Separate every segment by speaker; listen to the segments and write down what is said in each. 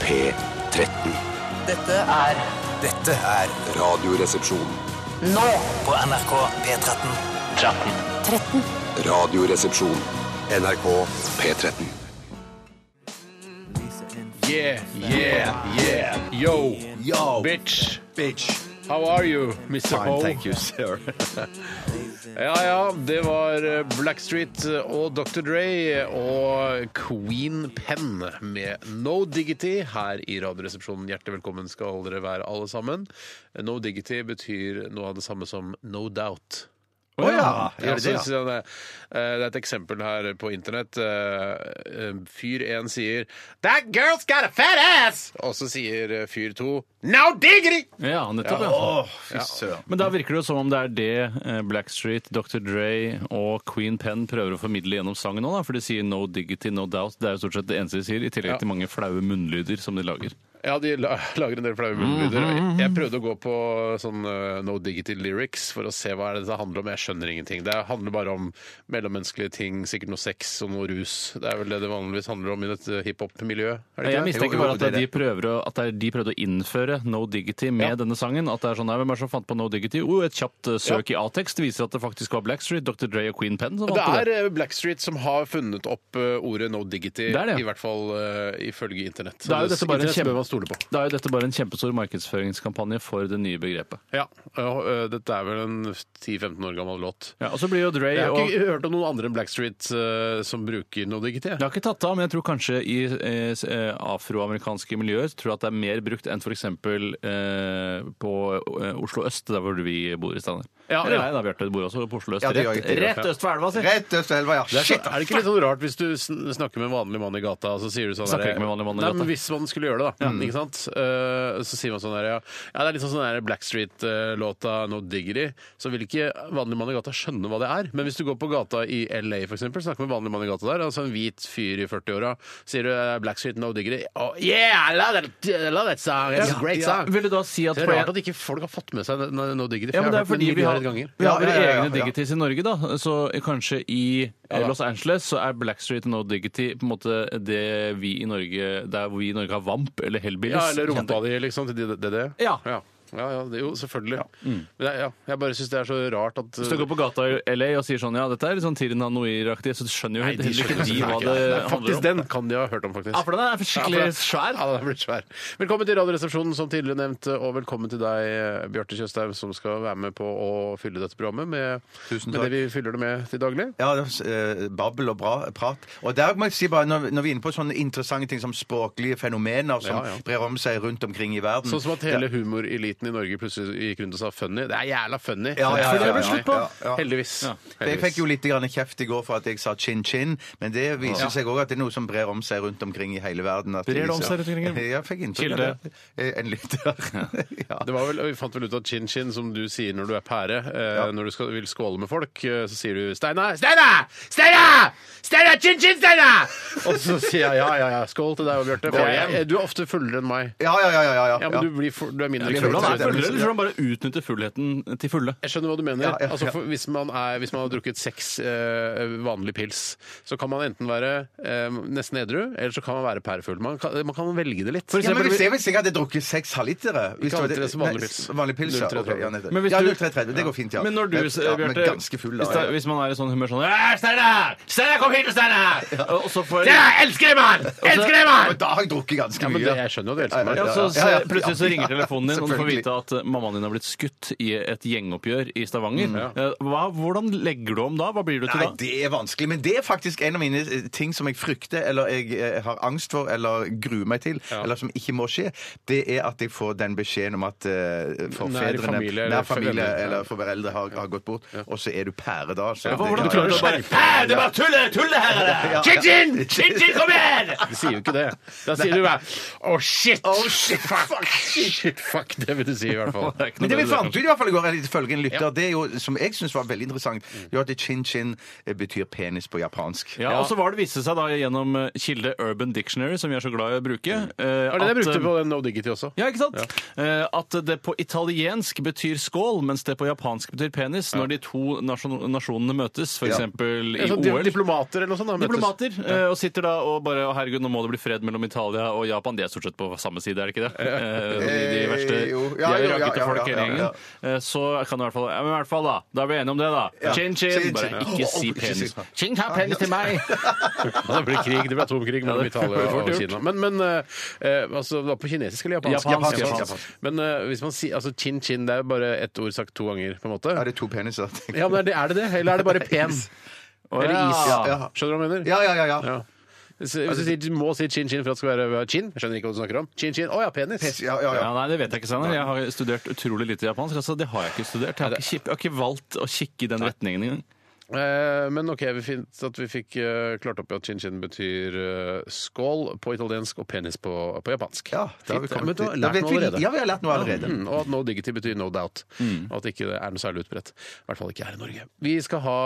Speaker 1: P13.
Speaker 2: Dette er
Speaker 3: Dette er
Speaker 1: Radioresepsjon.
Speaker 2: nå
Speaker 3: på NRK P13.
Speaker 1: Radioresepsjon.
Speaker 3: NRK.
Speaker 1: P13.
Speaker 4: Yeah, yeah, yeah. Yo,
Speaker 3: Yo,
Speaker 4: bitch.
Speaker 3: bitch.
Speaker 4: How are you, Mr. Ho?
Speaker 3: you, sir.
Speaker 4: Ja, ja, det var eh, Blackstreet og Dr. Dre eh, og Queen Pen med No Diggity her i Radioresepsjonen. Hjertelig velkommen skal dere være, alle sammen. Eh, No Diggity betyr noe av det samme som no doubt.
Speaker 3: Å ja,
Speaker 4: Ja,
Speaker 3: gjør det
Speaker 4: så-
Speaker 3: det, ja.
Speaker 4: så det, eh, det er et eksempel her på internett. Eh, eh, Fyr 1 sier 'That girl's got a fat ass!' Og så sier eh, fyr 2 'No diggity!'
Speaker 5: Ja, nettopp. Ja.
Speaker 3: Å, fy søren.
Speaker 5: Men da virker det jo som om det er det eh, Blackstreet, Dr. Dre og Queen Penn prøver å formidle gjennom sangen nå, da, for de sier 'no diggity, no doubt'. Det er jo stort sett det eneste de sier, i tillegg
Speaker 4: Ja.
Speaker 5: til mange flaue munnlyder som de lager.
Speaker 4: Ja, de la- lager en del flaue munnlyder.
Speaker 5: Mhm.
Speaker 4: Jeg prøvde å gå på sånn eh, No Diggity Lyrics for å se hva er det det handler om. Jeg skjønner ingenting. Det handler bare om mellommenneskelige ting, sikkert noe sex og noe rus. Det er vel det det vanligvis handler om i dette hiphop-miljø. er
Speaker 5: Jeg
Speaker 4: det ikke det?
Speaker 5: mistenker
Speaker 3: Jo, jo,
Speaker 5: bare at
Speaker 3: det er
Speaker 5: de
Speaker 3: det.
Speaker 5: prøver å, at det er- de prøvde å innføre no diggity med
Speaker 4: Ja.
Speaker 5: denne sangen. At det er sånn, nei, Hvem er det som fant på no diggity? Jo, et kjapt eh, søk i A-tekst viser at det faktisk var Blackstreet, Dr. Dre og Queen Penn som
Speaker 4: Det
Speaker 5: vant
Speaker 4: er
Speaker 5: det.
Speaker 4: eh, Blackstreet som har funnet opp eh, ordet no diggity,
Speaker 5: Det er det.
Speaker 4: i hvert fall eh, ifølge internett. Så
Speaker 5: Det er jo dette bare en
Speaker 4: internett
Speaker 5: kjempe-
Speaker 4: bør man stole på.
Speaker 5: Da er jo dette bare en kjempestor markedsføringskampanje for det nye begrepet.
Speaker 4: Ja, og, eh, Dette er vel en 10-15 år gammel låt.
Speaker 5: Ja, og så blir jo Dre
Speaker 4: Jeg har
Speaker 5: og
Speaker 4: ikke hørt om noen andre enn Blackstreet eh, som bruker no diggity. jeg.
Speaker 5: Jeg har ikke tatt det av, men jeg tror kanskje i eh, s- eh, afroamerikanske miljøer tror jeg at det er mer brukt enn f.eks. Eh, på eh, Oslo øst, der hvor vi bor i Stavanger.
Speaker 4: Ja,
Speaker 5: Eller
Speaker 4: ja.
Speaker 5: nei da, Bjarte, du bor også på Oslo øst.
Speaker 3: Ja, det gjør
Speaker 5: rett,
Speaker 3: jeg ikke, det gjør jeg.
Speaker 5: rett øst for elva, si!
Speaker 3: Rett øst for elva, ja.
Speaker 4: Det er, så,
Speaker 3: Shit!
Speaker 4: er det ikke litt sånn rart hvis du sn- snakker med en vanlig mann i gata, og så sier du sånn
Speaker 5: Snakker
Speaker 4: der-
Speaker 5: ikke med en vanlig mann i
Speaker 4: Nei,
Speaker 5: gata. Mm.
Speaker 4: men Hvis man skulle gjøre det, da. Ikke sant? Eh, så sier man sånn der Ja, ja det er litt sånn sånn der Blackstreet-låta eh, No Diggity. Så vil ikke vanlig mann i gata skjønne hva det er. Men hvis du går på gata i LA, for eksempel, snakker med en vanlig mann i gata der, altså en hvit fyr i 40-åra, sier du eh, Blackstreet No Diggity oh, Yeah, I love that, I love that song. It's a great song.
Speaker 5: Vil du da si at
Speaker 4: Det er
Speaker 5: på
Speaker 4: rart
Speaker 5: en-
Speaker 4: at ikke folk har fått med seg No No Diggity. for
Speaker 5: ja, men
Speaker 4: jeg
Speaker 5: det er
Speaker 4: hørt den
Speaker 5: fordi vi har,
Speaker 4: milliarder ganger.
Speaker 5: vi har våre
Speaker 3: Ja, ja, ja, ja,
Speaker 5: egne
Speaker 3: ja.
Speaker 5: diggities i Norge, da. Så kanskje i eh,
Speaker 4: da.
Speaker 5: Los Angeles så er Blackstreet og No Diggity på en måte det vi i Norge Der hvor vi i Norge har Vamp eller Hellbillies.
Speaker 4: Ja, eller rumpa di, liksom, til DDD.
Speaker 5: Ja. Mm.
Speaker 4: ja. Ja, ja, det er jo selvfølgelig. Men jeg, ja, jeg bare syns det er så rart at
Speaker 5: Hvis du går på gata i LA og sier sånn Ja, dette er litt sånn Tirin Hanoir-aktig, så skjønner jo
Speaker 4: Nei,
Speaker 5: helt- heller
Speaker 4: eh, skjønner
Speaker 5: ikke de hva
Speaker 4: selvfølgelig
Speaker 5: det
Speaker 4: Nei,
Speaker 5: handler
Speaker 4: Faktisk
Speaker 5: om.
Speaker 4: den kan de ha hørt om, faktisk.
Speaker 5: Ja, for den er skikkelig svær.
Speaker 4: Ja, den er blitt svær. Velkommen til Radioresepsjonen, som tidligere nevnt, og velkommen til deg, Bjarte Tjøstheim, som skal være med på å fylle dette programmet med,
Speaker 3: Tusen
Speaker 4: med
Speaker 3: takk.
Speaker 4: det vi fyller det med til daglig.
Speaker 3: Ja, det er, eh, babbel og bra prat. Og der må jeg si bare, når, når vi er inne på sånne interessante ting som språklige fenomener som
Speaker 4: Ja, ja.
Speaker 3: brer om seg rundt omkring i
Speaker 5: Mm.
Speaker 3: verden
Speaker 4: Sånn som at hele humoreliten i Norge plutselig gikk rundt og sa 'funny'. Det er jævla funny!
Speaker 3: Ja, ja, ja,
Speaker 4: Det er
Speaker 3: ja,
Speaker 4: det
Speaker 3: ja,
Speaker 4: slutt på.
Speaker 3: ja, ja.
Speaker 4: Heldigvis.
Speaker 3: Jeg fikk jo litt grann kjeft i går for at jeg sa chin-chin, men det viser seg òg at det er noe som brer om seg rundt omkring i hele verden. At
Speaker 5: Brer det om seg rundt omkring?
Speaker 3: Ja, jeg fikk inntrykk av det. Eh, En lytter. Ja.
Speaker 4: Det var vel, Vi fant vel ut at chin-chin, som du sier når du er pære, eh, når du skal, vil skåle med folk, eh, så sier du 'Steinar! Steinar! Steinar! Steinar! Chin-chin, Steinar!' Og så sier jeg ja, ja, ja. Skål til deg og Bjarte. for jeg- jeg- Du er ofte fullere enn meg.
Speaker 3: Ja, ja, ja. ja, ja,
Speaker 4: Ja, men du, blir for, du er mindre
Speaker 3: Jeg
Speaker 5: Tror du han er
Speaker 3: det er
Speaker 5: fullere,
Speaker 3: mye-
Speaker 5: eller tror du han bare utnytter fullheten til fulle?
Speaker 4: Jeg skjønner hva du mener.
Speaker 3: Ja, ja,
Speaker 4: Altså,
Speaker 3: ja.
Speaker 4: for, hvis, man er, hvis man har drukket seks eh, vanlig pils, så kan man enten være eh, nesten edru, eller så kan man være pærefull. Man kan, man kan velge det litt.
Speaker 3: Ja, men hvis jeg, hvis jeg hadde drukket seks halvlitere hvis
Speaker 4: Ikke
Speaker 3: det
Speaker 4: halvlitere,
Speaker 3: var det-
Speaker 4: så vanlig
Speaker 3: nei,
Speaker 4: pils.
Speaker 3: Vanlig pils, ja.
Speaker 4: 0,33.
Speaker 3: Ok, ja, nettopp.
Speaker 5: Men hvis
Speaker 3: ja,
Speaker 5: du-
Speaker 3: 0,33. Det går fint, ja.
Speaker 5: Men når du,
Speaker 3: ja, men
Speaker 5: Bjarte,
Speaker 3: ganske full,
Speaker 5: hvis, det
Speaker 3: da.
Speaker 5: er-
Speaker 3: Ja.
Speaker 5: hvis man er i sånn humør sånn «Æ, Steinar! Steinar, kom hit, Steinar! Og så får
Speaker 4: elsker deg, mann! Elsker deg,
Speaker 3: Men da har jeg drukket ganske
Speaker 4: Ja, men
Speaker 3: mye.
Speaker 4: det, jeg skjønner jo at du elsker meg.
Speaker 5: ja, så,
Speaker 3: Ja, ja, ja.
Speaker 5: så plutselig så ringer telefonen din, og du får
Speaker 3: Selvfølgelig.
Speaker 5: vite at eh, mammaen din har blitt skutt i et gjengoppgjør i Stavanger. Eh, Hva, hvordan legger du om da? Hva blir du til
Speaker 3: Mm, Nei,
Speaker 5: da?
Speaker 3: det er vanskelig, men det er faktisk en av mine eh, ting som jeg frykter, eller jeg eh, har angst for, eller gruer meg til, eller som ikke må skje. Det er at jeg får den beskjeden om at eh, forfedrene,
Speaker 4: familie eller
Speaker 3: nær familie
Speaker 4: foreldre.
Speaker 3: eller foreldre har, har gått bort, og så er du pære da. Så
Speaker 5: Hva- Hvordan
Speaker 3: ja,
Speaker 5: klarer du
Speaker 3: ja.
Speaker 5: å bare
Speaker 4: Hæ, det er bare tulle, tulle her er det! Chin-chin! Chin-chin, kom igjen! Du sier jo ikke det. Da sier du bare Å, shit!
Speaker 3: Oh, shit,
Speaker 4: Fuck, shit, fuck, det vil du si, i hvert fall.
Speaker 5: Det er ikke noe
Speaker 3: Men det vi
Speaker 5: bedre.
Speaker 3: fant ut i hvert fall i går, eller ifølge en lytter,
Speaker 4: Ja. Mm.
Speaker 3: det er jo, som jeg syns var veldig interessant, det er at chin-chin betyr penis på japansk.
Speaker 5: Ja, Og så var det viste seg da gjennom eh, kilde Urban Dictionary, som vi er så glad i å bruke eh,
Speaker 4: Mm. Det var det jeg
Speaker 5: at,
Speaker 4: brukte
Speaker 5: eh,
Speaker 4: på den No Diggity også.
Speaker 5: Ja, ikke sant? Eh, at det på italiensk betyr skål, mens det på japansk betyr penis, når de to nasjon nasjonene møtes, f.eks. eksempel i
Speaker 4: Ja, sånn di-
Speaker 5: OL.
Speaker 4: Diplomater eller noe sånt. Da, møtes.
Speaker 5: Diplomater eh, og sitter da og bare «Å, herregud, nå må det bli fred mellom Italia og Japan. De er stort sett på samme side, er det ikke det? Eh, de, de verste
Speaker 3: Eh, jo.
Speaker 5: De
Speaker 3: Ja,
Speaker 5: er
Speaker 3: jo, ja,
Speaker 5: rakkete
Speaker 3: ja,
Speaker 5: folk
Speaker 3: ja,
Speaker 5: hele
Speaker 3: ja,
Speaker 5: gjengen.
Speaker 3: ja.
Speaker 5: Eh, Så kan du i hvert fall ja, men i hvert fall da, da er vi enige om det, da.
Speaker 3: Ja.
Speaker 5: Chin chin.
Speaker 3: Chin,
Speaker 5: Bare
Speaker 3: chin.
Speaker 5: ikke
Speaker 3: Å,
Speaker 5: si
Speaker 3: å, ikke
Speaker 5: penis.
Speaker 3: si-
Speaker 5: Chin ha penis til meg!
Speaker 4: Ja, det blir krig, det blir atomkrig
Speaker 5: Ja,
Speaker 4: mellom
Speaker 5: det-
Speaker 4: Italia
Speaker 5: det blir fort
Speaker 4: og
Speaker 5: gjort.
Speaker 4: Kina. Men, men eh, eh, altså, det var på kinesisk eller japansk?
Speaker 5: Japansk,
Speaker 3: japansk.
Speaker 4: Men eh, hvis man sier altså, chin chin, det er jo bare ett ord sagt to ganger, på en måte.
Speaker 3: Er det to peniser? tenker jeg?
Speaker 4: Ja, men er det, er det det? Eller er det bare pen? Eller is?
Speaker 5: Ja.
Speaker 3: Ja.
Speaker 4: Skjønner du hva jeg mener?
Speaker 3: Ja, ja, ja. ja. Altså,
Speaker 4: Ja. Hvis hvis du sier, du må si chin chin for at det skal være chin, jeg skjønner ikke hva du snakker om. Chin chin, å ja, penis.
Speaker 3: Pes- ja, ja,
Speaker 5: Ja,
Speaker 3: ja.
Speaker 5: nei, det vet jeg ikke, Steinar. Jeg har studert utrolig lite japansk. altså Det har jeg ikke studert. Jeg har ikke, kip- jeg har ikke valgt å kikke i den retningen engang.
Speaker 4: Eh, men OK, vi fint at vi fikk eh, klart opp i at chin-chin betyr eh, skål på italiensk og penis på, på japansk.
Speaker 3: Ja, da har vi
Speaker 4: Fint. men
Speaker 3: kommet
Speaker 4: du har
Speaker 3: dit. Da
Speaker 4: lært
Speaker 3: vet
Speaker 4: noe
Speaker 3: vi-
Speaker 4: allerede.
Speaker 3: Ja, Mm. vi har lært noe allerede.
Speaker 4: Mm, og at no diggity betyr no doubt. Og at ikke det ikke er noe særlig utbredt. I hvert fall ikke her i Norge. Vi skal ha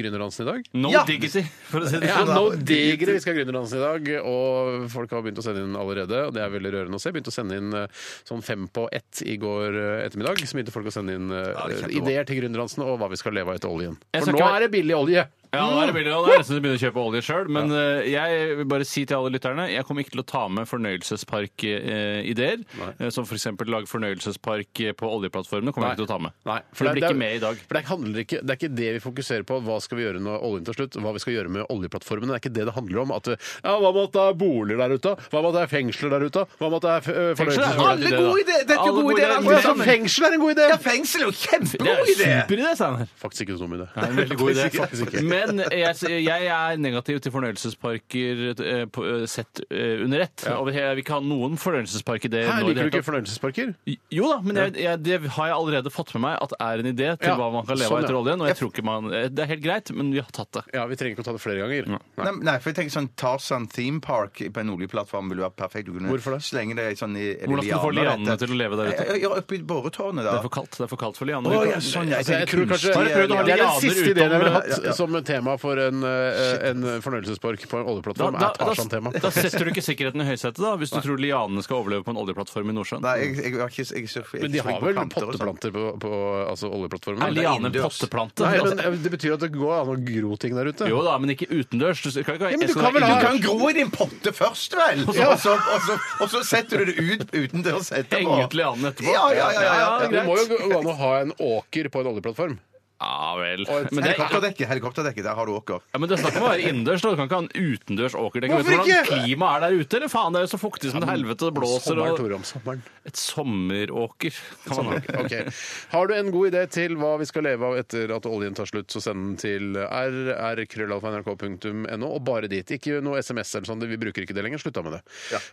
Speaker 4: Gründerdansen i dag.
Speaker 5: No
Speaker 3: Ja.
Speaker 5: diggity, for å si det
Speaker 4: Ja,
Speaker 5: sånn.
Speaker 4: no digre. Vi skal ha Gründerdansen i dag, og folk har begynt å sende inn allerede. Og det er veldig rørende å se. Begynte å sende inn eh, sånn fem på ett i går eh, ettermiddag. Så begynte folk å sende inn eh,
Speaker 3: det er kjempebra.
Speaker 4: ideer til Gründerdansen og hva vi skal leve av etter oljen.
Speaker 5: Jeg skal
Speaker 4: For nå
Speaker 5: ikke-
Speaker 4: er det billig olje!
Speaker 5: Ja, nå er det billigere, og det er nesten som å begynne å kjøpe olje sjøl. Men eh, jeg vil bare si til alle lytterne jeg kommer ikke til å ta med fornøyelsesparkideer. Uh, som f.eks. lage fornøyelsespark eh, på oljeplattformene. kommer jeg ikke til å ta med.
Speaker 4: Nei,
Speaker 5: for det blir ikke med i dag.
Speaker 4: For det, handler ikke, det er ikke det vi fokuserer på, hva skal vi gjøre når oljen tar slutt, hva vi skal gjøre med oljeplattformene. Det er ikke det det handler om. At, eh, ja, hva med at det er boliger der ute? Hva med at det er fengsler der ute? Hva med at det er eh, fornøyelsesparker?
Speaker 3: Alle gode ideer! Dette er jo
Speaker 5: Alle
Speaker 3: gode
Speaker 5: gode
Speaker 3: ideer,
Speaker 5: ideer. Å,
Speaker 3: alle
Speaker 5: ja, så
Speaker 4: Altså,
Speaker 3: sammen.
Speaker 4: fengsel er en god idé!
Speaker 3: Ja, fengsel er jo
Speaker 5: Det
Speaker 3: kjempegod
Speaker 5: er
Speaker 3: idé!
Speaker 5: superidé, Steinar.
Speaker 4: Faktisk ikke noe dum idé.
Speaker 5: Det er en veldig god idé.
Speaker 4: Faktisk ikke.
Speaker 5: Men jeg, jeg er negativ til fornøyelsesparker eh, på, eh, sett eh, under ett. Over hele- Jeg vil ikke ha noen fornøyelsesparkideer.
Speaker 4: Her
Speaker 5: nå i det
Speaker 4: liker du
Speaker 5: hele
Speaker 4: ikke fornøyelsesparker?
Speaker 5: tatt. Jo da, men jeg, jeg, det har jeg allerede fått med meg at er en idé til
Speaker 4: Ja,
Speaker 5: hva man kan leve
Speaker 4: sånn,
Speaker 5: av etter
Speaker 4: ja.
Speaker 5: oljen. Og jeg tror ikke man, eh, det er helt greit, men vi har tatt det.
Speaker 4: Ja, Vi trenger ikke å ta det flere ganger.
Speaker 3: Nei, nei, for jeg tenker sånn Tarzan theme park på en oljeplattform ville vært perfekt. Du kunne
Speaker 4: Hvorfor det?
Speaker 3: slenge det i sånn i
Speaker 5: Hvordan skal du få lianene til å leve der ute?
Speaker 3: Ja, oppi boretårnet,
Speaker 5: Det
Speaker 3: da.
Speaker 5: er for kaldt, det er for kaldt for lianer.
Speaker 3: Å,
Speaker 5: Vi
Speaker 3: ja,
Speaker 5: kan-
Speaker 3: sånn, ja.
Speaker 4: Altså, jeg
Speaker 3: tenker
Speaker 4: tror kanskje,
Speaker 5: Har du prøvd å ha
Speaker 4: det er den
Speaker 5: lianer
Speaker 4: siste ideen jeg ville
Speaker 5: utenom-
Speaker 4: hatt
Speaker 3: Ja, ja.
Speaker 4: som tema for en, eh, en fornøyelsespark på en
Speaker 5: Da,
Speaker 4: oljeplattform.
Speaker 5: da,
Speaker 4: er
Speaker 5: da,
Speaker 4: Tarzan-tema.
Speaker 5: da setter du ikke sikkerheten i høysetet, da, hvis du tror lianene skal overleve på en oljeplattform i Nordsjøen.
Speaker 3: Nei, jeg, jeg, var ikke, jeg, er ikke- jeg,
Speaker 4: Men de har
Speaker 3: på
Speaker 4: vel
Speaker 3: planter og sånn.
Speaker 4: potteplanter på, på altså oljeplattformen?
Speaker 5: Er lianen en
Speaker 3: innendørs.
Speaker 5: potteplante?
Speaker 4: Nei,
Speaker 5: Altså,
Speaker 4: men eh, Det betyr at det går an å gro ting der ute.
Speaker 5: jo da, men ikke utendørs. Du skal ikke ha
Speaker 4: Ja, men du
Speaker 5: jeg skal
Speaker 4: kan vel
Speaker 5: ha
Speaker 4: ha-
Speaker 3: Du kan gro i din potte først, vel! Og så, og så, og så, og så setter du det ut utendørs etterpå.
Speaker 5: Henge ut lianene etterpå.
Speaker 3: Ja, ja, ja.
Speaker 5: Ja,
Speaker 3: ja, ja,
Speaker 5: ja,
Speaker 4: Det må jo gå an å ha en åker på en oljeplattform.
Speaker 5: Ja vel.
Speaker 4: Og et
Speaker 5: Men det, er-
Speaker 3: Helikopterdekket, helikopterdekket, der har du åker.
Speaker 5: ja, men det er snakk om å være innendørs. da. Du kan ikke ha en utendørs åkerdekke. Vet
Speaker 4: Hvorfor
Speaker 5: du hvordan
Speaker 4: ikke?
Speaker 5: klimaet er der ute? Eller faen, det er jo så fuktig som et helvete, det blåser
Speaker 4: Sommeren,
Speaker 5: og
Speaker 4: Tore, om sommeren.
Speaker 5: Et sommeråker kan man ha.
Speaker 4: Ok. Har du en god idé til hva vi skal leve av etter at oljen tar slutt, så send den til rr.krøllalfa.nrk.no, og bare dit. Ikke noe SMS eller sånn, vi bruker ikke det lenger. Slutta med det.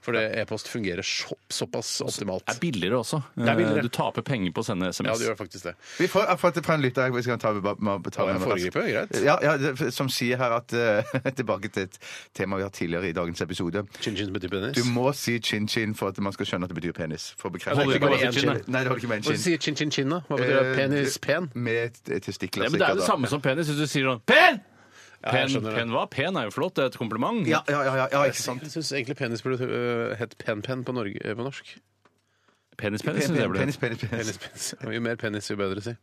Speaker 4: For det e-post fungerer så, såpass optimalt.
Speaker 5: Det er billigere også.
Speaker 4: er billigere.
Speaker 5: Du taper penger på å sende SMS.
Speaker 4: Ja, det gjør faktisk det.
Speaker 3: Vi får, jeg har fått det fra en lytter vi skal ta, vi bare- må ta
Speaker 4: Å, jeg
Speaker 3: med raskt.
Speaker 4: foregriper, greit.
Speaker 3: Ja, ja, det- som sier her at eh, Tilbake til et tema vi har tidligere i dagens episode.
Speaker 4: Chin-chin betyr
Speaker 3: Du
Speaker 4: penis.
Speaker 3: må si chin-chin for at man skal skjønne at det betyr penis. For å bekrefte.
Speaker 5: Holder det ikke bare å si chin, da?
Speaker 3: Nei, det holder ikke med en
Speaker 4: Hva
Speaker 3: chin.
Speaker 4: sier chin-chin-chin, da? Hva betyr det? Penis, pen?
Speaker 3: Eh, Med t- testikler.
Speaker 5: Ja, men det er jo det
Speaker 3: sikkert, altså, da.
Speaker 5: samme som penis. Hvis du sier sånn Pen!
Speaker 4: jeg
Speaker 5: Pen,
Speaker 4: skjønner det.
Speaker 5: pen hva? Pen er jo flott. Det er et kompliment.
Speaker 3: Ja, ja, ja, ja, ja, ikke sant.
Speaker 4: Jeg syns egentlig penis burde øh, hett pen-pen på, Norge- øh, på norsk.
Speaker 5: Penis, penis, synes jeg ble.
Speaker 3: Penis, penis, penis.
Speaker 4: Penis, penis. Jo mer penis, jo bedre, si.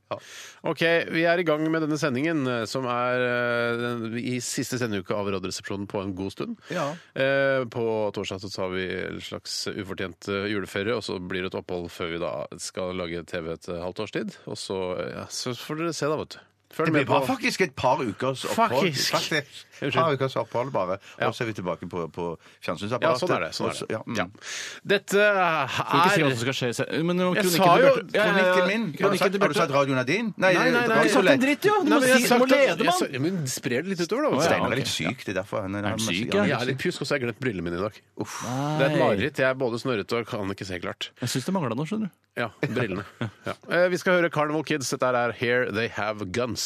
Speaker 4: OK, vi er i gang med denne sendingen, eh, som er eh, den- i siste sendeuke av Radioresepsjonen på en god stund.
Speaker 3: Ja.
Speaker 4: Eh, På torsdag så tar vi en slags ufortjent eh, juleferie, og så blir det et opphold før vi da skal lage TV et eh, halvt års tid. Og så, ja, så får dere se, da, vet du. Følg
Speaker 3: Det
Speaker 4: med
Speaker 3: var
Speaker 4: på
Speaker 3: faktisk et par ukers opphold.
Speaker 4: Faktisk.
Speaker 3: Et par ukers opphold bare. Og så er vi tilbake på, på
Speaker 4: ja,
Speaker 3: fjernsynsapparatet.
Speaker 4: sånn er det. Sånn
Speaker 3: Og
Speaker 4: er
Speaker 3: så-
Speaker 4: det.
Speaker 3: mm.
Speaker 4: Ja. Dette
Speaker 5: Du kan ikke si hva
Speaker 4: er
Speaker 5: som skal skje. i se- Men
Speaker 4: Jeg
Speaker 5: kronikken
Speaker 4: sa
Speaker 5: til
Speaker 4: jo-
Speaker 5: Bjarte- Ja, ja, ja.
Speaker 3: Kronikken min. Har du
Speaker 5: Kronikken
Speaker 3: sagt,
Speaker 5: til
Speaker 3: har du sagt
Speaker 5: Bjarte.
Speaker 3: radioen er din? Nei,
Speaker 4: Nei, nei, nei.
Speaker 3: det-
Speaker 4: Du har ikke sagt
Speaker 5: en dritt, jo. Du må
Speaker 4: Nei, men jeg
Speaker 5: si- du
Speaker 4: har
Speaker 5: må
Speaker 4: sagt
Speaker 5: lede,
Speaker 4: at- jeg
Speaker 5: mann.
Speaker 4: sa- ja, Men spre det litt utover, da. vet du.
Speaker 5: Å, ja,
Speaker 3: Steinar er litt
Speaker 5: ok.
Speaker 3: syk, det er derfor. Han, er
Speaker 5: han syk,
Speaker 3: ja?
Speaker 5: ja?
Speaker 4: Jeg er litt pjusk, og så har jeg glemt brillene mine i dag.
Speaker 5: Nei.
Speaker 4: Det er et mareritt. Jeg er både snørrete og kan ikke se klart.
Speaker 5: Jeg syns det mangla noe, skjønner du.
Speaker 4: Ja, brillene. Ja. Eh, Vi skal høre Carnival Kids. Dette er Here They Have Guns.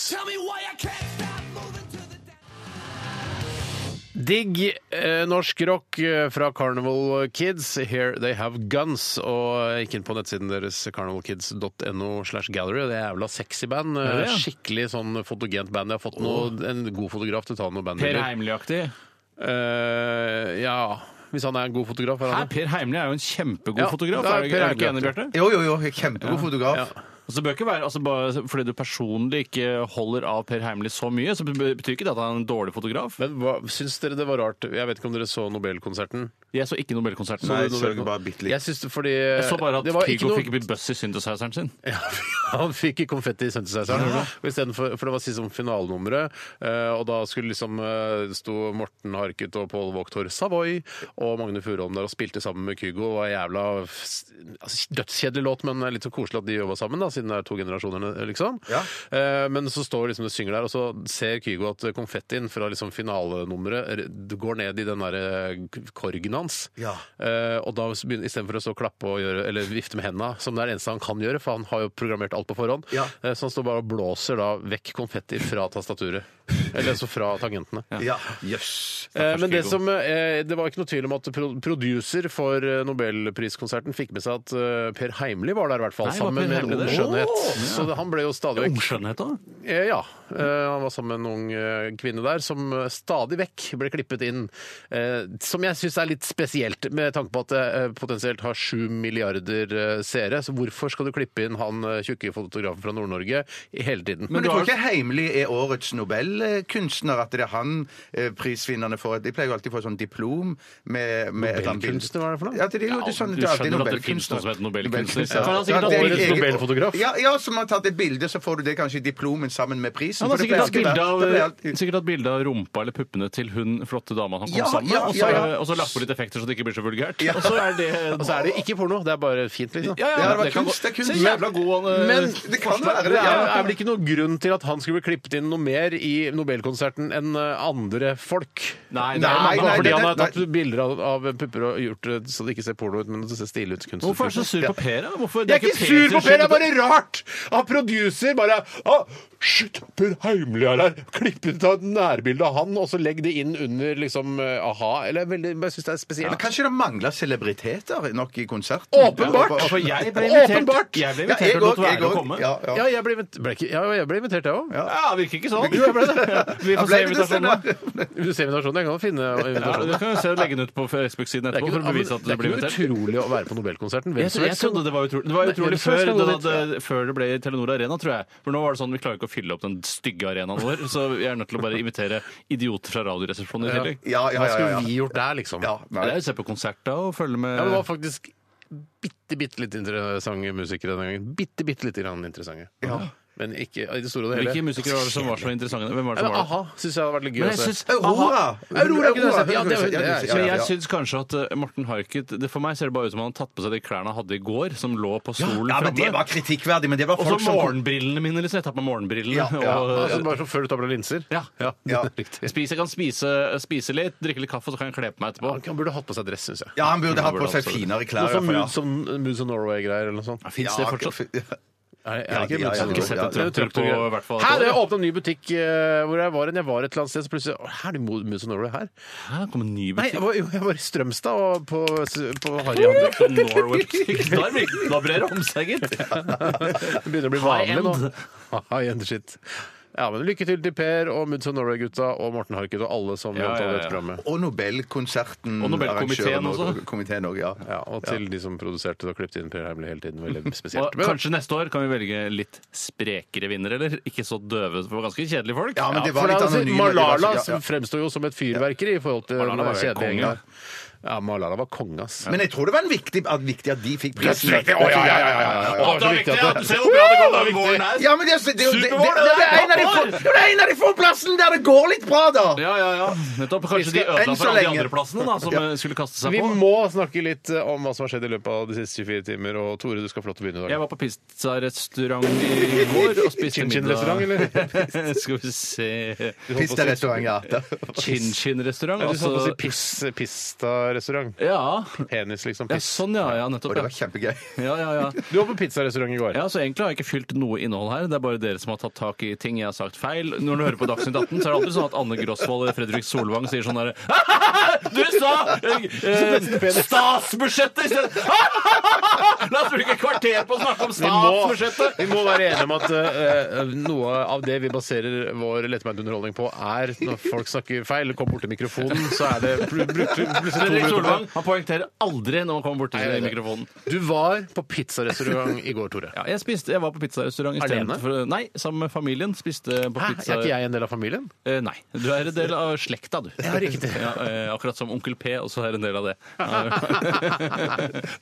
Speaker 4: Digg eh, norsk rock eh, fra Carnival Kids. Here They Have Guns. Og jeg gikk inn på nettsiden deres carnivalkids.no slash gallery. og Det er jævla sexy band. eh,
Speaker 5: Er det, ja?
Speaker 4: Skikkelig sånn fotogent band. Jeg har fått noe, en god fotograf til å ta noe
Speaker 5: Per
Speaker 4: bandbilder.
Speaker 5: Heimly-aktig.
Speaker 4: Eh, ja Hvis han er en god fotograf, er
Speaker 5: Hæ,
Speaker 4: han det?
Speaker 5: Per Heimly er jo en kjempegod
Speaker 4: Ja,
Speaker 5: fotograf.
Speaker 4: det er
Speaker 5: Er, du ikke-
Speaker 4: Per
Speaker 5: er du ikke
Speaker 4: Heimly,
Speaker 5: enig, Bjarte?
Speaker 3: Jo, jo, jo. Kjempegod fotograf.
Speaker 4: Ja.
Speaker 5: Altså, det bør ikke være, altså, bare fordi du personlig ikke holder av Per Heimly så mye, så betyr ikke det at han er en dårlig fotograf.
Speaker 4: Men hva, syns dere det var rart? Jeg vet ikke om dere så Nobelkonserten?
Speaker 5: Jeg så ikke Nobelkonserten.
Speaker 3: Nei,
Speaker 5: Så du
Speaker 3: så
Speaker 5: Nobelkonserten?
Speaker 3: det bare bitte litt.
Speaker 4: Jeg syns det fordi
Speaker 5: Jeg så bare at
Speaker 4: det var ikke
Speaker 5: Kygo
Speaker 4: noe-
Speaker 5: fikk bli buss i synthesizeren sin.
Speaker 4: Ja, han fikk konfetti i synthesizeren. Og i stedet For, for det var sist som finalenummeret, eh, og da skulle liksom eh, sto Morten Harket og Pål Vågtor Savoy og Magne Furuholm der og spilte sammen med Kygo. Det var en jævla f- s- altså, dødskjedelig låt, men det er litt så koselig at de jobba sammen, da, siden det er to generasjoner, liksom. Eh, Men så står liksom det synger der, og så ser Kygo at konfettien fra liksom finalenummeret r- går ned i den derre korgen hans.
Speaker 3: Ja.
Speaker 4: Eh, og da begynner, istedenfor å stå og klappe og gjøre, eller vifte med hendene, som det er det eneste han kan gjøre, for han har jo programmert alt på forhånd,
Speaker 3: Ja.
Speaker 4: eh, så han står bare og blåser da vekk konfetti fra tastaturet. eller altså fra tangentene.
Speaker 3: Ja. Jøss.
Speaker 4: Eh, men det,
Speaker 5: Kygo.
Speaker 4: som, eh, det var ikke noe tvil om at pro producer for eh, nobelpriskonserten fikk med seg at eh, Per Heimly var der, i hvert fall.
Speaker 5: Nei, var
Speaker 4: sammen
Speaker 5: Per
Speaker 4: med en
Speaker 5: Heimly
Speaker 4: ung
Speaker 5: der?
Speaker 4: skjønnhet. Så det, han ble jo stadig vekk
Speaker 5: Ungskjønnhet òg?
Speaker 4: Eh, Ja. Eh, Han var sammen med en ung eh, kvinne der som eh, stadig vekk ble klippet inn. eh, Som jeg syns er litt spesielt, med tanke på at det eh, potensielt har sju milliarder eh, seere. Så hvorfor skal du klippe inn han eh, tjukke fotografen fra Nord-Norge i hele tiden?
Speaker 3: Men jeg tror ikke Heimly er årets nobelkunstner, at det er han eh, prisvinnerne får. De pleier jo alltid å få sånn diplom med, med et eller annet bilde.
Speaker 4: Nobelkunstner, hva er det for noe?
Speaker 3: Ja, det er jo det er sånn,
Speaker 5: du
Speaker 3: det er alltid
Speaker 5: skjønner at det finnes noe
Speaker 3: nobelkunstner.
Speaker 5: som heter nobelkunstner.
Speaker 3: Nobelkunstner,
Speaker 5: Ja, for han har
Speaker 3: ja.
Speaker 5: sikkert
Speaker 3: Ja, det er
Speaker 4: årets
Speaker 3: egen-
Speaker 4: nobelfotograf.
Speaker 3: Ja, ja, som har tatt et bilde, så får du det kanskje i diplomen sammen med prisen.
Speaker 5: Han
Speaker 3: for
Speaker 5: har
Speaker 3: det
Speaker 5: sikkert hatt
Speaker 3: pleier
Speaker 5: bilde
Speaker 3: alltid-
Speaker 5: av, eh,
Speaker 3: det pleier alltid-
Speaker 5: sikkert hatt bilde av rumpa eller puppene til hun flotte dama han kom
Speaker 3: Ja,
Speaker 5: sammen med,
Speaker 3: ja,
Speaker 5: og så-
Speaker 3: ja, ja.
Speaker 5: og så lagt på litt effekter så det ikke blir så vulgært.
Speaker 3: Ja.
Speaker 5: Og så er det
Speaker 4: Og så er det ikke porno, det er bare fint, liksom.
Speaker 5: Ja, ja,
Speaker 3: Ja, det var
Speaker 5: kan gå-
Speaker 3: kunst, det er kunst.
Speaker 5: Så jævla god eh,
Speaker 4: Men
Speaker 3: Det kan være det.
Speaker 4: det er,
Speaker 3: ja.
Speaker 4: er vel ikke noen grunn til at han skulle bli klippet inn noe mer i Nobelkonserten enn eh, andre folk?
Speaker 5: Nei, det er-
Speaker 4: Bare
Speaker 3: Nei, nei,
Speaker 4: fordi
Speaker 3: det-
Speaker 4: han har
Speaker 3: nei.
Speaker 4: tatt bilder av, av pupper og gjort det så det ikke ser porno ut, men det ser stilig ut kunstnerisk.
Speaker 5: Hvorfor er du så sur på Per? da? Hvorfor, det
Speaker 4: Jeg er ikke
Speaker 5: Pers
Speaker 4: sur på
Speaker 5: skyld.
Speaker 4: Per, det er bare rart! Han producer bare ah, Shit, Per Heimly er her! Klipp ut av et nærbilde av han, og så legg det inn under liksom eh, a-ha. Eller veldig, jeg syns det er
Speaker 3: Men
Speaker 4: spesielt.
Speaker 3: kanskje det mangler celebriteter nok i konserten?
Speaker 4: Åpenbart!
Speaker 3: Ja,
Speaker 5: For jeg ble invitert.
Speaker 4: Åpenbart!
Speaker 5: Jeg ble
Speaker 3: Ja,
Speaker 5: invitert
Speaker 3: jeg
Speaker 5: og lot
Speaker 3: òg.
Speaker 5: være å komme.
Speaker 3: Ja, ja.
Speaker 4: Ja, jeg ble, invit- ble ikke, ja, jeg ble invitert, jeg òg.
Speaker 5: Ja, virker ikke sånn. Vi
Speaker 3: Ja,
Speaker 5: får
Speaker 3: ble
Speaker 5: se
Speaker 3: det
Speaker 5: invitasjonen, sånn, da.
Speaker 4: Vil du se invitasjonen? Jeg kan finne
Speaker 5: Ja,
Speaker 4: invitasjonen.
Speaker 5: det kan vi se og legge den ut på Facebook-siden
Speaker 4: Det er
Speaker 5: etterpå for å bevise at du
Speaker 4: ikke, noe-
Speaker 5: blir
Speaker 4: det er
Speaker 5: invitert.
Speaker 4: ikke noe utrolig å være på Nobelkonserten. Hvem
Speaker 5: Jeg,
Speaker 4: som helst
Speaker 5: trodde det var utrolig. Det var
Speaker 4: Nei,
Speaker 5: utrolig
Speaker 4: hvem som
Speaker 5: før,
Speaker 4: helst kan
Speaker 5: den
Speaker 4: gå dit.
Speaker 5: hadde, før det ble Telenor Arena, tror jeg. For nå var det sånn vi klarer ikke å fylle opp den stygge arenaen vår, så jeg er nødt til å bare invitere idioter fra Radioresepsjonen i tillegg.
Speaker 3: Ja, ja,
Speaker 4: Hva
Speaker 3: ja, ja,
Speaker 4: skulle
Speaker 3: ja.
Speaker 4: vi gjort der, liksom?
Speaker 3: Ja, nei.
Speaker 5: Det er jo å se på konsert da og følge med
Speaker 4: Ja, det var faktisk bitte, bitte litt interessante musikere den gangen. Bitte, bitte lite grann interessante. Men ikke i det store og det hele.
Speaker 5: Hvilke musikere var det som var så interessante? Hvem var
Speaker 4: Nei,
Speaker 5: det
Speaker 4: men
Speaker 5: som var det?
Speaker 4: A-ha syns jeg hadde vært litt gøy
Speaker 5: Men
Speaker 4: å
Speaker 5: jeg
Speaker 4: se.
Speaker 5: syns
Speaker 3: Aurora!
Speaker 4: Aurora kunne jeg sett. Ja, det- det-
Speaker 3: Ja,
Speaker 5: Men
Speaker 3: ja,
Speaker 5: jeg
Speaker 3: ja.
Speaker 5: syns kanskje at eh, Morten Harket det For meg ser det bare ut som han har tatt på seg de klærne han hadde i går, som lå på stolen
Speaker 3: Ja, men det
Speaker 5: framme.
Speaker 3: var kritikkverdig, men det var
Speaker 5: Og så
Speaker 3: folk som
Speaker 5: morgenbrillene mine, liksom. Jeg tar på meg morgenbrillene.
Speaker 3: Ja, ja.
Speaker 5: Og,
Speaker 4: Altså, bare som før du tar på deg linser.
Speaker 5: Ja.
Speaker 3: Ja.
Speaker 4: Riktig.
Speaker 5: Jeg spiser, jeg kan spise, spise litt, drikke litt kaffe, så kan jeg kle på meg etterpå.
Speaker 4: Han han burde hatt på seg dress, syns jeg.
Speaker 3: Ja, han burde hatt på
Speaker 5: burde
Speaker 3: seg
Speaker 5: absolutt.
Speaker 3: finere
Speaker 4: Noe
Speaker 3: klær.
Speaker 4: sånn
Speaker 3: i hvert
Speaker 4: Moods of, Moods of Norway-greier eller noe sånt.
Speaker 3: fall, ja.
Speaker 5: Finnes det fortsatt?
Speaker 3: Ja,
Speaker 4: Er, er ikke
Speaker 3: Ja, de- ja,
Speaker 4: Moods
Speaker 3: ja,
Speaker 4: of
Speaker 3: ja,
Speaker 4: Norway?
Speaker 3: ja, ja.
Speaker 4: Det er jo
Speaker 5: Traktor
Speaker 4: traktor-
Speaker 5: på i hvert fall et
Speaker 4: Her, det
Speaker 5: år.
Speaker 4: åpna en ny butikk eh, hvor jeg var, en- jeg var et eller annet sted, så plutselig Å, Her er det Mo- Moods of Norway her?
Speaker 5: Hæ, kom en ny
Speaker 4: Nei,
Speaker 5: butikk?
Speaker 4: jeg var, jo, jeg var i Strømstad og på, på Harryhandel.
Speaker 5: Norway-butikk. Da virker- da brer det om seg, gitt.
Speaker 4: Det begynner å bli
Speaker 5: High
Speaker 4: vanlig nå. High end shit. Ja, men Lykke til til Per og Moods of Norway-gutta og Morten Harket og alle som
Speaker 5: Ja,
Speaker 4: ja,
Speaker 5: ja, ja.
Speaker 4: dette programmet.
Speaker 3: Og Nobelkonserten.
Speaker 5: Og Nobelkomiteen
Speaker 3: arrangøren
Speaker 5: også.
Speaker 3: Komiteen også, ja.
Speaker 4: Ja, og til de som produserte og klippet inn Per Heimly hele tiden. Veldig spesielt.
Speaker 5: Og
Speaker 4: Men-
Speaker 5: kanskje neste år kan vi velge litt sprekere vinnere, eller? Ikke så døve, for det var ganske kjedelige folk.
Speaker 3: Ja, men det var
Speaker 4: for
Speaker 3: litt
Speaker 4: altså,
Speaker 3: anonyme.
Speaker 4: Malala
Speaker 3: Ja, ja.
Speaker 4: fremstår jo som et fyrverkeri i forhold til
Speaker 5: Malala var jo
Speaker 4: kjedelige
Speaker 5: konge.
Speaker 4: gjenger. Ja, Malala var konge, ass.
Speaker 3: Men jeg tror det var en viktig, at, viktig at de fikk prisen.
Speaker 4: Å, det var så viktig at det-
Speaker 5: Se hvor bra det går denne våren her!
Speaker 3: Ja, men det, det, det, det, det, det,
Speaker 5: Superbowl, det
Speaker 3: er en av de få, det er en av de få plassene der det går litt bra, da!
Speaker 5: Ja, ja, ja. Nettopp. Kanskje de
Speaker 3: skal-
Speaker 5: ødela
Speaker 3: enn så
Speaker 5: for alle de
Speaker 3: lenge.
Speaker 5: andre plassene da, som eh, skulle kaste seg
Speaker 4: Vi
Speaker 5: på.
Speaker 4: må snakke litt eh, om hva som har skjedd i løpet av de siste 24 timer. Og Tore, du skal få lov til å begynne i dag.
Speaker 5: Jeg var på pizzarestaurant i går og spiste
Speaker 4: Chin Chin
Speaker 5: middag.
Speaker 4: restaurant,
Speaker 5: eller? Skal vi se
Speaker 3: Pisterestaurant, ja.
Speaker 5: Chin-chin-restaurant.
Speaker 4: Du satt på å si
Speaker 5: Altså
Speaker 4: piss, pista pizzarestaurant.
Speaker 5: Ja.
Speaker 4: Penis, liksom.
Speaker 5: ja,
Speaker 4: Piss.
Speaker 5: sånn ja, ja,
Speaker 3: Og
Speaker 5: nettopp.
Speaker 3: det
Speaker 5: Ja,
Speaker 3: var kjempegøy.
Speaker 5: ja, ja. ja.
Speaker 4: Du var på pizzarestaurant i går.
Speaker 5: Ja, så Egentlig har jeg ikke fylt noe innhold her. Det er bare dere som har tatt tak i ting jeg har sagt feil. Når du hører på Dagsnytt 18, så er det alltid sånn at Anne Grosvold eller Fredrik Solvang sier sånn herre Du sa eh, eh, statsbudsjettet i stedet! La oss bruke et kvarter på å snakke om
Speaker 4: Vi må,
Speaker 5: statsbudsjettet!
Speaker 4: vi må være enige om at eh, noe av det vi baserer vår lettbeint underholdning på, er når folk snakker feil, kommer bort til mikrofonen, så er det pl plutselig to
Speaker 5: Fredrik
Speaker 4: minutter på.
Speaker 5: Solvang han poengterer aldri når han kommer bort
Speaker 4: Nei,
Speaker 5: til
Speaker 4: det er det.
Speaker 5: mikrofonen.
Speaker 4: Du var på pizzarestaurant i går, Tore.
Speaker 5: Ja, jeg, spiste, jeg var på pizzarestaurant i stedet
Speaker 4: Alene?
Speaker 5: for Nei, sammen med familien. Spiste på
Speaker 4: Hæ?
Speaker 5: pizza
Speaker 4: Er ikke jeg en del av familien?
Speaker 5: Eh, Nei. Du er en del av slekta, du.
Speaker 4: Ja, riktig.
Speaker 5: Ja, eh, akkurat som Onkel P også er en del av det.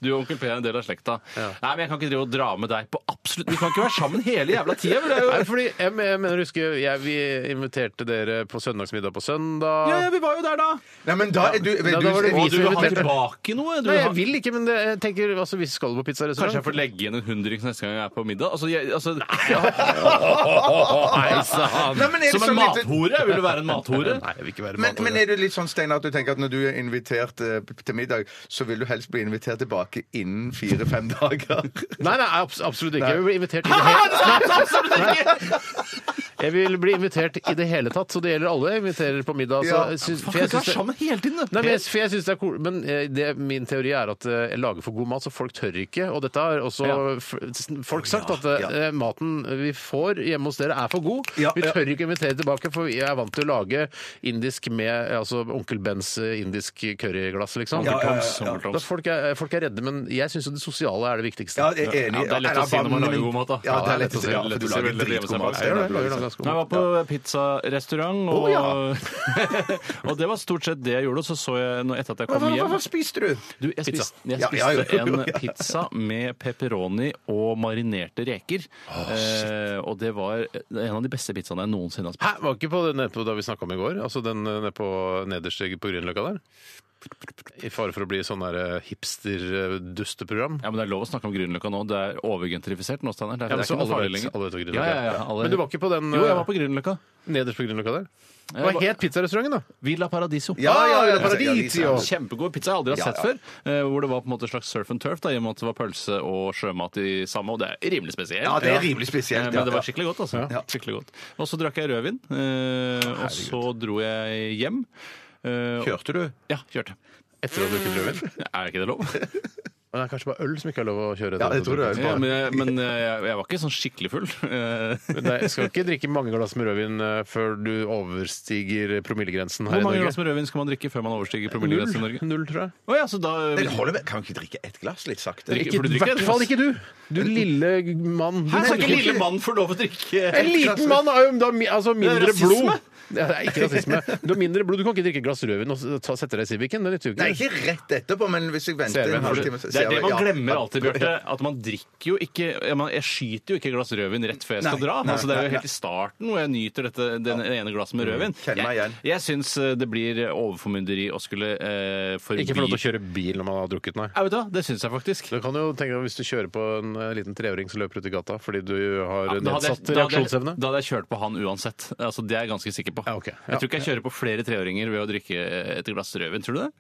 Speaker 5: Du og Onkel P er en del av slekta. Nei, men jeg kan ikke drive og dra med deg på absolutt Vi kan ikke være sammen hele jævla tida! vel, det er jo-
Speaker 4: Nei, fordi jeg, men- jeg mener, husker jeg, Vi inviterte dere på søndagsmiddag på søndag.
Speaker 5: Ja, ja, vi var jo der, da!
Speaker 3: Nei, men da er du,
Speaker 4: da var det vi
Speaker 5: Og du
Speaker 3: du,
Speaker 4: som
Speaker 5: har
Speaker 4: inviterte.
Speaker 5: tilbake noe? Du
Speaker 4: Nei,
Speaker 5: har-
Speaker 4: jeg vil ikke, men det, jeg tenker altså, hvis vi skal på
Speaker 5: Kanskje jeg
Speaker 4: pizzarestaurant
Speaker 5: får legge igjen en hundring neste gang jeg er på middag? Altså, jeg, altså,
Speaker 4: Nei, sa han.
Speaker 3: Nei, men er det
Speaker 5: som en
Speaker 3: sånn litt-
Speaker 5: mathore? Jeg vil jo være en mathore.
Speaker 4: Nei, jeg vil ikke være
Speaker 3: Men,
Speaker 4: med på
Speaker 3: men
Speaker 4: det.
Speaker 3: er du litt sånn, Steinar, at du tenker at når du er invitert eh, til middag, så vil du helst bli invitert tilbake innen fire-fem dager?
Speaker 4: Nei, nei, abs absolutt ikke. Jeg vil bli invitert i det hele Nei. Jeg vil bli invitert i det hele tatt, så det gjelder alle jeg inviterer på middag. Så,
Speaker 3: Ja.
Speaker 4: jeg syns-
Speaker 5: Faen,
Speaker 4: for
Speaker 5: vi kan
Speaker 4: jeg
Speaker 5: ikke
Speaker 4: syns
Speaker 5: være
Speaker 4: det-
Speaker 5: sammen hele tiden!
Speaker 4: Nei, men jeg, for jeg synes det er cool, men eh, det, min teori er at eh, jeg lager for god mat, så folk tør ikke. Og dette har også
Speaker 5: Ja.
Speaker 4: f folk sagt, at eh, maten vi får hjemme hos dere er for god.
Speaker 3: Ja,
Speaker 4: vi
Speaker 3: ja.
Speaker 4: tør ikke invitere tilbake, for jeg er vant til å lage indisk med eh, altså onkel Bens eh, indisk curryglass, liksom.
Speaker 3: Ja, ja, ja, ja.
Speaker 5: Onkel Toms.
Speaker 4: Da folk, er, folk er redde, men jeg syns jo det sosiale er det viktigste.
Speaker 3: Ja, jeg er
Speaker 5: Ja,
Speaker 3: enig.
Speaker 5: det er lett å si når man lager god mat, da.
Speaker 3: Ja, det er lett å si, ja,
Speaker 5: lett å
Speaker 3: for du
Speaker 5: si
Speaker 3: lager
Speaker 5: veldig hjemme
Speaker 3: dritgod
Speaker 5: seg
Speaker 3: mat.
Speaker 5: bak.
Speaker 4: Jeg gjør det, jeg gjør
Speaker 3: Steinar, du
Speaker 4: det
Speaker 3: lager
Speaker 4: ganske
Speaker 5: Nei,
Speaker 4: godt.
Speaker 5: Jeg var på pizzarestaurant, og,
Speaker 4: Å,
Speaker 5: og det var stort sett det jeg gjorde. Og så så jeg nå etter at jeg
Speaker 3: Hva,
Speaker 5: kom
Speaker 3: hva, hva,
Speaker 5: hjem
Speaker 3: hva spiste du?
Speaker 5: du, jeg
Speaker 4: Pizza.
Speaker 5: spiste, jeg
Speaker 3: Ja,
Speaker 5: spiste
Speaker 3: ja, jo, jo,
Speaker 5: en
Speaker 3: ja.
Speaker 5: pizza med pepperoni og marinerte reker. eh, og det var en av de beste pizzaene jeg noensinne har spist.
Speaker 4: Hæ, var ikke på det nede på da vi snakka om i går? Altså den eh, nede på nederste på Grünerløkka der? I fare for å bli sånn der hipster-dusteprogram?
Speaker 5: Ja, men Det er lov å snakke om Grünerløkka nå. Det er overgentrifisert nå, Steinar. Det, er- det
Speaker 4: Ja, men
Speaker 5: er
Speaker 4: så
Speaker 5: ikke noe
Speaker 4: alle
Speaker 5: farlig
Speaker 4: vet-
Speaker 5: lenger.
Speaker 4: alle vet hva Grünerløkka
Speaker 5: ja, ja,
Speaker 4: er.
Speaker 5: ja, alle-
Speaker 4: Men du var ikke på den
Speaker 5: Jo, jeg
Speaker 4: eh,
Speaker 5: var på Grünerløkka.
Speaker 4: nederst på Grünerløkka der?
Speaker 5: Jeg
Speaker 4: Hva
Speaker 5: var-
Speaker 4: het pizzarestauranten, da?
Speaker 5: Villa Paradiso.
Speaker 3: Ja, ja,
Speaker 4: Ah,
Speaker 3: ja,
Speaker 4: Villa Paradiso.
Speaker 3: ja, ja.
Speaker 5: Kjempegod pizza jeg aldri har
Speaker 3: Ja,
Speaker 5: sett
Speaker 3: ja.
Speaker 5: før. eh, Hvor det var på en måte et slags surf and turf, da, i og med at det var pølse og sjømat i samme. Og det er rimelig spesielt.
Speaker 3: Ja, det er rimelig spesielt,
Speaker 5: Eh, Men
Speaker 3: ja.
Speaker 5: det var skikkelig godt, altså.
Speaker 3: Ja.
Speaker 5: Skikkelig godt. Og så drakk jeg rødvin. eh, Og så dro jeg hjem. Eh,
Speaker 3: Kjørte du?
Speaker 5: Ja, kjørte.
Speaker 4: Etter å ha drukket rødvin?
Speaker 5: Er ikke det lov?
Speaker 4: Men Det er kanskje bare øl som ikke er lov å kjøre?
Speaker 3: Ja, jeg tror det er
Speaker 5: Ja, men jeg, men eh, jeg, jeg var ikke sånn skikkelig full. Eh,
Speaker 4: Nei, jeg skal ikke drikke mange glass med rødvin eh, før du overstiger promillegrensen her
Speaker 5: Hvor
Speaker 4: i
Speaker 5: mange
Speaker 4: Norge.
Speaker 5: glass med rødvin skal man drikke før man overstiger promillegrensen i Norge?
Speaker 4: Null, tror jeg.
Speaker 5: Å ja, så da
Speaker 3: Det holder vel- Kan du ikke drikke ett glass litt sakte?
Speaker 5: Drikke-
Speaker 4: Ikke,
Speaker 5: for du
Speaker 4: I
Speaker 5: drikker
Speaker 4: hvert
Speaker 5: et
Speaker 4: fall
Speaker 5: glass.
Speaker 4: ikke du! Du lille mann.
Speaker 5: Her
Speaker 4: Du
Speaker 5: skal ikke
Speaker 4: drikker-
Speaker 5: lille mann få lov å drikke
Speaker 4: En liten mann har jo da mi- altså mindre
Speaker 5: rasisme.
Speaker 4: blod. Ja, det er ikke rasisme. Du har mindre blod. Du kan ikke drikke et glass rødvin og s- ta- sette deg i Civicen. Det nytter jo
Speaker 3: Nei,
Speaker 4: ikke.
Speaker 3: ikke rett etterpå, men hvis jeg
Speaker 4: Ser
Speaker 3: venter
Speaker 4: vi,
Speaker 3: en
Speaker 4: har du-
Speaker 3: halvtime så
Speaker 5: Det
Speaker 3: ser
Speaker 5: er det
Speaker 3: jeg-
Speaker 5: man
Speaker 3: ja.
Speaker 5: glemmer alltid, Bjarte. At man drikker jo ikke Jeg, mener, jeg skyter jo ikke et glass rødvin rett før jeg skal
Speaker 3: Nei,
Speaker 5: dra.
Speaker 3: nei,
Speaker 5: altså, det er
Speaker 3: nei, Mm.
Speaker 5: jo helt i starten hvor jeg nyter dette det ene glasset med rødvin.
Speaker 3: Kjenner meg
Speaker 5: Jeg,
Speaker 3: igjen.
Speaker 5: jeg syns eh, det blir overformynderi å skulle eh, forbi
Speaker 4: Ikke få lov til å kjøre bil når man har drukket, nei.
Speaker 5: Ja, vet du hva? Det syns jeg faktisk.
Speaker 4: Du kan jo tenke deg Hvis du kjører på en eh, liten treåring som løper ut i gata fordi du har
Speaker 5: Ja, da, hadde jeg,
Speaker 4: nedsatt
Speaker 5: da, hadde jeg,
Speaker 4: reaksjonsevne
Speaker 5: da hadde jeg kjørt på han uansett. Altså, det er jeg ganske sikker på.
Speaker 4: Ja, ok. Ja.
Speaker 5: Jeg tror ikke jeg kjører på flere treåringer ved å drikke eh, et glass rødvin. Tror du det?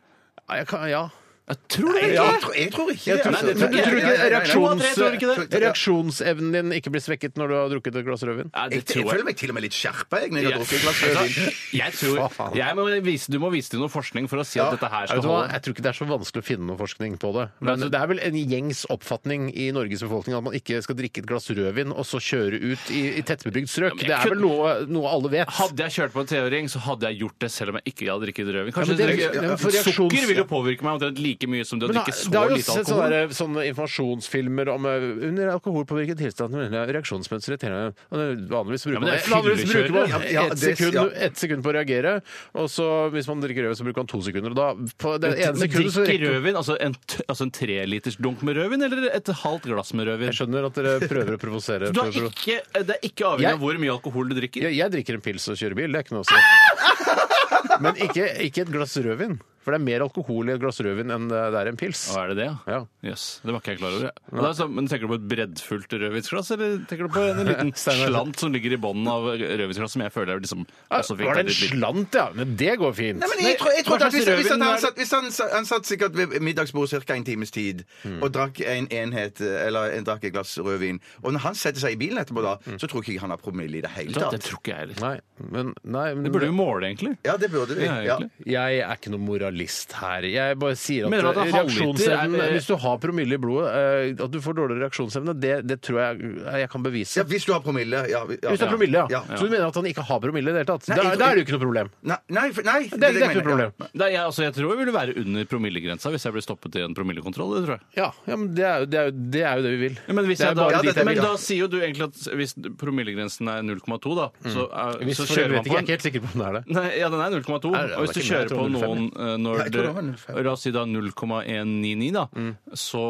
Speaker 4: Ja, jeg kan, ja.
Speaker 5: Jeg tror det
Speaker 3: Ja, jeg tror- jeg tror ikke
Speaker 4: Jeg tror,
Speaker 3: Nei, det
Speaker 4: men,
Speaker 3: tror
Speaker 4: tror
Speaker 3: jeg
Speaker 4: du
Speaker 3: ikke. Nei,
Speaker 4: ikke
Speaker 3: nei, nei, nei.
Speaker 5: reaksjon-
Speaker 4: reaksjons,
Speaker 5: Tror ikke det.
Speaker 4: reaksjonsevnen din ikke blir svekket når du har drukket et glass rødvin?
Speaker 5: Nei,
Speaker 3: Jeg,
Speaker 5: det
Speaker 3: jeg
Speaker 5: tror jeg
Speaker 3: føler meg til og med litt skjerpa jeg, når jeg har drukket et glass
Speaker 4: Altså,
Speaker 3: rødvin.
Speaker 5: Altså, Jeg tror, jeg må vise, du må vise til noe forskning for å si
Speaker 3: Ja.
Speaker 5: at dette her
Speaker 4: Jeg,
Speaker 5: skal
Speaker 4: vet hva,
Speaker 5: holde.
Speaker 4: jeg tror ikke det er så vanskelig å finne noe forskning på det. Men altså, det er vel en gjengs oppfatning i Norges befolkning at man ikke skal drikke et glass rødvin og så kjøre ut i, i tettbebygd strøk.
Speaker 5: men jeg
Speaker 4: Det er vel
Speaker 5: kunne-
Speaker 4: noe, noe alle vet.
Speaker 5: Hadde jeg kjørt på en treåring, så hadde jeg gjort det selv om jeg ikke hadde drikket rødvin.
Speaker 4: Ja,
Speaker 5: Kanskje
Speaker 4: men det-
Speaker 5: jeg drikker-
Speaker 4: ja, men for reaksjons-
Speaker 5: Sukker vil jo påvirke meg omtrent like mye som det å
Speaker 4: Men da-
Speaker 5: drikke
Speaker 4: det
Speaker 5: så
Speaker 4: har jo
Speaker 5: lite
Speaker 4: sett sånne,
Speaker 5: alkohol.
Speaker 4: der- sånne informasjonsfilmer om eh, under alkoholpåvirket tilstand reaksjonsmønsteret til henne. Og det- Vanligvis bruker
Speaker 5: men
Speaker 4: man
Speaker 5: det er
Speaker 4: vanligvis
Speaker 5: fyllekjøring.
Speaker 4: bruker man
Speaker 3: Ja, ja,
Speaker 4: ett
Speaker 3: det-
Speaker 4: sekund,
Speaker 3: ja.
Speaker 4: ett sekund på å reagere, og så hvis man drikker rødvin, så bruker man to sekunder. Og da, på det ene
Speaker 5: Men
Speaker 4: sekundet, så
Speaker 5: drikker
Speaker 4: rekker
Speaker 5: rødvin, altså en, t- altså en treliters dunk med rødvin, eller et halvt glass med rødvin?
Speaker 4: Jeg skjønner at dere prøver å provosere.
Speaker 5: Du har
Speaker 4: prøver å-
Speaker 5: ikke, det er ikke avhengig
Speaker 4: Jeg-
Speaker 5: av hvor mye alkohol du drikker.
Speaker 4: Jeg, jeg drikker en pils og kjører bil, det er ikke noe å si. Men ikke, ikke et glass rødvin. For det er mer alkohol i et glass rødvin enn det er i en pils.
Speaker 5: Og er det det,
Speaker 4: Ja.
Speaker 5: Yes. Det var ikke jeg klar over. Men, det er sånn- men Tenker du på et breddfullt rødvinsglass, eller tenker du på en liten
Speaker 4: Steinar-
Speaker 5: slant som ligger i bånden av rødvinsglass, som jeg føler er liksom også fikk
Speaker 4: Var det en
Speaker 5: litt-
Speaker 4: slant, ja? Men det går fint.
Speaker 3: Nei, men jeg, tror, jeg trodde
Speaker 4: hva
Speaker 3: at hvis,
Speaker 4: slags
Speaker 3: hvis
Speaker 4: rødvin
Speaker 3: at han,
Speaker 4: er det?
Speaker 3: satt, hvis han, sa- han satt sikkert ved middagsbordet ca. en times tid
Speaker 4: Mm.
Speaker 3: og drakk en enhet eh, eller en, drakk et glass rødvin, og når han setter seg i bilen etterpå da,
Speaker 4: Mm.
Speaker 3: så tror ikke jeg han har promille i det hele
Speaker 5: Det
Speaker 3: tatt.
Speaker 5: tror ikke jeg heller.
Speaker 4: Nei, men, nei, men
Speaker 5: Det burde vi måle, egentlig.
Speaker 3: Ja, det burde vi.
Speaker 5: Ja,
Speaker 3: Ja.
Speaker 5: egentlig.
Speaker 4: Jeg er ikke noen moralist her. Jeg bare sier at,
Speaker 5: Mener du at en halvliter
Speaker 4: reaksjonsevnen
Speaker 5: er-
Speaker 4: Hvis du har promille i blodet, eh, at du får dårligere reaksjonsevne, det, det tror jeg eh, jeg kan bevise.
Speaker 3: ja, hvis du har promille. Ja, vi- ja.
Speaker 4: Hvis det er promille, ja.
Speaker 3: Ja.
Speaker 4: Så du mener at han ikke har promille i det hele tatt?
Speaker 3: Nei,
Speaker 4: Da
Speaker 3: jeg-
Speaker 4: da er det jo ikke noe problem.
Speaker 3: Nei, nei, for- nei
Speaker 4: Det er, det er
Speaker 3: jeg
Speaker 4: ikke noe
Speaker 3: mener, ja.
Speaker 4: problem.
Speaker 5: Nei, jeg, altså, jeg tror jeg ville være under promillegrensa hvis jeg ble stoppet i en promillekontroll. Det tror jeg.
Speaker 4: Ja, ja men det er, jo, det, er jo, det er jo det vi vil.
Speaker 5: Ja, men, hvis
Speaker 4: Det er
Speaker 5: jeg da,
Speaker 4: bare
Speaker 3: Ja,
Speaker 4: dit
Speaker 3: dette-
Speaker 5: men
Speaker 4: jeg vil.
Speaker 5: da sier jo du egentlig at hvis promillegrensen er 0,2, da, så, er-
Speaker 4: Mm. Hvis
Speaker 5: så
Speaker 4: for øvrig
Speaker 5: kjører man
Speaker 4: vet ikke,
Speaker 5: på
Speaker 4: jeg er
Speaker 5: en
Speaker 4: ikke helt sikker på om det er det.
Speaker 5: Nei, ja, den er 0,2.
Speaker 4: Er det-
Speaker 5: Og hvis du
Speaker 4: det er
Speaker 5: kjører
Speaker 4: ikke
Speaker 5: på
Speaker 4: mer, jeg tror
Speaker 5: noen eh, når
Speaker 3: Nei, jeg tror det var 0,5.
Speaker 5: det La oss si da 0,199, da, så,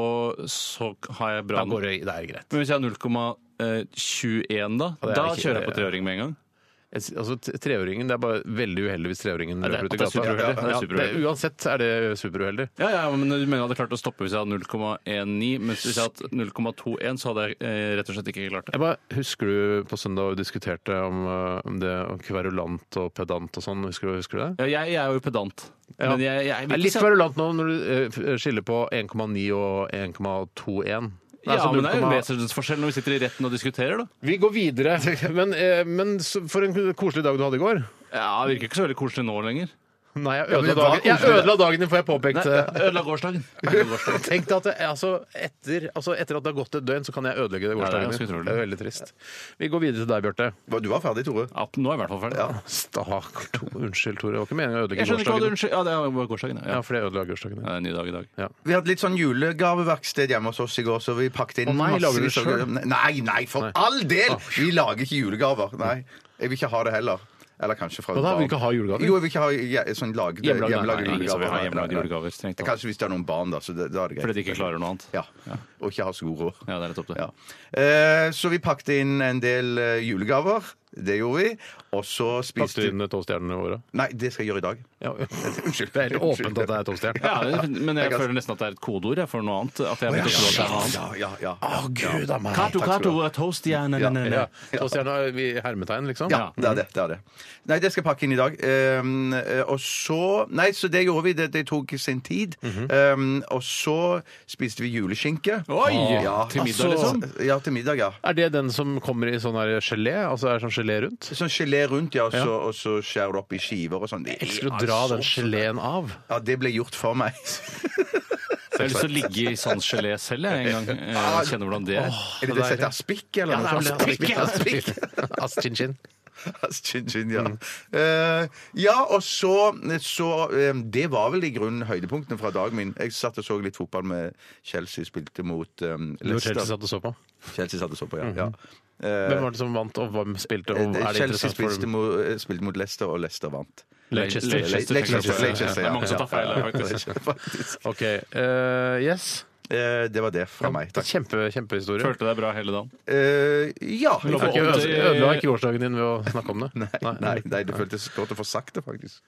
Speaker 5: så har jeg bra
Speaker 4: Mm. Da går det, det er greit.
Speaker 5: Men hvis jeg har 0,21 da,
Speaker 4: Ja, det er
Speaker 5: da
Speaker 4: ikke-
Speaker 5: kjører jeg på treåring med en gang.
Speaker 4: Jeg s- Altså, t- treåringen, Det er bare veldig uheldig hvis treåringen
Speaker 5: det er-
Speaker 4: løper ut i
Speaker 5: at det er
Speaker 4: gata.
Speaker 5: superuheldig. Det er
Speaker 4: Ja, det,
Speaker 5: superuheldig.
Speaker 4: uansett er det superuheldig.
Speaker 5: Ja, ja, men Du mener jeg hadde klart å stoppe hvis jeg hadde 0,19, mens hvis jeg hadde 0,21, så hadde jeg eh, rett og slett ikke klart det.
Speaker 4: Jeg bare, Husker du på søndag vi diskuterte om, eh, om det om kverulant og pedant og sånn? Husker, du- husker du det?
Speaker 5: Ja, jeg, jeg er jo pedant.
Speaker 4: Ja.
Speaker 5: Men jeg, sånn- jeg,
Speaker 4: Det er litt kverulant nå når du eh, f- skiller på 1,9 og 1,21. Nei,
Speaker 5: Ja,
Speaker 4: altså
Speaker 5: men det er jo
Speaker 4: 0,1.
Speaker 5: vesensforskjell når vi sitter i retten og diskuterer, da.
Speaker 4: Vi går videre. Men, eh, men så- for en koselig dag du hadde i går.
Speaker 5: Ja, det virker ikke så veldig koselig nå lenger.
Speaker 4: Nei, jeg
Speaker 3: men
Speaker 4: ødela
Speaker 3: det var
Speaker 4: dagen, jeg
Speaker 3: koselig,
Speaker 4: ødela dagen din, får jeg påpekt. eh.
Speaker 5: Ødela gårsdagen. Ødela gårsdagen.
Speaker 4: Tenk deg at det, altså, etter, altså, etter at det har gått et døgn, så kan jeg ødelegge det
Speaker 5: Ja, det er
Speaker 4: gårsdagen
Speaker 5: ganske
Speaker 4: min.
Speaker 5: utrolig.
Speaker 4: Det er veldig trist. Vi går videre til deg, Bjarte.
Speaker 3: Hva, Du var ferdig, Tore.
Speaker 5: Ja, nå er jeg i hvert fall ferdig.
Speaker 4: Stakkar. to- Unnskyld, Tore. Det var ikke meningen å ødelegge
Speaker 5: Jeg skjønner ikke hva du
Speaker 4: gårsdagen.
Speaker 5: unnskyld... Ja, det var gårsdagen, ja.
Speaker 4: Ja,
Speaker 5: ja.
Speaker 4: for det ødela gårsdagen.
Speaker 5: Det er en ny dag i dag.
Speaker 3: Vi hadde litt sånn julegaveverksted hjemme hos oss i går, så vi pakket
Speaker 4: Å
Speaker 3: inn
Speaker 4: nei, lager du
Speaker 3: massevis av-
Speaker 4: selv? Ah.
Speaker 3: Nei, nei, for all del! Vi lager ikke julegaver. Nei. Jeg vil ikke ha det heller. Eller kanskje fra
Speaker 4: Hva da? Vil du ikke ha julegaver?
Speaker 3: Jo, jeg vil ikke ha je- sånn lagde,
Speaker 4: Hjemmelagde,
Speaker 3: hjemmelagde,
Speaker 5: Nei, ingen som vil ha hjemmelagde
Speaker 3: Nei, nei.
Speaker 5: julegaver, strengt tatt.
Speaker 3: Kanskje hvis det er noen barn, da. Så det, da er det greit.
Speaker 5: Fordi de ikke klarer noe annet.
Speaker 3: Ja. Og ikke har så god råd.
Speaker 5: Ja, det er nettopp det.
Speaker 3: Ja. Eh, så vi pakket inn en del eh, julegaver. Det gjorde vi. Og så
Speaker 4: Pakket
Speaker 3: spiste
Speaker 4: du inn tolvstjernene våre?
Speaker 3: Nei, det skal jeg gjøre i dag.
Speaker 4: Ja. Unnskyld. Det er helt åpent at det er tolvstjerne.
Speaker 5: Ja, men jeg
Speaker 3: kan-
Speaker 5: føler nesten at det er et kodeord jeg, for noe annet. At jeg begynte å tro at det er noe annet.
Speaker 3: Ja, ja, ja.
Speaker 4: Å, gud a meg.
Speaker 5: Kato,
Speaker 3: skal du
Speaker 5: kato, toast, ja, nei, nei, nei, nei.
Speaker 4: Ja. Tolvstjerne vi- hermetegn, liksom?
Speaker 3: Ja, det er det. det er det. Nei, det skal jeg pakke inn i dag. Um, eh, og så Nei, så det gjorde vi. Det, det tok sin tid. um, og så spiste vi juleskinke.
Speaker 5: Oi!
Speaker 3: Ja,
Speaker 5: Til middag,
Speaker 3: altså-
Speaker 5: liksom?
Speaker 3: Ja, til middag, ja.
Speaker 4: Er det den som kommer i sånn her gelé? Altså er det sånn gelé rundt?
Speaker 3: Sånn gelé rundt, ja, og så, og så skjærer du opp i skiver og sånn.
Speaker 4: Jeg
Speaker 3: altså,
Speaker 4: elsker å dra den geleen av.
Speaker 3: Ja, det ble gjort for meg.
Speaker 5: Jeg har lyst til å ligge i sånn gelé selv jeg, en gang. eh, Kjenne hvordan det er.
Speaker 3: Er det det som heter aspikk, eller noe sånt? Aspikk, aspikk.
Speaker 4: Ass, chin, chin.
Speaker 3: Chin, chin, ja. Eh, ja, og så, så eh, Det var vel i grunnen høydepunktene fra dagen min. Jeg satt og så litt fotball med Chelsea spilte mot
Speaker 4: Det
Speaker 3: eh,
Speaker 4: var Chelsea
Speaker 3: Leicester.
Speaker 4: satt og så på.
Speaker 3: Chelsea satt og så på, ja. ja.
Speaker 4: Hvem var det som vant, og hvem spilte? Og er det
Speaker 3: Eh,
Speaker 4: interessant
Speaker 3: Chelsea
Speaker 4: for
Speaker 3: spilte
Speaker 4: dem?
Speaker 3: mot, eh, spilte mot Leicester, og Leicester vant.
Speaker 4: Leicester.
Speaker 5: Leicester, tenker jeg
Speaker 3: Leicester,
Speaker 5: på.
Speaker 3: Leicester,
Speaker 5: Det
Speaker 3: ja.
Speaker 5: er mange som tar feil her, faktisk.
Speaker 3: Faktisk.
Speaker 4: OK. eh, yes.
Speaker 3: Eh, det var det fra meg. Takk.
Speaker 4: Kjempe, kjempehistorie.
Speaker 5: Følte deg bra hele dagen.
Speaker 3: Eh, ja.
Speaker 4: Du
Speaker 5: Lå
Speaker 4: fikk
Speaker 5: på
Speaker 4: ikke-
Speaker 5: åtte i-
Speaker 4: Ødela ikke gårsdagen din ved å snakke om det?
Speaker 3: Nei, nei, nei, det føltes godt å få sagt det, faktisk.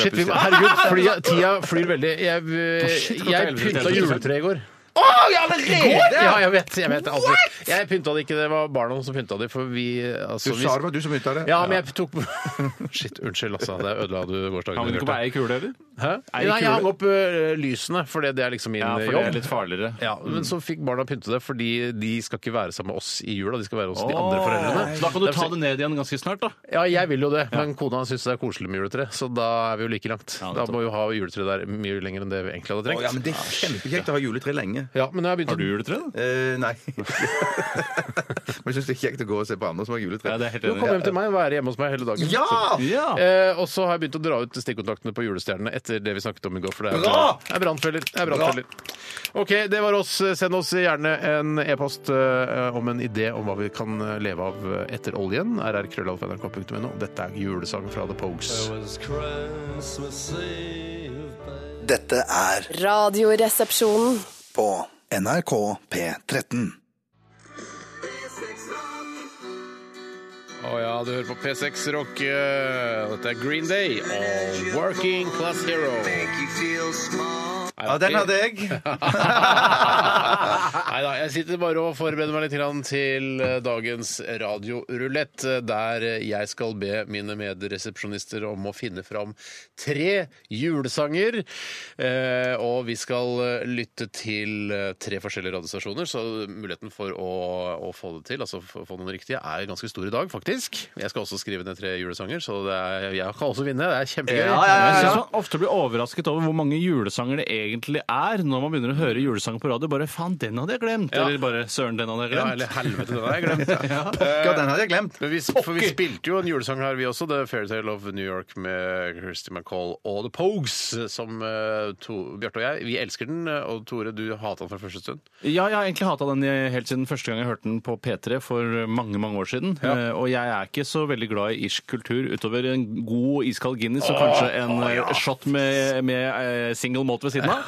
Speaker 4: Shit, vi, herregud, fly, tida flyr veldig. Jeg, jeg pynta juletreet i går. Ja, jeg vet. Jeg, vet altså, jeg pynta det ikke, det var barna som pynta det. For vi, altså,
Speaker 3: Du
Speaker 4: vi
Speaker 3: sa det var du som begynte det.
Speaker 4: Ja, men jeg tok Shit, unnskyld, altså. Det ødela du
Speaker 5: Kan
Speaker 4: gårsdagen.
Speaker 5: man ikke
Speaker 4: Bjarte.
Speaker 5: bare ei kule, eller?
Speaker 4: Hæ?
Speaker 5: Ei
Speaker 4: Nei, jeg
Speaker 5: kule.
Speaker 4: hang opp ø, lysene, for det det er liksom min
Speaker 5: Ja,
Speaker 4: ø,
Speaker 5: for det er
Speaker 4: jobb.
Speaker 5: litt farligere.
Speaker 4: Ja, Men så fikk barna pynte det, fordi de skal ikke være sammen med oss i jula. De skal være hos de
Speaker 5: Åh,
Speaker 4: andre foreldrene.
Speaker 5: Så da kan du ta det ned igjen ganske snart, da.
Speaker 4: Ja, jeg vil jo det, men kona syns det er koselig med juletre, så da er vi jo like langt.
Speaker 5: Ja,
Speaker 4: da
Speaker 5: nettopp.
Speaker 4: må vi jo ha juletre der mye lenger enn det vi egentlig hadde
Speaker 3: Å, ja,
Speaker 4: trengt.
Speaker 3: men det er kjempekjekt å ha juletre lenge.
Speaker 4: Ja, men jeg har begynt
Speaker 5: Har du juletre, da?
Speaker 3: Eh, nei. men jeg syns det er kjekt å gå og se på andre som har juletre.
Speaker 5: Ja, det er helt
Speaker 4: Du
Speaker 5: enig.
Speaker 4: kom hjem til meg og være hjemme hos meg hele dagen.
Speaker 3: Ja!
Speaker 5: Ja!
Speaker 4: Eh, og så har jeg begynt å dra ut stikkontaktene på julestjernene etter det vi snakket om i går. For det er,
Speaker 3: Bra!
Speaker 4: det er brannfeller. Det er brannfeller. OK, det var oss. Send oss gjerne en e-post eh, om en idé om hva vi kan eh, leve av etter oljen. rrkrøllalfa.nrk.no. Dette er julesangen fra The Pogues.
Speaker 6: Dette er
Speaker 7: Radioresepsjonen.
Speaker 6: på NRK P13.
Speaker 4: Å, Å ja, du hører på P6 Rock. eh, Dette er Green Day og Working Class Hero.
Speaker 3: Ja, den hadde jeg.
Speaker 4: Nei da, jeg sitter bare og forbereder meg litt grann til eh, dagens radiorulett, eh, der jeg skal be mine medresepsjonister om å finne fram tre julesanger. Eh, Og vi skal eh, lytte til eh, tre forskjellige radiostasjoner, så muligheten for å, å få det til, altså få få noen riktige, er ganske stor i dag, faktisk. Jeg skal også skrive ned tre julesanger, så det er, jeg kan også vinne. Det er kjempegøy.
Speaker 3: Ja, ja, ja,
Speaker 5: Jeg
Speaker 3: ja.
Speaker 5: synes man ofte blir overrasket over hvor mange julesanger det egentlig er når man begynner å høre julesanger på radio. Bare 'faen, den hadde jeg glemt',
Speaker 4: Ja.
Speaker 5: eller bare 'søren, den hadde jeg
Speaker 4: Ja,
Speaker 5: glemt'.
Speaker 4: eller helvete, den har jeg glemt.
Speaker 3: Ja, den hadde jeg glemt.
Speaker 4: Men vi, for vi spilte jo en julesang her, vi også. The Fairytale of New York med Christy McCall og The Pogues, som eh, to, Bjarte og jeg Vi elsker den, og Tore, du hata den fra første stund.
Speaker 5: Ja, jeg har egentlig hata den i- helt siden første gang jeg hørte den på P3 for mange mange år siden.
Speaker 4: Ja.
Speaker 5: Eh, Og jeg er ikke så veldig glad i irsk kultur utover en god iskald Guinness og kanskje en eh, shot med, med eh, single malt ved siden av.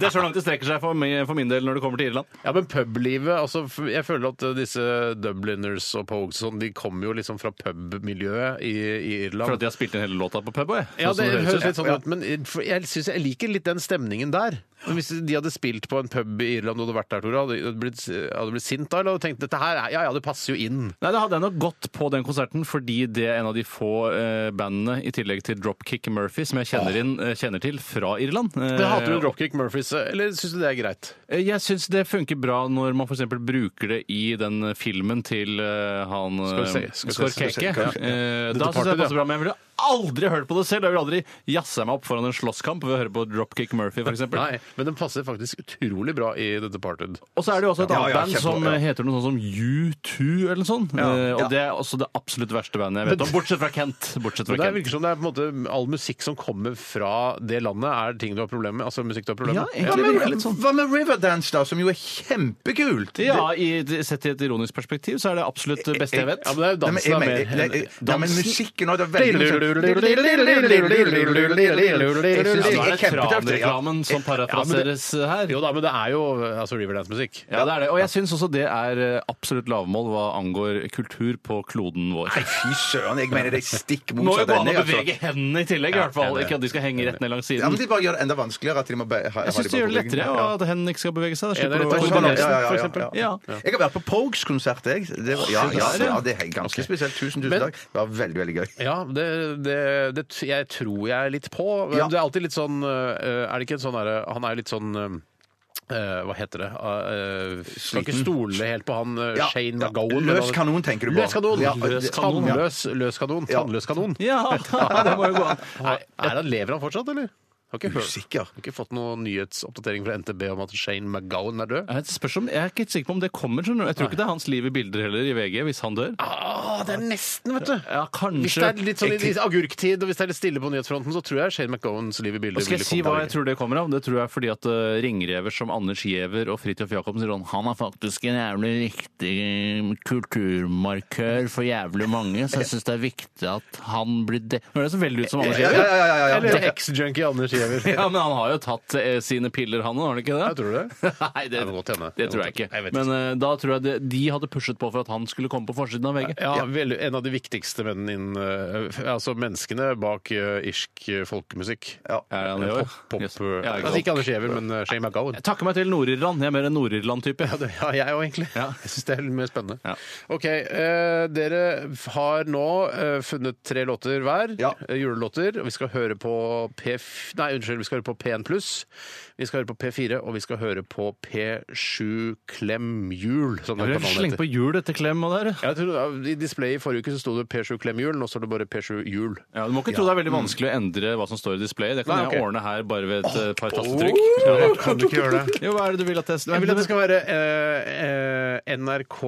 Speaker 5: det er så langt det strekker seg for, meg, for min del når det kommer til Irland.
Speaker 4: Ja, men publivet altså, f- Jeg føler at eh, disse Dubliners og Pogues og sånn, de kommer jo liksom fra pubmiljøet i, i
Speaker 5: For at
Speaker 4: Irland.
Speaker 5: de har spilt inn hele låta på pub òg, jeg.
Speaker 4: Ja,
Speaker 5: Sånn
Speaker 4: det
Speaker 5: som
Speaker 4: høres litt
Speaker 5: ut.
Speaker 4: sånn ut, men for jeg, synes jeg liker litt den stemningen der. Men hvis de hadde spilt på en pub i Irland og du hadde vært der, Tore, hadde du blitt, hadde du blitt sint da? Eller hadde du tenkt dette her, er- ja ja, det passer jo inn?
Speaker 5: Nei, Det hadde jeg nok gått på den konserten, fordi det er en av de få eh, bandene, i tillegg til Dropkick Murphy, som jeg kjenner, inn, eh, kjenner til fra Irland. Eh,
Speaker 4: Men hater du Dropkick Murphys, eh, eller syns du det er greit?
Speaker 5: Eh, Jeg syns det funker bra når man f.eks. bruker det i den filmen til eh, han eh,
Speaker 4: Scorsese. Scorsese.
Speaker 5: Scorsese. Eh, Da syns jeg
Speaker 4: The Departed,
Speaker 5: det passer
Speaker 4: ja.
Speaker 5: bra, men jeg ville aldri hørt på det selv. Jeg ville aldri jazza meg opp foran en slåsskamp ved å høre på Dropkick Murphy, f.eks.
Speaker 4: Nei, men den passer faktisk utrolig bra i The Departed.
Speaker 5: Og så er det jo også et
Speaker 3: Ja,
Speaker 5: annet
Speaker 3: ja,
Speaker 5: band
Speaker 3: kjempe-
Speaker 5: som
Speaker 3: ja.
Speaker 5: eh, heter noe sånn som U2 eller noe sånt. Eh, Og det er også det absolutt verste bandet jeg vet om, bortsett fra Kent. Bortsett fra
Speaker 4: Men det
Speaker 5: Kent.
Speaker 4: virker som det er på en måte all musikk som kommer fra det landet, er ting du har problemer med? Altså musikk du har problemer
Speaker 5: Ja,
Speaker 4: med?
Speaker 5: egentlig virker det litt sånn.
Speaker 3: Hva med Riverdance, da, som jo er kjempekult?
Speaker 5: Ja, i, sett i et ironisk perspektiv så er det absolutt det beste jeg vet.
Speaker 4: Ja, men det er jo
Speaker 3: Nei, men,
Speaker 4: dansen
Speaker 3: jeg, mener-
Speaker 4: er mer
Speaker 3: nei, nei, men musikken òg, det er veldig Jeg synes
Speaker 5: Ja,
Speaker 3: det
Speaker 5: det
Speaker 3: er
Speaker 5: er
Speaker 3: kjempetøft. ja.
Speaker 5: Tran-reklamen som parafraseres her.
Speaker 4: Jo da, men det er jo altså Riverdance-musikk.
Speaker 5: Ja, det er det. Og jeg syns også det er eh, absolutt lavmål hva angår kultur på kloden vår.
Speaker 3: Nei, fy søren, jeg mener det er stikk
Speaker 5: Må jo
Speaker 3: motsatt
Speaker 5: gå an
Speaker 3: ende.
Speaker 5: å bevege
Speaker 3: altså.
Speaker 5: hendene i tillegg, i hvert fall.
Speaker 4: det er-
Speaker 5: Ikke at de skal henge rett ned langs
Speaker 3: Ja, men
Speaker 5: siden.
Speaker 3: De bare gjør det enda vanskeligere at de må be- ha, ha
Speaker 5: Jeg syns det
Speaker 3: de
Speaker 5: gjør det
Speaker 3: bare på
Speaker 5: lettere
Speaker 3: ryggen.
Speaker 5: ja, at hendene ikke skal bevege seg. Da
Speaker 4: Ja, det er
Speaker 5: slipper du å
Speaker 4: litt sånn
Speaker 5: koordinere
Speaker 4: balansen.
Speaker 5: seg.
Speaker 3: Ja, ja,
Speaker 4: for
Speaker 3: ja,
Speaker 4: eksempel.
Speaker 3: ja, ja. Jeg har vært på Pogues-konsert, jeg. Det var, ja, ja,
Speaker 5: der,
Speaker 3: ja,
Speaker 5: ja.
Speaker 3: det er ganske spesielt. Tusen, tusen
Speaker 4: Men-
Speaker 3: takk. Det var veldig, veldig gøy.
Speaker 4: Ja, det, det, det t- jeg tror jeg er litt på. Men
Speaker 3: Ja.
Speaker 4: Det er alltid litt sånn øh, Er det ikke en sånn derre Han er litt sånn øh, hva heter det uh, Skal ikke stole helt på han øh,
Speaker 3: Ja.
Speaker 4: Shane
Speaker 3: Ja.
Speaker 4: McGowan. men
Speaker 3: Løs
Speaker 4: han-
Speaker 3: kanon, tenker du på.
Speaker 4: Løs kanon!
Speaker 3: Ja,
Speaker 4: løs kanon. Tannløs, løs kanon.
Speaker 3: Ja.
Speaker 4: Tannløs kanon.
Speaker 5: Ja, det må jo gå an.
Speaker 4: Nei, er han, lever han fortsatt, eller? Har ikke hørt.
Speaker 3: Usikker.
Speaker 4: Har ikke fått noen nyhetsoppdatering fra NTB om at Shane McGowan er død?
Speaker 5: Jeg spørs om, jeg er ikke sikker på om det kommer. skjønner du. Jeg tror ikke det er hans liv i bilder heller, i VG, hvis han dør.
Speaker 4: Ah, det er nesten, vet du!
Speaker 5: Ja,
Speaker 4: Hvis det
Speaker 5: kanskje.
Speaker 4: er litt sånn i i agurktid og hvis det er litt stille på nyhetsfronten, så tror jeg Shane McGowans liv i bildet
Speaker 5: Skal jeg
Speaker 4: ville
Speaker 5: si
Speaker 4: kommet
Speaker 5: hva
Speaker 4: der.
Speaker 5: jeg tror det kommer av? Det tror jeg fordi at eh, ringrever som Anders Giæver og Fridtjof Jacobsen sier sånn, han er faktisk en jævlig riktig mm, kulturmarkør for jævlig mange, så jeg syns det er viktig at han blir det. Høres så veldig ut som Anders
Speaker 3: Ja, ja,
Speaker 5: Giæver.
Speaker 3: ja, ja, ja, ja.
Speaker 4: Eller ex-junkie Anders Giæver.
Speaker 5: Ja, men han har jo tatt eh, sine piller, han òg, har han ikke det?
Speaker 4: Jeg tror det.
Speaker 5: Nei, det,
Speaker 4: Det kan godt hende.
Speaker 5: det tror jeg ikke.
Speaker 4: Jeg vet
Speaker 5: men eh, da tror jeg det, de hadde pushet på for at han skulle komme på forsiden av VG.
Speaker 4: Ja, vel, en av de viktigste mennene innen eh, f- Altså menneskene bak eh, irsk eh, folkemusikk.
Speaker 3: Ja.
Speaker 5: Er han det
Speaker 4: Pop,
Speaker 5: også?
Speaker 4: pop,
Speaker 5: Yes.
Speaker 4: eh,
Speaker 5: Ja, ikke
Speaker 4: altså,
Speaker 5: sant.
Speaker 4: ikke Anders Giæver, men eh, Shane McGowan.
Speaker 5: Jeg takker meg til Nord-Irland. Jeg er mer en Nord-Irland-type.
Speaker 4: Ja, det, ja, jeg òg, egentlig.
Speaker 5: Ja.
Speaker 4: Jeg syns det er litt mer spennende.
Speaker 5: Ja.
Speaker 4: OK. eh, dere har nå eh, funnet tre låter hver.
Speaker 3: Ja.
Speaker 4: eh, julelåter. Og vi skal høre på P4 Nei, unnskyld. Vi skal høre på P1 pluss. Vi skal høre på P4, og vi skal høre på P7 Klemhjul, som den kanalen
Speaker 5: Sleng
Speaker 4: heter.
Speaker 5: på hjul etter klem og der.
Speaker 4: Jeg tror, ja, I displayet i forrige uke så sto det P7 Klemhjul, nå står det bare P7 Hjul.
Speaker 5: Ja, du må ikke tro det er veldig vanskelig å endre hva som står i displayet. Det kan
Speaker 4: Nei, ok.
Speaker 5: jeg ordne her bare ved et eh, par tastetrykk.
Speaker 4: Kan du ikke gjøre det?
Speaker 5: Jo, hva er det du vil at jeg
Speaker 4: Oh! Jeg vil at det skal være eh, eh, NRK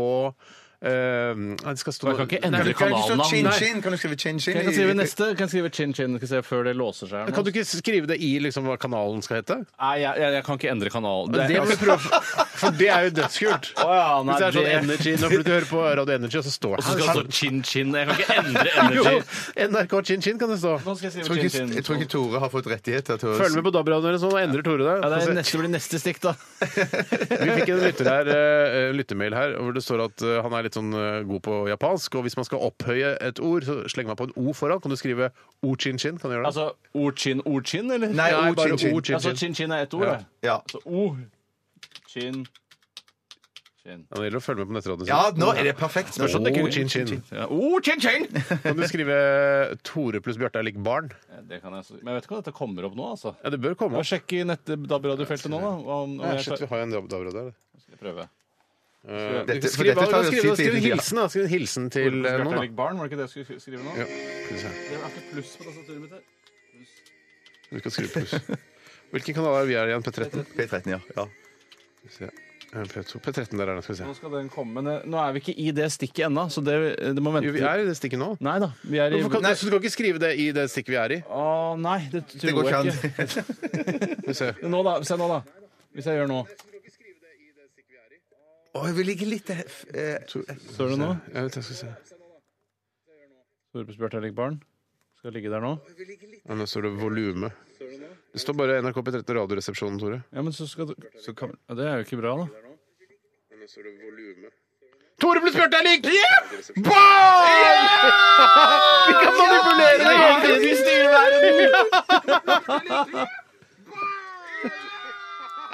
Speaker 4: eh, nei, det skal stå
Speaker 5: Jeg kan ikke
Speaker 4: Nei,
Speaker 5: endre
Speaker 4: du kan ikke stå-
Speaker 5: kanalnavn.
Speaker 4: Nei.
Speaker 3: Chin-chin, kan du skrive chin-chin?
Speaker 5: Jeg kan skrive neste. Kan skrive chin chin. Skal se før det låser seg. her nå.
Speaker 4: Kan du ikke skrive det i liksom, hva kanalen skal hete?
Speaker 5: Nei, jeg, jeg, jeg kan ikke endre kanal.
Speaker 4: Det må vi prøve, for det er jo dødskult.
Speaker 5: Å ja, nei,
Speaker 4: Hvis det er sånn
Speaker 5: det-
Speaker 4: Energy Nå får du høre på Radio Energy, og så står
Speaker 5: Og så skal
Speaker 4: her-
Speaker 5: det stå chin chin. Jeg kan ikke endre
Speaker 4: Jo,
Speaker 5: energy.
Speaker 4: NRK Chin Chin kan det stå.
Speaker 5: Nå skal jeg
Speaker 3: Jeg tror
Speaker 5: skrive
Speaker 3: ikke-
Speaker 5: chin
Speaker 3: Jeg tror
Speaker 5: chin.
Speaker 3: ikke Tore har fått rettigheter til å
Speaker 4: Følg med på DAB-radioen deres, nå endrer Tore det.
Speaker 5: Ja, det
Speaker 4: Få
Speaker 5: er
Speaker 4: se.
Speaker 5: neste, blir neste stikk, da.
Speaker 4: Vi fikk en lytter her, eh, lyttermail her hvor det står at eh, han er litt litt sånn eh, god på japansk, og hvis man skal opphøye et ord, så slenger man på en O foran. Kan du skrive o-chin-chin? Kan du gjøre det?
Speaker 5: Altså orchin, orchin, eller?
Speaker 3: Nei,
Speaker 4: Nei, bare
Speaker 3: o-chin-chin.
Speaker 4: o-chin-chin.
Speaker 5: Altså chin-chin er ett ord,
Speaker 4: Ja.
Speaker 5: det.
Speaker 3: Ja.
Speaker 5: Så o, chin, chin.
Speaker 4: Ja, det gjelder å følge med på nettradioen.
Speaker 3: ja, nå er det perfekt.
Speaker 4: Spørs om det ikke-
Speaker 5: Ja, o, chin, chin!
Speaker 4: Kan du skrive Tore pluss Bjarte er lik barn?
Speaker 5: Ja, Det kan jeg, også- men jeg vet ikke om dette kommer opp nå, altså.
Speaker 4: Ja, det bør
Speaker 5: Må
Speaker 4: komme. opp.
Speaker 5: sjekke i nett- DAB-radiofeltet nå, da. Om, om
Speaker 4: Ja,
Speaker 5: jeg
Speaker 4: Eh, shit, vi
Speaker 5: skal
Speaker 4: har jo en DAB-radio der.
Speaker 5: skal jeg prøve.
Speaker 4: Eh,
Speaker 3: Dette- for
Speaker 4: Skriv
Speaker 3: dette tar
Speaker 4: skriv-
Speaker 3: jo
Speaker 4: skriv-
Speaker 3: tid, tid,
Speaker 4: skriv en
Speaker 3: tid, ja.
Speaker 4: hilsen, da. Skriv en hilsen til eh, noen, da.
Speaker 5: Bjørtelik Barn, var det ikke det jeg skulle skrive nå?
Speaker 4: Ja, skal vi se.
Speaker 5: Det er ikke pluss på tastaturet mitt her.
Speaker 4: Du skal skrive pluss. Hvilken kanal er vi er igjen? P13?
Speaker 3: P13, ja. ja.
Speaker 4: Skal vi se. Eh, P2. P13 der er den, skal vi se.
Speaker 5: Nå skal den komme, men eh, nå er vi ikke i det stikket ennå, så det, det må vente.
Speaker 4: Jo, vi er i det stikket nå.
Speaker 5: Nei da, vi er i
Speaker 4: Hvorfor kan, så du kan ikke skrive det i det stikket vi er i?
Speaker 5: Å nei, det tror
Speaker 3: Det
Speaker 5: jeg
Speaker 3: går ikke
Speaker 5: ikke.
Speaker 3: an.
Speaker 4: Skal vi se.
Speaker 5: Nå da, Se nå, da. Hvis jeg gjør nå.
Speaker 3: Å, jeg vil ligge litt eh, f- eh,
Speaker 5: Står det nå?
Speaker 4: Jeg vet, jeg skal se.
Speaker 5: Torpes Bjørtelik Barn. Skal ligge der nå.
Speaker 4: Ja, nå står det volume. Det står bare NRK P13 Radioresepsjonen, Tore.
Speaker 5: Ja, men så skal du så kan, ja, Det er jo ikke bra, da.
Speaker 4: Tore ble spurt deg lik! Ball! Vi kan manipulere det hele tiden! Vi styrer verden!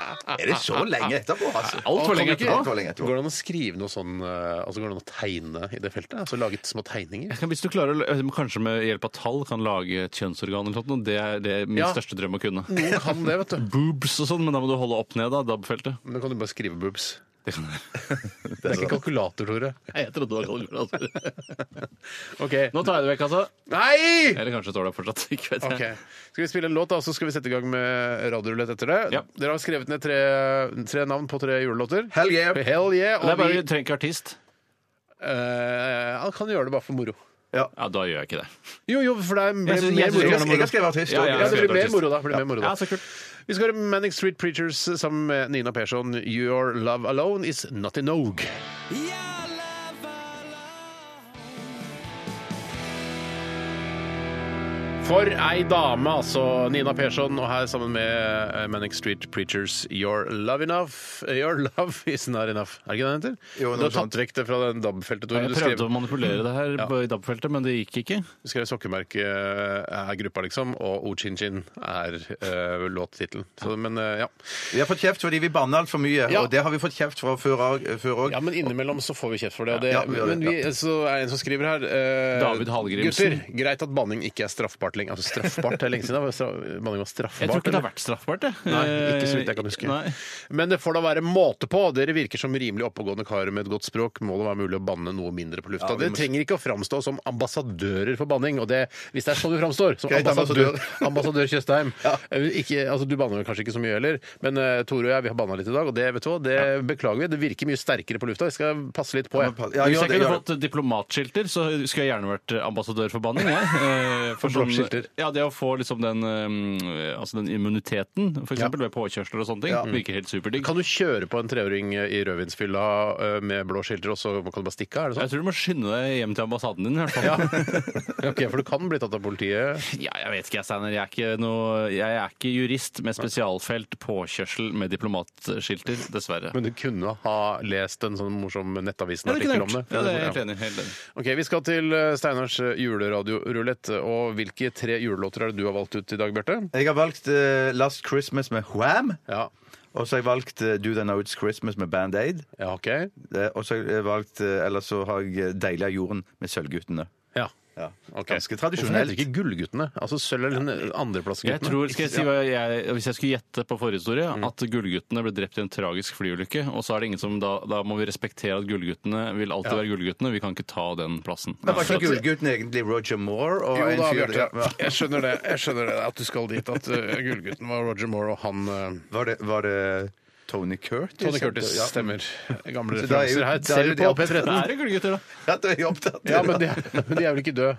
Speaker 3: Er det så lenge etterpå, altså?
Speaker 5: Altfor lenge
Speaker 3: Kan vi ikke-
Speaker 5: etterpå.
Speaker 3: Altfor lenge
Speaker 4: Går
Speaker 3: etterpå.
Speaker 4: det an å skrive noe sånn eh, Altså går det an å tegne i det feltet? Altså lage små tegninger?
Speaker 5: Hvis du klarer, å- eh, kanskje med hjelp av tall kan lage et kjønnsorgan eller noe, det er det er min
Speaker 4: Ja.
Speaker 5: største drøm å kunne.
Speaker 4: Noen kan det, vet du.
Speaker 5: Boobs og sånn, men da må du holde opp ned, da, DAB-feltet.
Speaker 4: Men da kan du bare skrive boobs.
Speaker 5: Det kan
Speaker 4: Det er ikke kalkulator, Tore.
Speaker 5: Jeg trodde det var altså. kalkulator.
Speaker 4: OK.
Speaker 5: Nå tar jeg det vekk, altså.
Speaker 4: Nei!
Speaker 5: Eller kanskje står det fortsatt. Ikke vet jeg.
Speaker 4: Ok. Skal vi spille en låt, da, så skal vi sette i gang med radiorulett etter det?
Speaker 5: Ja.
Speaker 4: Dere har skrevet ned tre, tre navn på tre julelåter.
Speaker 3: Hell yeah!
Speaker 4: Hell yeah!
Speaker 5: Det
Speaker 4: Og
Speaker 5: er bare,
Speaker 4: vi
Speaker 5: vi trenger ikke artist.
Speaker 4: eh, han kan gjøre det bare for moro.
Speaker 5: Ja, da gjør jeg ikke det.
Speaker 4: Jo, jo, for det er mer,
Speaker 5: Jeg synes-
Speaker 4: mer
Speaker 5: jeg synes
Speaker 4: moro.
Speaker 5: det er
Speaker 3: Jeg har skrevet artist.
Speaker 5: Ja,
Speaker 3: og-
Speaker 5: ja,
Speaker 4: Ja, det blir mer
Speaker 5: artist.
Speaker 4: moro da. det Blir mer moro da.
Speaker 5: så kult.
Speaker 4: Vi skal høre Manic Street Preachers sammen med Nina Persson. Your love alone is not enough. For ei dame, altså. Nina Persson, og her sammen med eh, Manic Street Preachers Your Love Enough eh, Your Love Is Not Enough. Er det ikke det den heter?
Speaker 3: Jo,
Speaker 4: du
Speaker 3: noe
Speaker 4: har tatt vekk det fra den DAB-feltet. Tore.
Speaker 5: Jeg
Speaker 4: Du
Speaker 5: prøvde å
Speaker 4: skrev,
Speaker 5: manipulere det her
Speaker 4: Ja.
Speaker 5: på- i DAB-feltet, men det gikk ikke.
Speaker 4: du skrev sokkemerke eh, er gruppa, liksom, og O Chin Chin er uh, låttittelen. Så, Men eh, ja.
Speaker 3: Vi har fått kjeft fordi vi banner altfor mye,
Speaker 4: Ja.
Speaker 3: og det har vi fått kjeft fra før òg.
Speaker 4: Ja, men innimellom så får vi kjeft for det. Og det
Speaker 3: Ja, vi gjør det,
Speaker 4: men vi, så er det en som skriver her eh,
Speaker 5: David Hallgrimsen.
Speaker 4: Gutter, greit at banning ikke er straffbart lenger. Altså straffbart er lenge siden. da. Stra- Banning var straffbart.
Speaker 5: Jeg tror ikke det har
Speaker 4: eller?
Speaker 5: vært straffbart, jeg.
Speaker 4: Nei, ikke så vidt jeg kan huske.
Speaker 5: Eh, Nei.
Speaker 4: Men det får da være måte på. Dere virker som rimelig oppegående karer med et godt språk. Må det være mulig å banne noe mindre på lufta? Dere trenger ikke å framstå som ambassadører for banning. Og det, hvis det er sånn du framstår, som
Speaker 3: Greit,
Speaker 4: ambassadør,
Speaker 3: ambassadør.
Speaker 4: ambassadør Tjøstheim Eh, ikke, altså, Du banner vel kanskje ikke så mye heller, men eh, Tore og jeg vi har banna litt i dag, og det vet du hva, det beklager vi. Det virker mye sterkere på lufta. Vi skal passe litt på. jeg.
Speaker 3: Ja,
Speaker 5: Hvis
Speaker 3: gjør
Speaker 5: jeg
Speaker 3: det,
Speaker 5: kunne
Speaker 3: gjør det.
Speaker 5: fått diplomatskilter, så skulle jeg gjerne vært ambassadør for banning. Jeg. Eh, For
Speaker 4: blokkskilter.
Speaker 5: ja, det å få liksom den, eh, altså den immuniteten, for eksempel ved påkjørsler og sånne ting, virker helt superdigg.
Speaker 4: Kan du kjøre på en treåring i rødvinsfylla eh, med blå skilter, og så kan du bare stikke av? Er det
Speaker 5: Jeg
Speaker 4: sånn?
Speaker 5: tror du må skynde deg hjem til ambassaden din. i hvert fall.
Speaker 4: Ok, For du kan bli tatt av politiet.
Speaker 5: Ja, jeg vet ikke, jeg, Steiner. Jeg er ikke, noe, jeg er ikke jurist med spesialfelt påkjørsel med diplomatskilter, dessverre.
Speaker 4: Men du kunne ha lest en sånn morsom
Speaker 5: Ja, det kunne
Speaker 4: Nettavisen-artikkel
Speaker 5: jeg
Speaker 4: om det.
Speaker 5: gjort. Ja, det er jeg helt enig. Helt enig.
Speaker 4: Ok, Vi skal til eh, Steinars juleradiorulett. Og hvilke tre julelåter er det du har valgt ut i dag, Bjarte?
Speaker 3: Jeg har valgt eh, Last Christmas med Wham.
Speaker 4: Ja.
Speaker 3: Og så har jeg valgt eh, Do They Know It's Christmas med Band Aid.
Speaker 4: ja, ok.
Speaker 3: Eh, og så har jeg valgt eh, Eller så har jeg eh, Deilig av jorden med Sølvguttene.
Speaker 4: Ja.
Speaker 3: Ja.
Speaker 4: Ok.
Speaker 3: Ganske
Speaker 4: Hvorfor heter
Speaker 3: tradisjonelt.
Speaker 4: det ikke Gullguttene? Altså Sølv- eller andreplassguttene?
Speaker 5: Jeg tror, skal jeg si hva jeg, Hvis jeg skulle gjette på forhistorie, at Gullguttene ble drept i en tragisk flyulykke. og så er det ingen som, Da, da må vi respektere at Gullguttene vil alltid være Gullguttene. Vi kan ikke ta den plassen.
Speaker 3: Men var ikke gullgutten egentlig Roger Moore? Og
Speaker 4: Jo
Speaker 3: en
Speaker 4: da,
Speaker 3: fyr-
Speaker 4: Bjarte.
Speaker 3: Ja.
Speaker 4: Jeg skjønner det. Jeg skjønner det, At du skal dit. At eh, Gullgutten var Roger Moore, og han eh,
Speaker 3: Var det, var det Tony Curtis?
Speaker 4: Tony Curtis
Speaker 3: Ja.
Speaker 4: stemmer. Gamle
Speaker 3: Så da er jo-
Speaker 4: referanser her.
Speaker 3: da er
Speaker 4: Selv
Speaker 3: jo
Speaker 4: på
Speaker 3: de opp-
Speaker 5: Da
Speaker 4: P13.
Speaker 5: er det Gullgutter, da.
Speaker 3: Ja, du er jo opptatt.
Speaker 4: Ja, men de, men de er vel ikke døde.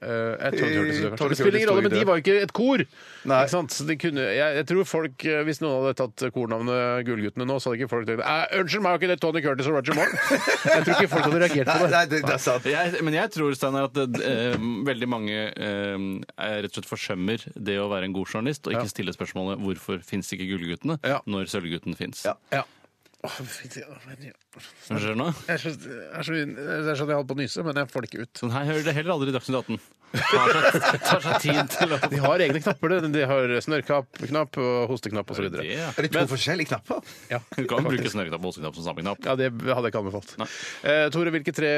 Speaker 4: Eh, jeg tror Curtis er død, kanskje.
Speaker 3: Tony
Speaker 4: Det spiller ingen
Speaker 3: Curtis
Speaker 4: rolle,
Speaker 3: tror
Speaker 4: men de
Speaker 3: jeg
Speaker 4: var jo ikke et kor.
Speaker 3: Nei.
Speaker 4: Ikke sant? Så de kunne, jeg, jeg tror folk, eh, Hvis noen hadde tatt kornavnet Gullguttene nå, så hadde ikke folk tenkt «Eh, Unnskyld meg, er ikke det Tony Curtis og Roger Moore? Jeg tror ikke folk hadde reagert
Speaker 3: Nei,
Speaker 4: på det.
Speaker 3: nei, det, det er sant.
Speaker 5: Jeg, men jeg tror Steiner, at det, eh, veldig mange eh, er rett og slett forsømmer det å være en god journalist og ikke stille spørsmålet 'Hvorfor fins ikke Gullguttene?'
Speaker 4: Ja.
Speaker 5: når Sølvgutten fins.
Speaker 3: Ja.
Speaker 4: Ja.
Speaker 5: Skjønner du nå?
Speaker 4: Jeg er så, jeg er så, jeg er sånn at jeg holder på å nyse, men jeg får det ikke ut.
Speaker 5: Sånn her hører det heller aldri i Dagsnytt 18. Tar seg, tar seg tid til å
Speaker 4: De har egne knapper. det. De har snørrknapp, knapp og hosteknapp osv.
Speaker 5: Det, ja.
Speaker 3: Er det to forskjellige knapper?
Speaker 4: Ja,
Speaker 5: Du kan bruke snørreknapp og hoseknapp som samme knapp.
Speaker 4: ja, det hadde jeg ikke anbefalt. Eh, Tore, hvilke tre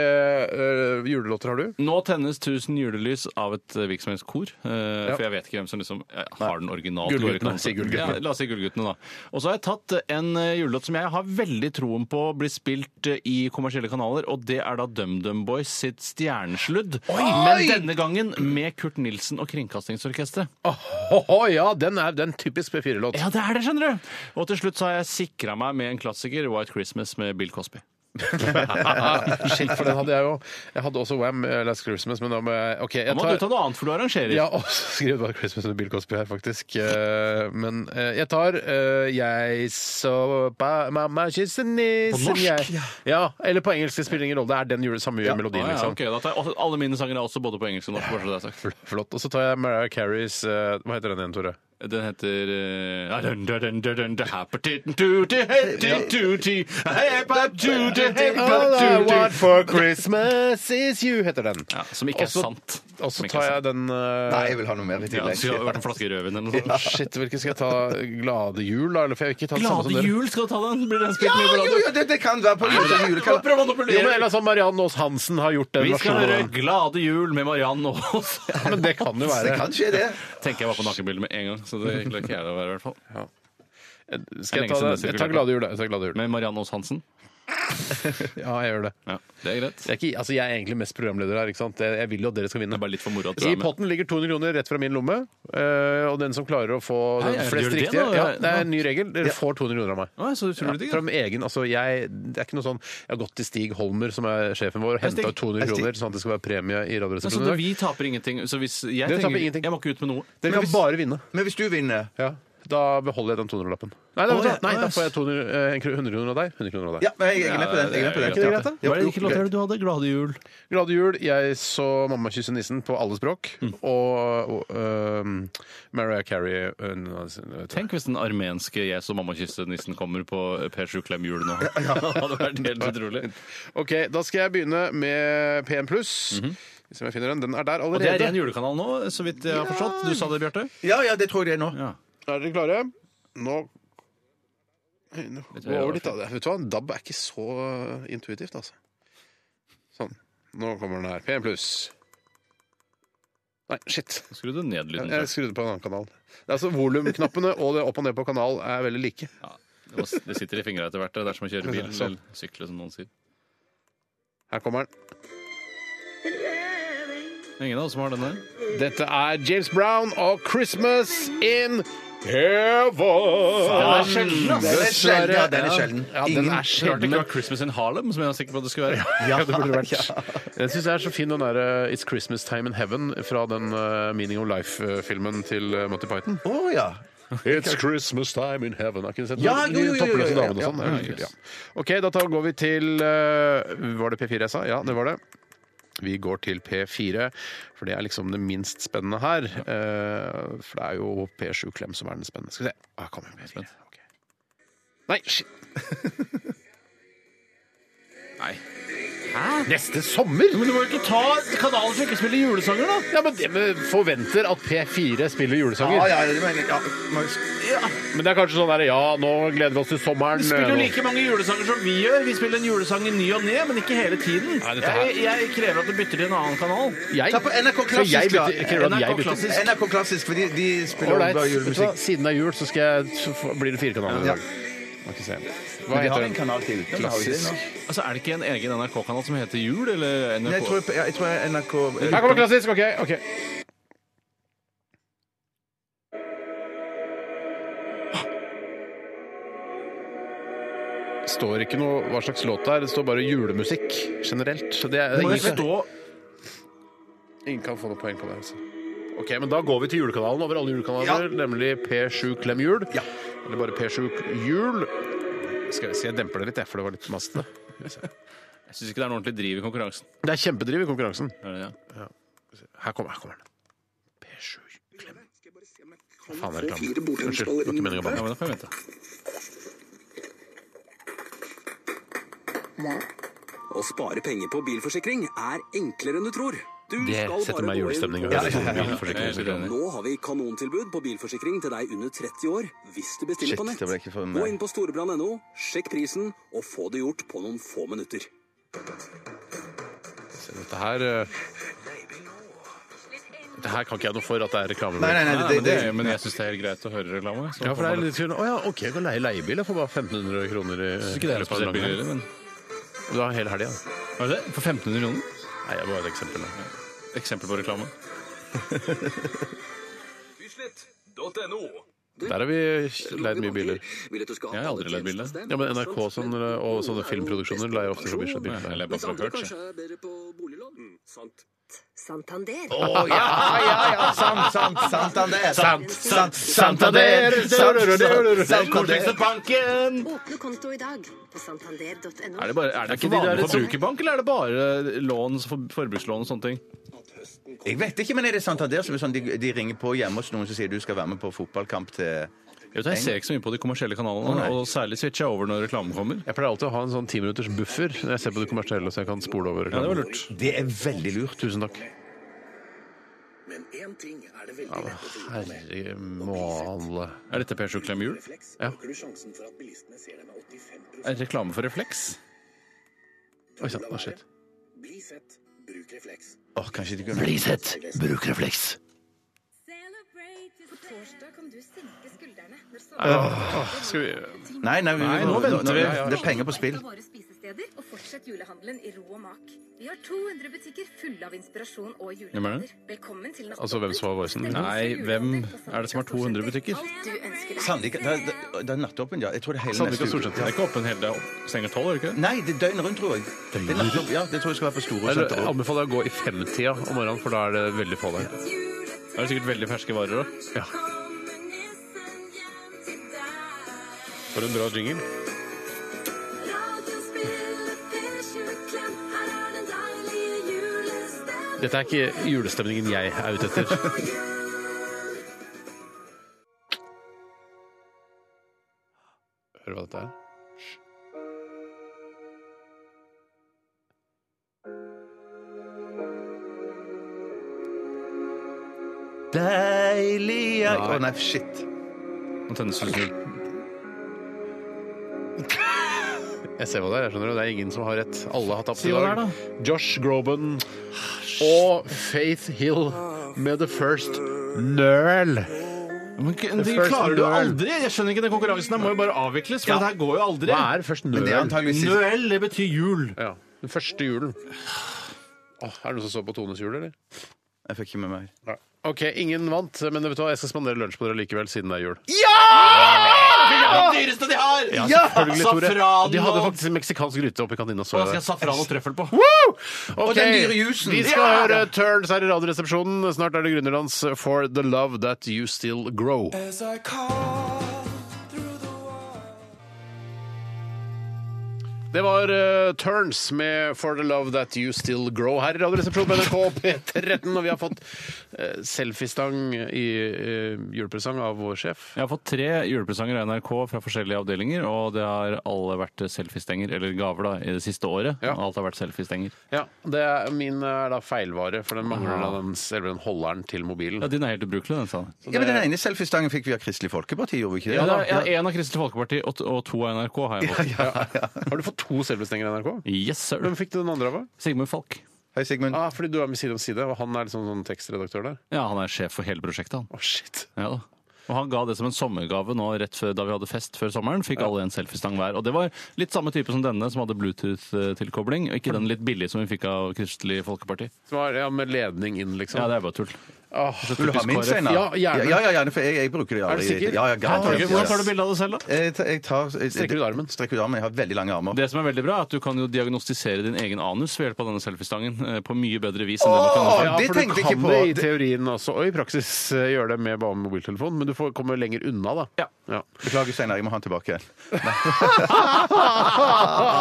Speaker 4: eh, julelåter har du?
Speaker 5: Nå tennes 1000 julelys av et eh, virksomhetskor. eh, For jeg vet ikke hvem som liksom eh, har den originale
Speaker 4: Gullguttene,
Speaker 5: originale-
Speaker 4: si Gullguttene.
Speaker 5: Ja, la oss si Gullguttene, da. Og så har jeg tatt eh, en eh, julelåt som jeg har veldig troen på blir spilt eh, i kommersielle kanaler, og det er da DumDum Boys sitt Stjernesludd. Men denne gangen med Kurt Nilsen og Kringkastingsorkesteret.
Speaker 4: Åhå, ja, den er den typisk P4-låt.
Speaker 5: Ja, det er det, skjønner du! Og til slutt så har jeg sikra meg med en klassiker, White Christmas med Bill Cosby.
Speaker 4: Shit, for den hadde jeg jo. Jeg hadde også Wham! eh, Last Christmas, men da må jeg OK, jeg
Speaker 5: Da må du ta noe annet, for du arrangerer.
Speaker 4: Jeg har også skrevet White Christmas med Bill Cosby her, faktisk. Eh, Men eh, jeg tar eh, Jeg så ba, mamma kysse nissen
Speaker 5: norsk?
Speaker 4: jeg. Ja, eller på engelsk. Det spiller ingen rolle. Det er den jule, samme melodien,
Speaker 5: Å, ja,
Speaker 4: liksom.
Speaker 5: ok, da tar jeg, også- alle mine sanger er også både på engelsk og norsk. bare så det er sagt.
Speaker 4: Flott. Og så tar jeg Mariah Careys eh, Hva heter den igjen, Tore?
Speaker 5: Den heter eh, dun, dun, dun, dun, dun, dun, happer titten tutti, hetti tutti, heppa tutti, heppa tutti.
Speaker 4: for Christmas is you, heter den.
Speaker 5: Ja, Som ikke er
Speaker 4: Også-
Speaker 5: sant.
Speaker 4: Og så
Speaker 5: Som ikke
Speaker 4: tar
Speaker 5: er
Speaker 4: jeg den eh,
Speaker 3: Nei, jeg vil ha noe mer
Speaker 5: Ja,
Speaker 3: i
Speaker 5: det
Speaker 3: tillegg.
Speaker 5: skulle ha vært en flaske rødvin eller noe sånt.
Speaker 4: Shit, hvilken skal jeg ta? Glade jul, da? Eller for jeg vil ikke ta sånn det samme som
Speaker 5: Glade
Speaker 4: dere.
Speaker 5: jul skal du ta den? Blir den spilt
Speaker 3: Ja,
Speaker 5: mye
Speaker 3: jo,
Speaker 5: glade?
Speaker 3: jo, det, det kan være på jule-
Speaker 5: Bare
Speaker 3: julekalender.
Speaker 5: Prøv å
Speaker 4: Jo, men
Speaker 5: manipulere.
Speaker 4: ellers har Marianne Aas Hansen har gjort den
Speaker 5: Vi skal
Speaker 4: versjonen. av
Speaker 5: høre
Speaker 4: den.
Speaker 5: Glade jul med Mariann Aas.
Speaker 4: Men det kan jo
Speaker 3: Det
Speaker 4: være.
Speaker 3: kan skje, det.
Speaker 5: Tenker jeg var på nakenbildet med en gang, så det klarer ikke jeg å være i hvert fall.
Speaker 4: Skal jeg
Speaker 5: Lenge
Speaker 4: ta
Speaker 5: siden
Speaker 4: det?
Speaker 5: det
Speaker 4: Jeg
Speaker 5: sirkulerte.
Speaker 4: tar Glade jul, da. Jeg tar glade jul.
Speaker 5: Med Mariann Aas Hansen.
Speaker 4: Ja, jeg gjør det.
Speaker 5: Ja, det er greit.
Speaker 4: Jeg er, ikke, altså jeg er egentlig mest programleder her. ikke sant? Jeg, jeg vil jo at dere skal
Speaker 5: Det
Speaker 4: vinne.
Speaker 5: er bare litt for moro at du
Speaker 4: I
Speaker 5: er med.
Speaker 4: potten ligger 200 kroner rett fra min lomme. eh, og den som klarer å få
Speaker 5: Hei,
Speaker 4: den
Speaker 5: er det-
Speaker 4: flest
Speaker 5: gjør du det
Speaker 4: riktige
Speaker 5: nå?
Speaker 4: ja, Det er en ny regel. Dere får 200 kroner av meg.
Speaker 5: Å, så utrolig digg.
Speaker 4: Fra min egen, altså jeg, det er ikke noe sånn Jeg har gått til Stig Holmer, som er sjefen vår, og
Speaker 5: Stig.
Speaker 4: henta ut 200
Speaker 3: Hei, Stig.
Speaker 4: kroner, sånn at det skal være premie i
Speaker 5: Men Så det-
Speaker 4: Radioresepsjonen. i dag.
Speaker 5: vi taper ingenting. Så hvis jeg,
Speaker 4: Dere taper
Speaker 5: trenger,
Speaker 4: ingenting.
Speaker 5: jeg må ikke ut med noe.
Speaker 4: Dere kan bare vinne.
Speaker 3: Men hvis du vinner
Speaker 4: Ja. Da beholder jeg den 200-lappen. Nei, da,
Speaker 5: Å, ja.
Speaker 4: nei,
Speaker 5: Å, ja.
Speaker 4: da får jeg 200, eh, 100 kroner av deg. 100 kroner av deg.
Speaker 3: Ja, men jeg er med på den. Jeg er med på den.
Speaker 4: det greit, da?
Speaker 3: Ja,
Speaker 5: Hva er det ikke låter
Speaker 3: greit.
Speaker 5: er det du hadde? Glade jul.
Speaker 4: Glade jul. Jeg så Mamma kysse nissen på alle språk.
Speaker 5: Mm.
Speaker 4: Og, og ehm, Mariah Carey eh, nå- nå-
Speaker 5: Tenk hvis den armenske jeg som mamma kysset nissen kommer på P7 Klem jul nå. det hadde vært helt utrolig.
Speaker 4: OK, da skal jeg begynne med P1 pluss. Hvis jeg finner den. Den er der
Speaker 5: Mhm. Og det
Speaker 4: allerede.
Speaker 5: er ren julekanal nå, så vidt jeg har forstått. Du sa det, Bjarte?
Speaker 3: Ja, ja, det tror jeg det er nå.
Speaker 4: Er dere klare? Nå Nå Gå over litt, da. Vet du hva, DAB er ikke så intuitivt, altså. Sånn. Nå kommer den her. P1 pluss. Nei, shit.
Speaker 5: Skru du ned lyden.
Speaker 4: Jeg skrudde på en annen kanal. Det er altså Volumknappene og det opp og ned på kanal er veldig like.
Speaker 5: Ja, det må- det sitter i fingra etter hvert. Det er som å kjøre bil
Speaker 4: Sånn.
Speaker 5: eller sykle, som noen sier.
Speaker 4: Her kommer den.
Speaker 5: Ingen av oss som har den der.
Speaker 4: Dette er James Brown og 'Christmas in Heaven'.
Speaker 3: Den er sjelden. Ja, den er sjelden.
Speaker 4: Ja, den er
Speaker 5: Rart det
Speaker 4: sjelden.
Speaker 5: ikke var Christmas in Harlem, som jeg er sikker på at det skulle være.
Speaker 4: Ja, det burde vært. Jeg syns det er så fin den derre 'It's Christmas Time in Heaven' fra den eh, Meaning of Life-filmen til eh, Monty Python.
Speaker 3: Å ja.
Speaker 4: It's Christmas time in heaven. Har ikke du sett
Speaker 3: Ja,
Speaker 4: den?
Speaker 3: jo, jo, jo, jo,
Speaker 4: Toppløse
Speaker 3: jo, jo,
Speaker 4: damen og
Speaker 3: ja.
Speaker 4: sånn. Det er veldig kult, ja. OK, da tar, går vi til eh, Var det P4 jeg sa? Ja, det var det. Vi går til P4, for det er liksom det minst spennende her. Eh, for det er jo P7 Klem som er den spennende. Skal vi se. Ah, kom igjen, P4. Ok. Nei, shit.
Speaker 5: Nei.
Speaker 4: Neste sommer?
Speaker 5: Men du må jo ikke ta kanalen som ikke spiller julesanger, da!
Speaker 4: Ja, men det- men forventer at P4 spiller julesanger.
Speaker 3: Ja, ja, det mener jeg. Ja, må-
Speaker 4: Men det er kanskje sånn der, ja, nå gleder vi oss til sommeren.
Speaker 5: Vi spiller jo like mange julesanger som vi gjør. Vi spiller en julesang i ny og ne, men ikke hele tiden.
Speaker 4: Nei, dette her-
Speaker 5: jeg, jeg krever at du bytter til en annen kanal.
Speaker 4: Jeg,
Speaker 3: Ta på NRK
Speaker 4: så jeg
Speaker 3: Klassisk, da.
Speaker 4: bytter- krever at jeg
Speaker 5: NRK
Speaker 4: bytter.
Speaker 5: Klassisk.
Speaker 3: NRK Klassisk, for de, de spiller
Speaker 4: Ålreit.
Speaker 3: bare
Speaker 4: Vet du hva?
Speaker 3: julemusikk.
Speaker 4: Siden det er jul, så skal jeg, så får- blir det fire kanaler i dag. Må ikke se. Hva
Speaker 3: Men de har
Speaker 4: heter
Speaker 3: en
Speaker 4: den?
Speaker 3: kanal til. Klassisk.
Speaker 5: Altså, Er det ikke en egen NRK-kanal som heter Jul, eller
Speaker 3: Nei, jeg
Speaker 5: NRK?
Speaker 3: tror, ja, jeg tror NRK
Speaker 4: Her kommer klassisk. OK. ok. står ikke noe hva slags låt det er, det står bare julemusikk generelt. Så det er,
Speaker 5: Må
Speaker 4: ingen,
Speaker 5: jeg stå
Speaker 4: ingen kan få noe poeng på det. Altså. Ok, men Da går vi til julekanalen over alle julekanaler, nemlig P7 Klem Jul.
Speaker 3: Ja.
Speaker 4: Eller bare P7 Jul. Skal jeg, skal jeg dempe det litt, jeg, for det var litt mastete.
Speaker 5: Jeg syns ikke det er noe ordentlig driv i konkurransen.
Speaker 4: Det er kjempedriv i konkurransen.
Speaker 5: Er det det?
Speaker 4: Her kommer, her kommer den. P7 Klem. Faen, det er reklame. Unnskyld. Det var ikke meningen
Speaker 5: Ja,
Speaker 4: å banne.
Speaker 5: men da får jeg vente.
Speaker 8: Å spare penger på bilforsikring er enklere enn du tror. Du
Speaker 4: Det
Speaker 8: skal
Speaker 4: setter
Speaker 8: bare
Speaker 4: meg i
Speaker 8: gå inn-
Speaker 4: julestemning. å
Speaker 3: Ja,
Speaker 4: høre
Speaker 3: ja, ja.
Speaker 4: det. Bilforsikring,
Speaker 5: Jeg er helt enig.
Speaker 4: bilforsikring.
Speaker 8: Nå har vi kanontilbud på bilforsikring til deg under 30 år hvis du bestiller
Speaker 3: Shit,
Speaker 8: på nett.
Speaker 3: det ble ikke for meg.
Speaker 8: Gå inn på storebrand.no, sjekk prisen og få det gjort på noen få minutter.
Speaker 4: Se, Dette her eh, Dette her kan ikke jeg noe for at det er reklame.
Speaker 3: Nei, nei, nei, det,
Speaker 5: men,
Speaker 3: det,
Speaker 5: det, men jeg syns det er helt greit å høre reklame. Så
Speaker 4: Ja, for det er litt sånn, Å ja, OK, jeg kan leie leiebil. Jeg får bare 1500 kroner i
Speaker 5: Synes ikke det er
Speaker 4: løpet av
Speaker 5: spesielt
Speaker 4: dagen.
Speaker 5: billigere, men
Speaker 4: Du har hele helga. da.
Speaker 5: Var det det? For 1500 kroner?
Speaker 4: Nei, det er bare et eksempel. da.
Speaker 5: Eksempel på reklame.
Speaker 4: Der har vi leid mye biler.
Speaker 5: Jeg har aldri leid biler.
Speaker 4: Ja, men NRK sånn, og sånne filmproduksjoner leier ofte for Bislett
Speaker 5: Nei,
Speaker 4: biler.
Speaker 5: eller bare for å høre.
Speaker 8: er bedre på boliglån. Mm, sant.
Speaker 9: Santander.
Speaker 3: Å, ja, ja, ja, sant, sant, Santander. sant, Santander. Santander.
Speaker 5: banken!
Speaker 9: Åpne konto i dag på santander.no.
Speaker 5: Er det, bare, er det ikke
Speaker 4: ikke de der
Speaker 5: vanlig
Speaker 4: litt sånn-
Speaker 5: forbrukerbank, eller er det bare lån, for, forbrukslån og sånne ting?
Speaker 3: Jeg vet ikke, men er det Santander som er sånn de, de ringer på hjemme hos noen som sier du skal være med på fotballkamp til
Speaker 5: Jeg, vet, jeg ser ikke så mye på de kommersielle kanalene,
Speaker 3: nei.
Speaker 5: og særlig switcher jeg over når reklamen kommer.
Speaker 4: Jeg pleier alltid å ha en sånn timinutters buffer når jeg ser på det kommersielle, så jeg kan spole over.
Speaker 5: Ja, det var lurt.
Speaker 3: Det er veldig lurt.
Speaker 4: Tusen takk.
Speaker 8: Men én ting er det veldig lett å finne med.
Speaker 4: Herre male.
Speaker 5: Er dette Per Sjuklem Jul?
Speaker 8: Refleks
Speaker 4: Ja.
Speaker 8: øker du sjansen for at bilistene ser deg med 85
Speaker 5: Er det reklame for refleks?
Speaker 4: Oi sann, hva skjedde?
Speaker 8: Bli sett, bruk refleks.
Speaker 3: Åh, kanskje de kunne... Bli sett! Bruk refleks.
Speaker 9: På torsdag kan du senke skuldrene når
Speaker 4: Skal vi
Speaker 3: Nei, nei, vi,
Speaker 5: Nei, nå venter vi.
Speaker 3: nå- Det er penger på spill.
Speaker 9: Våre spisesteder, og fortsett julehandelen i ro og mak. Vi har 200 butikker fulle av inspirasjon og
Speaker 5: Hvem er
Speaker 9: julelåter.
Speaker 5: det?
Speaker 9: Velkommen til nattåpen.
Speaker 4: Altså, hvem som var voicen?
Speaker 5: Nei, hvem er det som har 200 butikker?
Speaker 9: Alt du ønsker deg.
Speaker 3: Sandvika, det, det, det er nattåpen, ja. Jeg tror det er hele
Speaker 4: Sandvika
Speaker 3: neste uke.
Speaker 4: Storsenter.
Speaker 5: Det er ikke åpen hele dagen. Stenger tolv, er det ikke?
Speaker 3: Nei, det er døgnet rundt, tror jeg. Det er nattåpen, ja, det tror jeg skal være på Store
Speaker 4: Jeg
Speaker 3: senter.
Speaker 4: anbefaler deg å gå i femtida om morgenen, for da er det veldig få der.
Speaker 5: Det er sikkert veldig ferske varer òg.
Speaker 4: For en bra jingle. Dette er ikke julestemningen jeg er ute etter. Hører du hva dette er?
Speaker 3: Deilig Å nei, shit.
Speaker 5: Nå tennes det litt
Speaker 4: Jeg ser hva det er, jeg skjønner du. Det er ingen som har rett. Alle har tapt i
Speaker 5: hva
Speaker 4: dag.
Speaker 5: det
Speaker 4: Josh Groban og Faith Hill med The First Nerl.
Speaker 5: Men k- det
Speaker 4: first
Speaker 5: klarer du
Speaker 4: Noel.
Speaker 5: aldri! Jeg skjønner ikke den konkurransen. Den må jo bare avvikles, for det her går jo aldri.
Speaker 4: Hva er First
Speaker 3: Men det er
Speaker 4: Nerl?
Speaker 3: antageligvis siste.
Speaker 5: Noel, det betyr jul.
Speaker 4: Ja, Den første julen. Åh, er det noen som så på Tones jul, eller?
Speaker 3: Jeg fikk ikke med meg.
Speaker 4: Nei. OK, ingen vant, men vet du hva, jeg skal spandere lunsj på dere likevel, siden det er jul.
Speaker 5: Det dyreste de har!
Speaker 4: Ja, selvfølgelig, Tore.
Speaker 5: Safran
Speaker 4: De hadde
Speaker 5: og-
Speaker 4: faktisk en meksikansk gryte oppi kantina. Så
Speaker 5: Hva skal
Speaker 4: jeg
Speaker 5: jeg
Speaker 4: det.
Speaker 5: ha safran og trøffel på?
Speaker 4: Ok,
Speaker 3: den dyre jusen.
Speaker 4: Vi skal
Speaker 3: Ja!
Speaker 4: høre Turns her i Radioresepsjonen. Snart er det Grünerlands For the Love That You Still Grow. Det var eh, Turns med For the Love That You Still Grow her i Radioresepsjonen på NRK P13. Og vi har fått eh, selfiestang i eh, julepresang av vår sjef.
Speaker 5: Jeg har fått tre julepresanger av NRK fra forskjellige avdelinger, og det har alle vært selfiestenger, eller gaver, da, i det siste året.
Speaker 4: Ja.
Speaker 5: Alt har vært selfiestenger.
Speaker 4: Ja, det er, Min er da feilvare, for den mangler da den, eller den holderen til mobilen.
Speaker 5: Ja, din er helt ubrukelig, den, sa han.
Speaker 3: Ja, men Den ene selfiestangen fikk vi av Kristelig Folkeparti, gjorde vi ikke det?
Speaker 5: Ja, da, ja, en av Kristelig Folkeparti og, og to av NRK har jeg fått.
Speaker 4: Har du fått to selvbestenger i NRK?
Speaker 5: Yes, sir.
Speaker 4: Hvem fikk du den andre av? da?
Speaker 5: Sigmund Falk.
Speaker 3: Hei, Sigmund.
Speaker 4: Ah, fordi du er med Side om Side, og han er liksom sånn tekstredaktør der?
Speaker 5: Ja, han er sjef for hele prosjektet, han.
Speaker 4: Å, shit.
Speaker 5: Ja da. Og han ga det som en sommergave nå rett før, da vi hadde fest før sommeren. Fikk alle en selfiestang hver. Og det var litt samme type som denne, som hadde Bluetooth-tilkobling. Og ikke den litt billige som vi fikk av Kristelig Folkeparti.
Speaker 4: Som er, ja, Med ledning inn, liksom.
Speaker 5: Ja, det er bare tull.
Speaker 4: Åh,
Speaker 3: Vil du ha min, Steinar?
Speaker 4: Ja, gjerne.
Speaker 3: Ja, ja, gjerne, for jeg, jeg bruker det
Speaker 4: Er du
Speaker 3: aldri.
Speaker 4: sikker?
Speaker 3: Ja, ja, garantert.
Speaker 5: Torgeir, Hvordan tar du bilde av det selv, da?
Speaker 3: Jeg tar, jeg tar, jeg,
Speaker 4: Strekker ut armen.
Speaker 3: Strekker ut armen. Jeg har veldig lange armer.
Speaker 5: Det som er veldig bra, er at du kan jo diagnostisere din egen anus ved hjelp av denne selfiestangen eh, på mye bedre vis enn det man kan
Speaker 3: Åh,
Speaker 5: gjøre.
Speaker 4: ja,
Speaker 3: det
Speaker 4: for du
Speaker 3: tenkte jeg
Speaker 4: kan
Speaker 3: ikke på.
Speaker 4: det i
Speaker 3: Det-
Speaker 4: teorien også, og i praksis eh, gjøre det med bare mobiltelefon, men du får komme lenger unna, da.
Speaker 5: Ja.
Speaker 3: Beklager, Steinar. Jeg må ha den tilbake.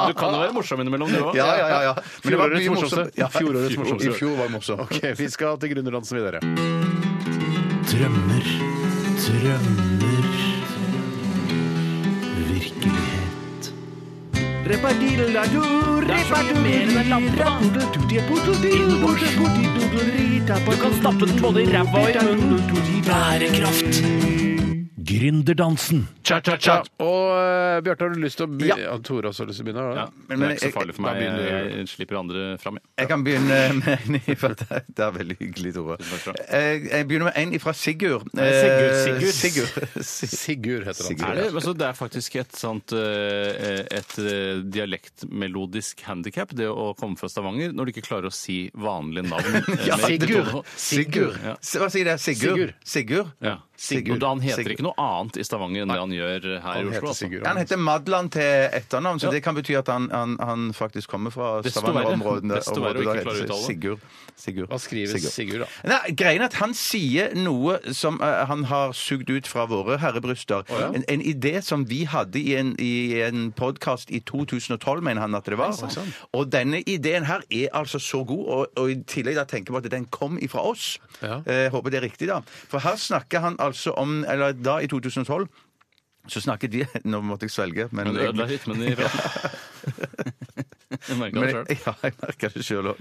Speaker 5: Du kan jo være morsom innimellom, du òg.
Speaker 3: Ja, ja, ja. ja. Men det var
Speaker 4: Fjorårets
Speaker 3: mye morsomt.
Speaker 4: morsomste.
Speaker 3: Ja,
Speaker 4: Fjorårets morsomste.
Speaker 3: I fjor var det morsomt.
Speaker 4: OK, vi skal til Grunnerlandsen videre.
Speaker 10: Drømmer, drømmer, virkelighet. Du kan stappe den både i ræva og i munnen. Bærekraft. Gründerdansen.
Speaker 4: Cha-cha-cha. Og eh, Bjarte, har du lyst til å begynne?
Speaker 3: Ja.
Speaker 4: Ja. Tore også har lyst til å begynne? har du
Speaker 5: Ja,
Speaker 4: det?
Speaker 5: men, det er ikke så farlig for
Speaker 3: Da
Speaker 5: meg.
Speaker 3: begynner
Speaker 5: Jeg,
Speaker 3: du.
Speaker 5: jeg slipper andre fram. jeg.
Speaker 3: Jeg kan begynne med en ifra Det er veldig hyggelig, Tore.
Speaker 5: Tusen takk
Speaker 3: Jeg jeg begynner med en ifra Sigurd.
Speaker 5: Sigurd,
Speaker 3: Eh,
Speaker 5: Sigurd.
Speaker 3: Sigurd. Si-
Speaker 4: Sigurd heter han.
Speaker 3: Sigurd.
Speaker 5: Er det, altså, det er faktisk et sånt eh, et eh, dialektmelodisk handikap, det å komme fra Stavanger, når du ikke klarer å si vanlige navn. eh,
Speaker 4: Ja,
Speaker 5: med-
Speaker 4: Sigurd.
Speaker 3: Sigurd.
Speaker 5: Ja.
Speaker 3: S- Hva sier det? Sigurd?
Speaker 4: Sigurd.
Speaker 3: Sigurd?
Speaker 5: Ja.
Speaker 3: Sigurd.
Speaker 5: Og Han heter
Speaker 3: Sigurd.
Speaker 5: ikke noe annet i Stavanger enn det han gjør her i
Speaker 4: Han
Speaker 5: Oslo.
Speaker 4: heter
Speaker 5: altså.
Speaker 4: Sigurd.
Speaker 3: Han heter Madland til etternavn, så det kan bety at han, han, han faktisk kommer fra
Speaker 5: Desto
Speaker 3: Stavanger-området.
Speaker 5: verre. Desto verre å
Speaker 3: området, da
Speaker 5: ikke
Speaker 3: heter
Speaker 5: klare å
Speaker 3: det
Speaker 5: uttale.
Speaker 3: Sigurd. Sigurd.
Speaker 4: Hva skriver Sigurd, da?
Speaker 3: Nei, greien er at han sier noe som eh, han har sugd ut fra våre herrebryster. en, en idé som vi hadde i en, i en podkast i 2012, mener han at det var. Og denne ideen her er altså så god, og, og i tillegg da tenker jeg på at den kom ifra oss.
Speaker 4: Ja.
Speaker 3: Eh, håper det er riktig, da. For her snakker han altså om Eller da, i 2012, så snakket vi Nå måtte jeg svelge, men
Speaker 5: Men det ødela rytmen i praten. Jeg merker det
Speaker 3: men,
Speaker 5: selv.
Speaker 3: ja, jeg merker det sjøl òg.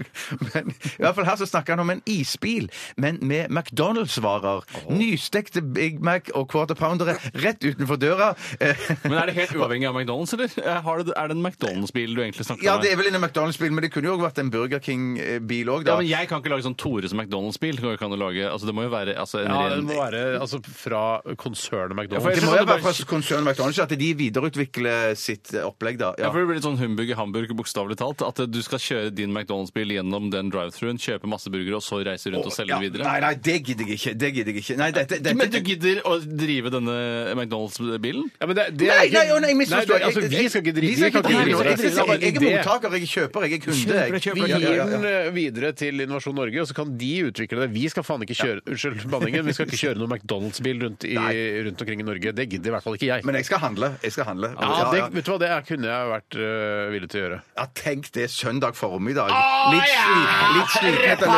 Speaker 3: Men i hvert fall her så snakker han om en isbil, men med McDonald's-varer. Nystekte Big Mac og Quarter Poundere rett utenfor døra. Eh,
Speaker 5: Men er det helt uavhengig av McDonald's, eller? Eh, har det- Er det en McDonald's-bil du egentlig snakker
Speaker 3: Ja,
Speaker 5: om? her?
Speaker 3: det er vel en McDonald's-bil, men det kunne jo òg vært en Burger King-bil òg,
Speaker 5: Ja,
Speaker 3: da.
Speaker 5: men jeg kan ikke lage sånn Tores McDonald's-bil. Det går ikke an å lage- Altså, det må jo være altså, en
Speaker 4: Ja,
Speaker 5: ren
Speaker 4: den må være altså, fra konsernet McDonald's.
Speaker 3: Det må jo være fra konsernet McDonald's at de videreutvikler sitt eh, opplegg, da.
Speaker 5: Ja,
Speaker 3: Ja.
Speaker 5: for Det blir litt sånn humbug i Hamburg, bokstavelig talt. At eh, du skal kjøre din McDonald's-bil gjennom den drive-thruen, kjøpe masse burgere, og så reise rundt og selge
Speaker 3: Ja,
Speaker 5: det videre.
Speaker 3: Nei, nei, det gidder jeg ikke. Det gidder jeg ikke. Nei, dette, dette,
Speaker 5: Men du gidder å drive denne McDonald's-bilen?
Speaker 4: Ja, men det, det er
Speaker 3: Nei,
Speaker 4: ikke-
Speaker 3: nei, å, nei, jeg misforstår.
Speaker 4: Nei, det- altså, vi skal ikke drive
Speaker 3: Vi skal ikke drive noe.
Speaker 4: drive-
Speaker 3: Jeg,
Speaker 4: det er bare en
Speaker 3: jeg, jeg er
Speaker 4: idé.
Speaker 3: mottaker, jeg er kjøper, jeg er kunde. jeg.
Speaker 5: Kjøper,
Speaker 4: Vi
Speaker 5: kjøper,
Speaker 3: Ja, ja, ja,
Speaker 4: gir
Speaker 3: ja.
Speaker 4: den eh, videre til Innovasjon Norge, og så kan de utvikle det. Vi skal faen ikke kjøre Unnskyld banningen, vi skal ikke kjøre noen McDonald's-bil rundt, i- rundt omkring i Norge. Det gidder i hvert fall ikke jeg.
Speaker 3: Men jeg skal handle. Jeg skal handle.
Speaker 4: ja, det, vet du hva, det er- kunne jeg vært eh, villig til å gjøre.
Speaker 3: Ja, tenk det søndag formiddag. Litt, sli, litt sliten etter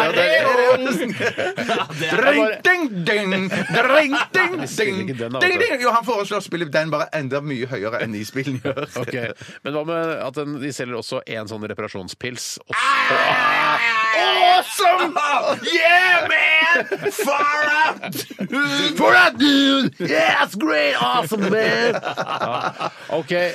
Speaker 3: lørdag. Dring, ding, ding! Dring, ding,
Speaker 4: spiller
Speaker 3: ding!
Speaker 4: ikke den, da,
Speaker 3: ding,
Speaker 4: vet du.
Speaker 3: ding. Jo, han foreslår å spille den bare enda mye høyere enn isbilen gjør.
Speaker 4: Ok, Men hva med at den, de selger også en sånn reparasjonspils? Og-
Speaker 3: Awesome! Yeah, man! Far out! For out, dude! Yeah, that's great! Awesome, man!
Speaker 4: OK, eh,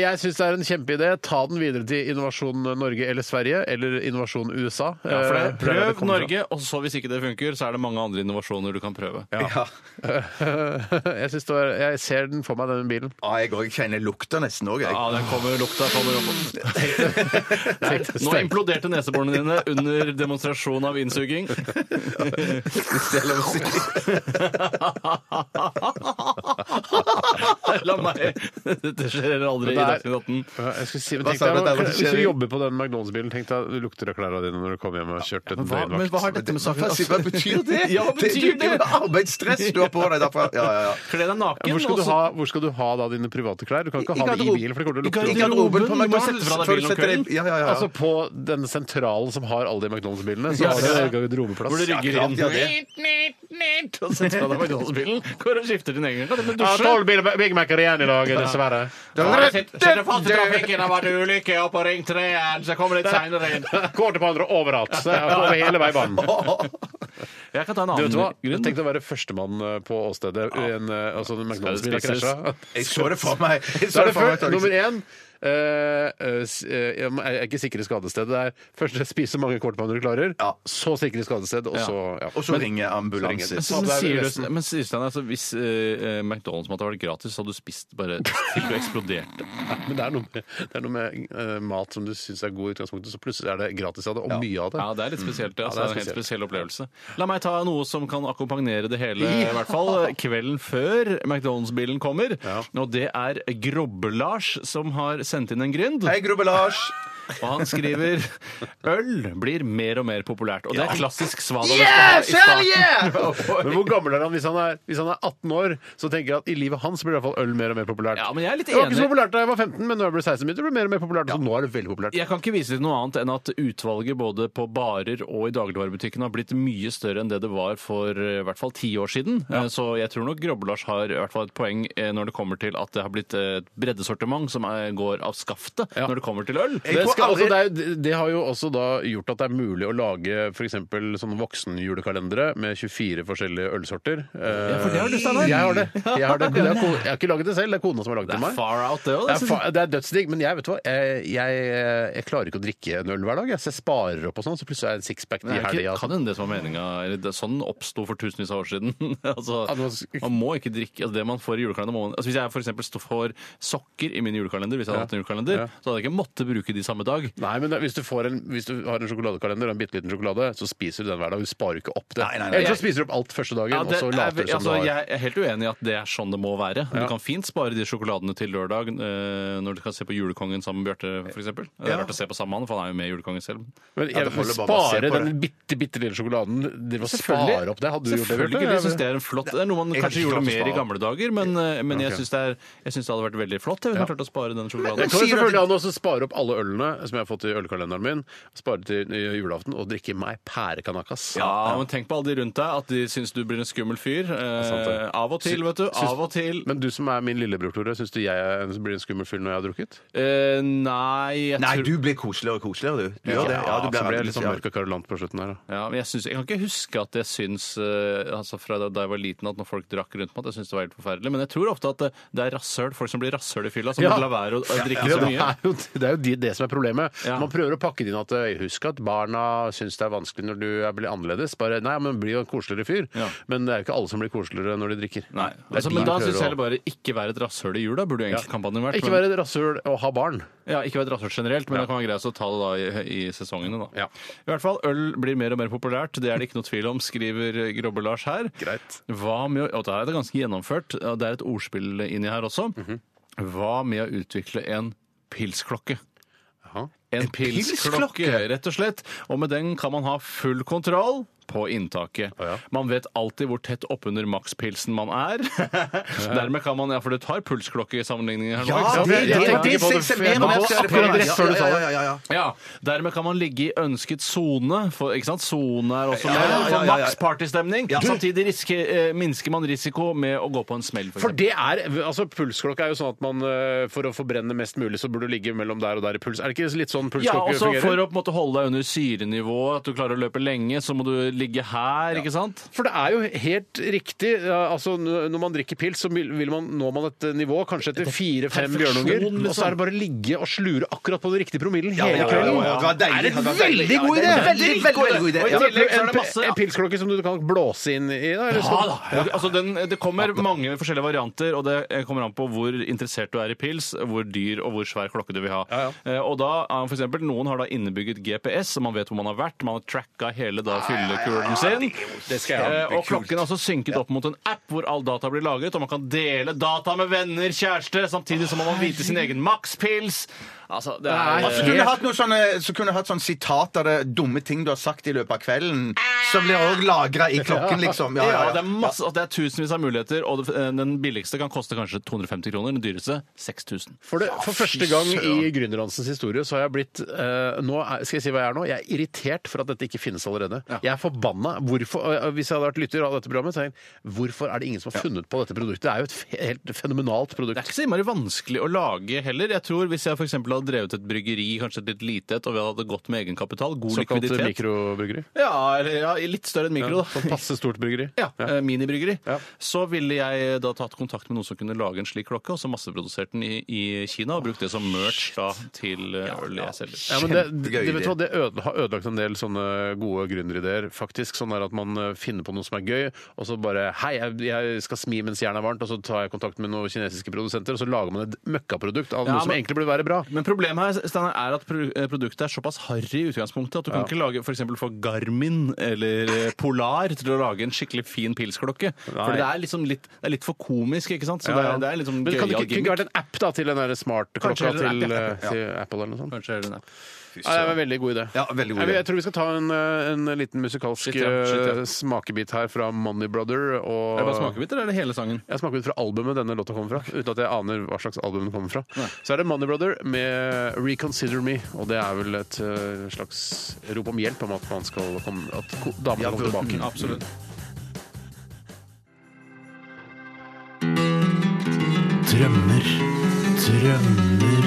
Speaker 4: jeg syns det er en kjempeidé. Ta den videre til Innovasjon Norge eller Sverige, eller Innovasjon USA.
Speaker 5: Ja, for det,
Speaker 4: Eh, der det
Speaker 5: prøv
Speaker 4: kommer fra.
Speaker 5: Norge, og så hvis ikke det funker, så er det mange andre innovasjoner du kan prøve.
Speaker 3: Ja.
Speaker 4: jeg, synes det var, jeg ser den for meg, denne bilen.
Speaker 3: Ah, jeg òg kjenner lukta nesten òg, jeg.
Speaker 5: Ja, den kommer, lukta kommer opp. Nå
Speaker 4: Stengt.
Speaker 5: imploderte neseborene dine under demonstrasjon av innsuging. La meg Dette skjer aldri i
Speaker 4: Men det er-
Speaker 5: Dagsnytt 18.
Speaker 4: Ja, Jeg skulle si, men
Speaker 3: Hva
Speaker 4: tenk deg,
Speaker 3: sa du at det var
Speaker 4: Hvis du
Speaker 3: kjøring?
Speaker 4: jobber på den McDonald's-bilen, tenk deg du lukter av klærne dine når du kommer hjem og har kjørt et
Speaker 5: Hva, men
Speaker 4: døgnvakt.
Speaker 5: hva har dette med saken
Speaker 3: Hva
Speaker 5: altså?
Speaker 3: hva betyr det?
Speaker 5: Ja, hva betyr
Speaker 3: Det, det,
Speaker 5: det?
Speaker 3: det er arbeidsstress du har på deg derfra. Ja, ja, ja.
Speaker 5: Kle deg naken.
Speaker 4: Hvor skal, du
Speaker 5: og så-
Speaker 4: ha, hvor skal du ha da dine private klær? Du kan ikke
Speaker 3: I
Speaker 4: ha det i
Speaker 3: garderoben.
Speaker 4: bilen, for det kommer til å lukte
Speaker 3: I
Speaker 4: av det.
Speaker 3: garderoben på
Speaker 5: Du må sette fra
Speaker 3: McDonald's.
Speaker 5: deg
Speaker 3: før du
Speaker 5: bilen om
Speaker 3: setter deg-
Speaker 5: kvelden.
Speaker 3: Ja, ja, ja.
Speaker 4: Altså På den sentralen som har alle de McDonald's-bilene, så har du en garderobeplass.
Speaker 5: Hvor det rygger
Speaker 3: klart
Speaker 5: inn.
Speaker 3: de har det.
Speaker 5: Og setter fra deg McDonald's-bilen. Går og skifter din egen. Kan du
Speaker 4: Ja,
Speaker 5: dusje?
Speaker 4: tolv Big Big Mac-er igjen i dag, dessverre.
Speaker 5: Sitter fast i trafikken, har vært ulykke, og på Ring 3 så kommer litt seinere inn.
Speaker 4: Går til hverandre overalt. Så jeg går Over hele veibanen.
Speaker 5: Jeg kan ta en
Speaker 4: Du
Speaker 5: annen
Speaker 4: vet hva?
Speaker 5: grunn.
Speaker 4: Tenk deg å være førstemann eh, på åstedet. En, eh, altså, en McDonald's-bil har
Speaker 5: spises?
Speaker 4: krasja.
Speaker 3: Jeg så det for meg. Jeg
Speaker 4: Så
Speaker 3: så
Speaker 4: er det
Speaker 3: det for meg.
Speaker 4: før, nummer én eh, eh, s- eh, Jeg må- jeg er ikke sikre skadested. Det er først spise så mange kortpanner du klarer,
Speaker 3: Ja.
Speaker 4: så sikre skadested, og så ja.
Speaker 3: Og så ringer ambulanser.
Speaker 5: Men så- men sier du- Men sier Stein, altså, hvis eh, McDonald's måtte ha vært gratis, så hadde du spist bare til du eksploderte.
Speaker 4: Men det er noe med, det er noe med eh, mat som du syns er god i utgangspunktet, så plutselig er det gratis av det, og mye av det.
Speaker 5: Ja, det er litt spesielt. det, Altså,
Speaker 4: Ja,
Speaker 5: det er en
Speaker 4: det er
Speaker 5: helt spesiell opplevelse. La meg ta noe som kan akkompagnere det hele, i hvert fall eh, kvelden før McDonald's-bilen kommer. Og det er Grobbe-Lars som har sendt inn en grind.
Speaker 3: Hei, Grubbe Lars.
Speaker 5: Og han skriver øl blir mer og mer populært. Og det er klassisk Svada.
Speaker 4: Men hvor gammel er han? Hvis han er, hvis han er 18 år, så tenker jeg at i livet hans blir i hvert fall øl mer og mer populært.
Speaker 5: Ja, men jeg er litt
Speaker 4: det var ikke så
Speaker 5: enig.
Speaker 4: populært da jeg var 15, men når jeg ble 16 begynte det å bli mer og mer populært. Så nå er det veldig populært.
Speaker 5: Jeg kan ikke vise til noe annet enn at utvalget både på barer og i dagligvarebutikken har blitt mye større enn det det var for eh, i hvert fall ti år siden. Eh, Så jeg tror nok Grobbe-Lars har i hvert fall et poeng eh, når det kommer til at det har blitt eh, et breddesortiment som eh, går går av skaftet
Speaker 4: Ja.
Speaker 5: når det kommer til øl.
Speaker 4: Det,
Speaker 3: tror
Speaker 4: skal,
Speaker 3: aldri-
Speaker 4: altså, det, er, jo- det- det har jo også da gjort at det er mulig å lage f.eks. sånne voksenjulekalendere med 24 forskjellige ølsorter. Ja,
Speaker 5: for det har du, Steinar.
Speaker 4: Jeg har det. Jeg har, det. Det er ko- jeg har ikke laget det selv, det er kona som har laget
Speaker 5: Det
Speaker 4: det til
Speaker 5: er
Speaker 4: meg.
Speaker 5: far out, det
Speaker 4: Det er,
Speaker 5: òg.
Speaker 4: fa det er dødsdigg, men jeg vet du hva, jeg, jeg, eh, jeg klarer ikke å drikke en øl hver dag. Jeg, så jeg sparer opp og sånn, så plutselig er jeg en sixpack altså. i
Speaker 5: Det er
Speaker 4: helga.
Speaker 5: ikke, kan hende det som var meninga. eller det- Sånn oppsto for tusenvis av år siden. altså,
Speaker 4: At man sk-
Speaker 5: man må ikke drikke altså, det man får i julekalender. Må man, altså, hvis jeg for eksempel sto- får sokker i min julekalender, hvis jeg hadde
Speaker 4: Ja.
Speaker 5: hatt en julekalender,
Speaker 4: Ja.
Speaker 5: så hadde jeg ikke måttet bruke de samme dag.
Speaker 4: Nei, men hvis du, får en, hvis du har en sjokoladekalender og en bitte liten sjokolade, så spiser du den hver dag. Du sparer jo ikke opp det.
Speaker 3: Nei, nei, nei.
Speaker 4: Ellers så spiser du opp alt første dagen,
Speaker 5: Ja, det
Speaker 4: og så
Speaker 5: er-
Speaker 4: later du som
Speaker 5: altså,
Speaker 4: du har.
Speaker 5: jeg er helt uenig i at det er sånn det må være. Du
Speaker 4: Ja.
Speaker 5: kan fint spare de sjokoladene til lørdag eh, når du kan se på Julekongen sammen med Bjarte, f.eks. Det er
Speaker 3: Ja.
Speaker 5: rart å se på sammen med han, for han er jo med i Julekongen selv.
Speaker 4: Men
Speaker 3: Ja,
Speaker 4: jeg
Speaker 3: det
Speaker 4: vil
Speaker 3: holder bare å se
Speaker 4: spare
Speaker 3: på
Speaker 4: den bitte, bitte lille sjokoladen. Det var
Speaker 5: Selvfølgelig.
Speaker 4: spare opp det. Hadde du gjort det? Bjarte?
Speaker 5: Selvfølgelig. Jeg syns det er en flott Det er noe man
Speaker 3: Jeg kan
Speaker 5: kanskje
Speaker 3: ikke
Speaker 5: gjorde
Speaker 3: klart å
Speaker 5: mer i
Speaker 3: spare.
Speaker 5: gamle dager, men, eh, men jeg
Speaker 4: Ok.
Speaker 5: syns det, er- jeg synes det hadde vært veldig flott jeg, hvis man klarte å spare den
Speaker 4: Det
Speaker 5: sjokoladen.
Speaker 4: går
Speaker 3: Sier du
Speaker 4: selvfølgelig an å også spare opp alle ølene som jeg har fått i ølkalenderen min, spare til eh, julaften og drikke meg pærekanakas.
Speaker 5: Ja, men tenk på alle de rundt deg, at de syns du blir en skummel fyr.
Speaker 4: sant
Speaker 5: Eh,
Speaker 4: det.
Speaker 5: av og til,
Speaker 4: Sy-
Speaker 5: vet du.
Speaker 4: syns-
Speaker 5: Av og til.
Speaker 4: Men du som er min lillebror, Tore, syns du jeg er- blir en skummel fyr når jeg har drukket?
Speaker 5: Eh, nei, jeg
Speaker 3: Nei,
Speaker 5: tror
Speaker 3: du blir koseligere og koseligere, du. Du gjør det. Ja, du
Speaker 4: så
Speaker 3: blir
Speaker 4: jeg litt sånn
Speaker 3: ja.
Speaker 4: mørk og karolant på slutten her. da.
Speaker 5: Ja, men jeg, syns- jeg kan ikke huske at jeg syns eh, altså fra da da jeg var liten at når folk drakk rundt meg, at jeg syntes det var helt forferdelig. Men jeg tror ofte at det, det er rasshøl, folk som blir rasshøl i fylla, som
Speaker 4: Ja.
Speaker 5: lar være å, å drikke
Speaker 4: Det
Speaker 5: så
Speaker 4: er
Speaker 5: mye.
Speaker 4: jo, det, er jo de, det som er problemet.
Speaker 5: Ja.
Speaker 4: Man prøver å pakke det inn at eh, husk at barna syns det er vanskelig når du er- blir annerledes. Bare nei, men bli jo en koseligere fyr.
Speaker 5: Ja.
Speaker 4: Men det er jo ikke alle som blir koseligere når de drikker.
Speaker 5: Nei,
Speaker 4: Det sånn- er
Speaker 5: altså,
Speaker 4: de
Speaker 5: men da
Speaker 4: prøver
Speaker 5: syns
Speaker 4: å-
Speaker 5: jeg heller bare ikke være et rasshøl i jula, burde jo egentlig kampanjen vært.
Speaker 4: Ikke
Speaker 5: men-
Speaker 4: være et rasshøl og ha barn.
Speaker 5: Ja, ikke være et rasshøl generelt, men det kan være greit å ta det da i, i sesongene. da.
Speaker 4: Ja.
Speaker 5: I hvert fall, Øl blir mer og mer populært, det er det ikke noe tvil om, skriver Grobbe-Lars her.
Speaker 4: Greit.
Speaker 5: Hva med å, og da er det ganske gjennomført, og det er et ordspill inni her også. Hva med å utvikle en pilsklokke?
Speaker 4: Jaha.
Speaker 5: En pilsklokke, rett og slett. Og med den kan man ha full kontroll på inntaket.
Speaker 4: Å ja.
Speaker 5: Man vet alltid hvor tett oppunder makspilsen man er. Dermed kan man, ja, For du tar pulsklokke i sammenligningen her nå. ikke sant?
Speaker 3: det,
Speaker 4: jeg
Speaker 3: det, det,
Speaker 4: tenker
Speaker 3: det,
Speaker 4: på det
Speaker 3: det,
Speaker 4: før- akkurat rett før du sa det.
Speaker 3: Ja, ja, ja.
Speaker 5: Ja, Dermed kan man ligge i ønsket sone. for- ikke sant? Sone er også med.
Speaker 3: ja, ja,
Speaker 5: For
Speaker 3: ja, ja.
Speaker 5: maks partystemning. Samtidig riske- eh, minsker man risiko med å gå på en smell. For
Speaker 4: For det er, altså Pulsklokka er jo sånn at man eh, for å forbrenne mest mulig, så burde du ligge mellom der og der i puls. Er det ikke litt sånn
Speaker 5: ja,
Speaker 4: pulsklokke
Speaker 5: også
Speaker 4: fungerer?
Speaker 5: For å på en måte holde deg under syrenivået, at du klarer å løpe lenge, så må du ligge her. ikke sant?
Speaker 4: For det er jo helt riktig. ja, altså n- Når man drikker pils, så vil vil man, når man et eh, nivå, kanskje etter fire-fem
Speaker 5: perfeksjon,
Speaker 4: bjørnunger.
Speaker 5: liksom.
Speaker 4: Og så er det bare å ligge og slure akkurat på den riktige promillen hele
Speaker 3: ja, ja,
Speaker 4: kvelden.
Speaker 3: ja, ja. Det var deilig,
Speaker 4: Er det
Speaker 3: det var
Speaker 4: en
Speaker 3: deilig.
Speaker 4: veldig god
Speaker 3: Ja,
Speaker 4: idé!
Speaker 3: det er en veldig, veldig, veldig god idé.
Speaker 4: Og i
Speaker 3: Ja.
Speaker 4: tillegg så er
Speaker 5: En-
Speaker 4: det masse En pilsklokke som du kan blåse inn i. Da, eller sånn.
Speaker 5: Ja, altså den, det kommer mange forskjellige varianter, og det eh, kommer an på hvor interessert du er i pils, hvor dyr og hvor svær klokke du vil ha.
Speaker 4: Ja,
Speaker 5: Eh, Og da, eh, for eksempel, Noen har da innebygget GPS, så man vet hvor man har vært. Man har tracka hele da fyllekulen sin.
Speaker 4: Det skal jeg ha.
Speaker 5: Eh, Og klokken er altså synket opp mot en app hvor all data blir lagret, og man kan dele data med venner, kjæreste, samtidig som man må vite sin egen makspils. Altså, det er
Speaker 3: Så kunne jeg hatt noe sånne, så kunne jeg hatt sånn sitat av det dumme ting du har sagt i løpet av kvelden, som blir òg lagra i klokken, liksom. Ja, ja,
Speaker 5: Ja, det
Speaker 3: ja.
Speaker 5: er, masse, altså, det er tusenvis av muligheter, og det, eh, den billigste kan koste kanskje 250 kroner, den dyreste 6000.
Speaker 4: For, det, for første gang i Gründerhansens historie så har jeg blitt eh, nå er, Skal jeg si hva jeg er nå? Jeg er irritert for at dette ikke finnes allerede. Jeg er forbanna. Hvorfor, eh, hvis jeg hadde vært lytter av dette programmet, så hadde jeg tenkt hvorfor er det ingen som har funnet på dette produktet? Det er jo et fe- helt
Speaker 5: Det
Speaker 4: fenomenalt
Speaker 5: er
Speaker 4: produkt.
Speaker 5: ikke så innmari vanskelig å lage heller. Jeg tror Hvis jeg for eksempel hadde drevet et bryggeri, kanskje et litt lite et, og vi hadde gått med egenkapital, god
Speaker 4: Såkalt eh,
Speaker 5: likviditet
Speaker 4: mikrobryggeri.
Speaker 5: Ja, eller ja, litt større enn mikro, da.
Speaker 4: Sånn passe stort bryggeri.
Speaker 5: Ja, eh, Minibryggeri.
Speaker 4: Ja.
Speaker 5: Så ville jeg da tatt kontakt med noen som kunne lage en slik klokke, og så masseprodusert den i, i Kina og brukt det som merch da til eh, øl jeg selger.
Speaker 4: Ja, men det, det,
Speaker 3: Kjempegøy
Speaker 4: vet du
Speaker 3: idé.
Speaker 4: hva, det øde, har ødelagt en del sånne gode gründerideer, faktisk. Sånn er at man eh, finner på noe som er gøy, og så bare Hei, jeg, jeg skal smi mens jernet er varmt, og så tar jeg kontakt med noen kinesiske produsenter, og så lager man et møkkaprodukt av
Speaker 5: Ja,
Speaker 4: noe som
Speaker 5: men-
Speaker 4: egentlig burde være bra.
Speaker 5: Men problemet her Steinar, er at pro- eh, produktet er såpass harry i utgangspunktet at du kan ikke lage for eksempel for Garmin eller eh, Polar til å lage en skikkelig fin pilsklokke. For det er liksom litt, det er litt for komisk, ikke sant? Så det,
Speaker 4: Ja, ja.
Speaker 5: er, det er liksom
Speaker 4: Men kan det
Speaker 5: gøyal
Speaker 4: ikke, kunne ikke vært
Speaker 5: gimmick.
Speaker 4: en app da, til den der
Speaker 5: Kanskje
Speaker 4: smartklokka
Speaker 5: heller en
Speaker 4: til,
Speaker 5: app,
Speaker 4: eh, til Apple eller noe sånt?
Speaker 5: Kanskje er det det.
Speaker 4: Ja, det er en veldig god idé.
Speaker 3: Ja, veldig god
Speaker 4: Jeg,
Speaker 3: idé.
Speaker 4: jeg tror vi skal ta en, eh, en liten musikalsk
Speaker 5: Shit, ja, shit, ja.
Speaker 4: eh, smakebit her fra Money Brother. Og
Speaker 5: Er det bare smakebiter, eller er det hele sangen?
Speaker 4: Jeg smaker ut fra albumet denne låta kommer fra, uten at jeg aner hva slags album den kommer fra. Så er det Money Brother med 'Reconsider Me', og det er vel et eh, slags rop om hjelp om at man skal komme, at ko- damene
Speaker 3: Ja,
Speaker 4: kommer tilbake.
Speaker 5: Absolutt.
Speaker 10: Drømmer, drømmer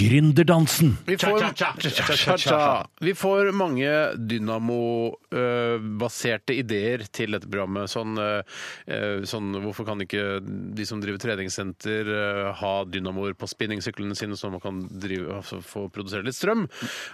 Speaker 10: Gründerdansen.
Speaker 4: Vi får, Cha-cha. Vi får mange dynamo-baserte ideer til dette programmet. Sånn, eh, sånn Hvorfor kan ikke de som driver treningssenter, eh, ha dynamoer på spinningsyklene sine, så man kan drive, altså, få produsere litt strøm?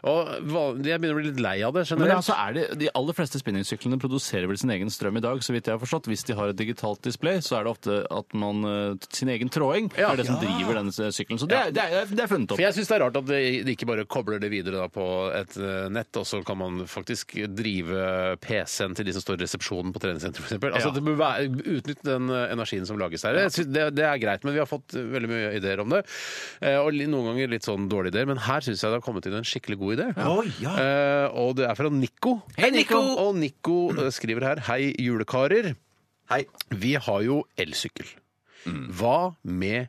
Speaker 4: Og hva- Jeg begynner å bli litt lei av det
Speaker 5: Men
Speaker 4: generelt.
Speaker 5: altså er det, De aller fleste spinningsyklene produserer vel sin egen strøm i dag, så vidt jeg har forstått. Hvis de har et digitalt display, så er det ofte at man eh, Sin egen tråding
Speaker 4: Ja.
Speaker 5: er det som driver denne sykkelen. Så det, er- det, er, det er funnet
Speaker 4: For
Speaker 5: opp.
Speaker 4: jeg syns det er rart at de de ikke bare kobler det videre da på et eh, nett, og så kan man faktisk drive PC-en til de som står i resepsjonen på treningssenteret, f.eks. Altså,
Speaker 5: Ja.
Speaker 4: det bør være- Utnytte den eh, energien som lages der. Jeg synes Det, det er greit, men vi har fått eh, veldig mye ideer om det. Eh, Og li- noen ganger litt sånn dårlige ideer, men her syns jeg det har kommet inn en skikkelig god idé. Eh, Og det er fra Nico.
Speaker 3: Hei, Nico!
Speaker 4: Og Nico eh, skriver her Hei, julekarer.
Speaker 3: Hei.
Speaker 4: Vi har jo elsykkel. Hva med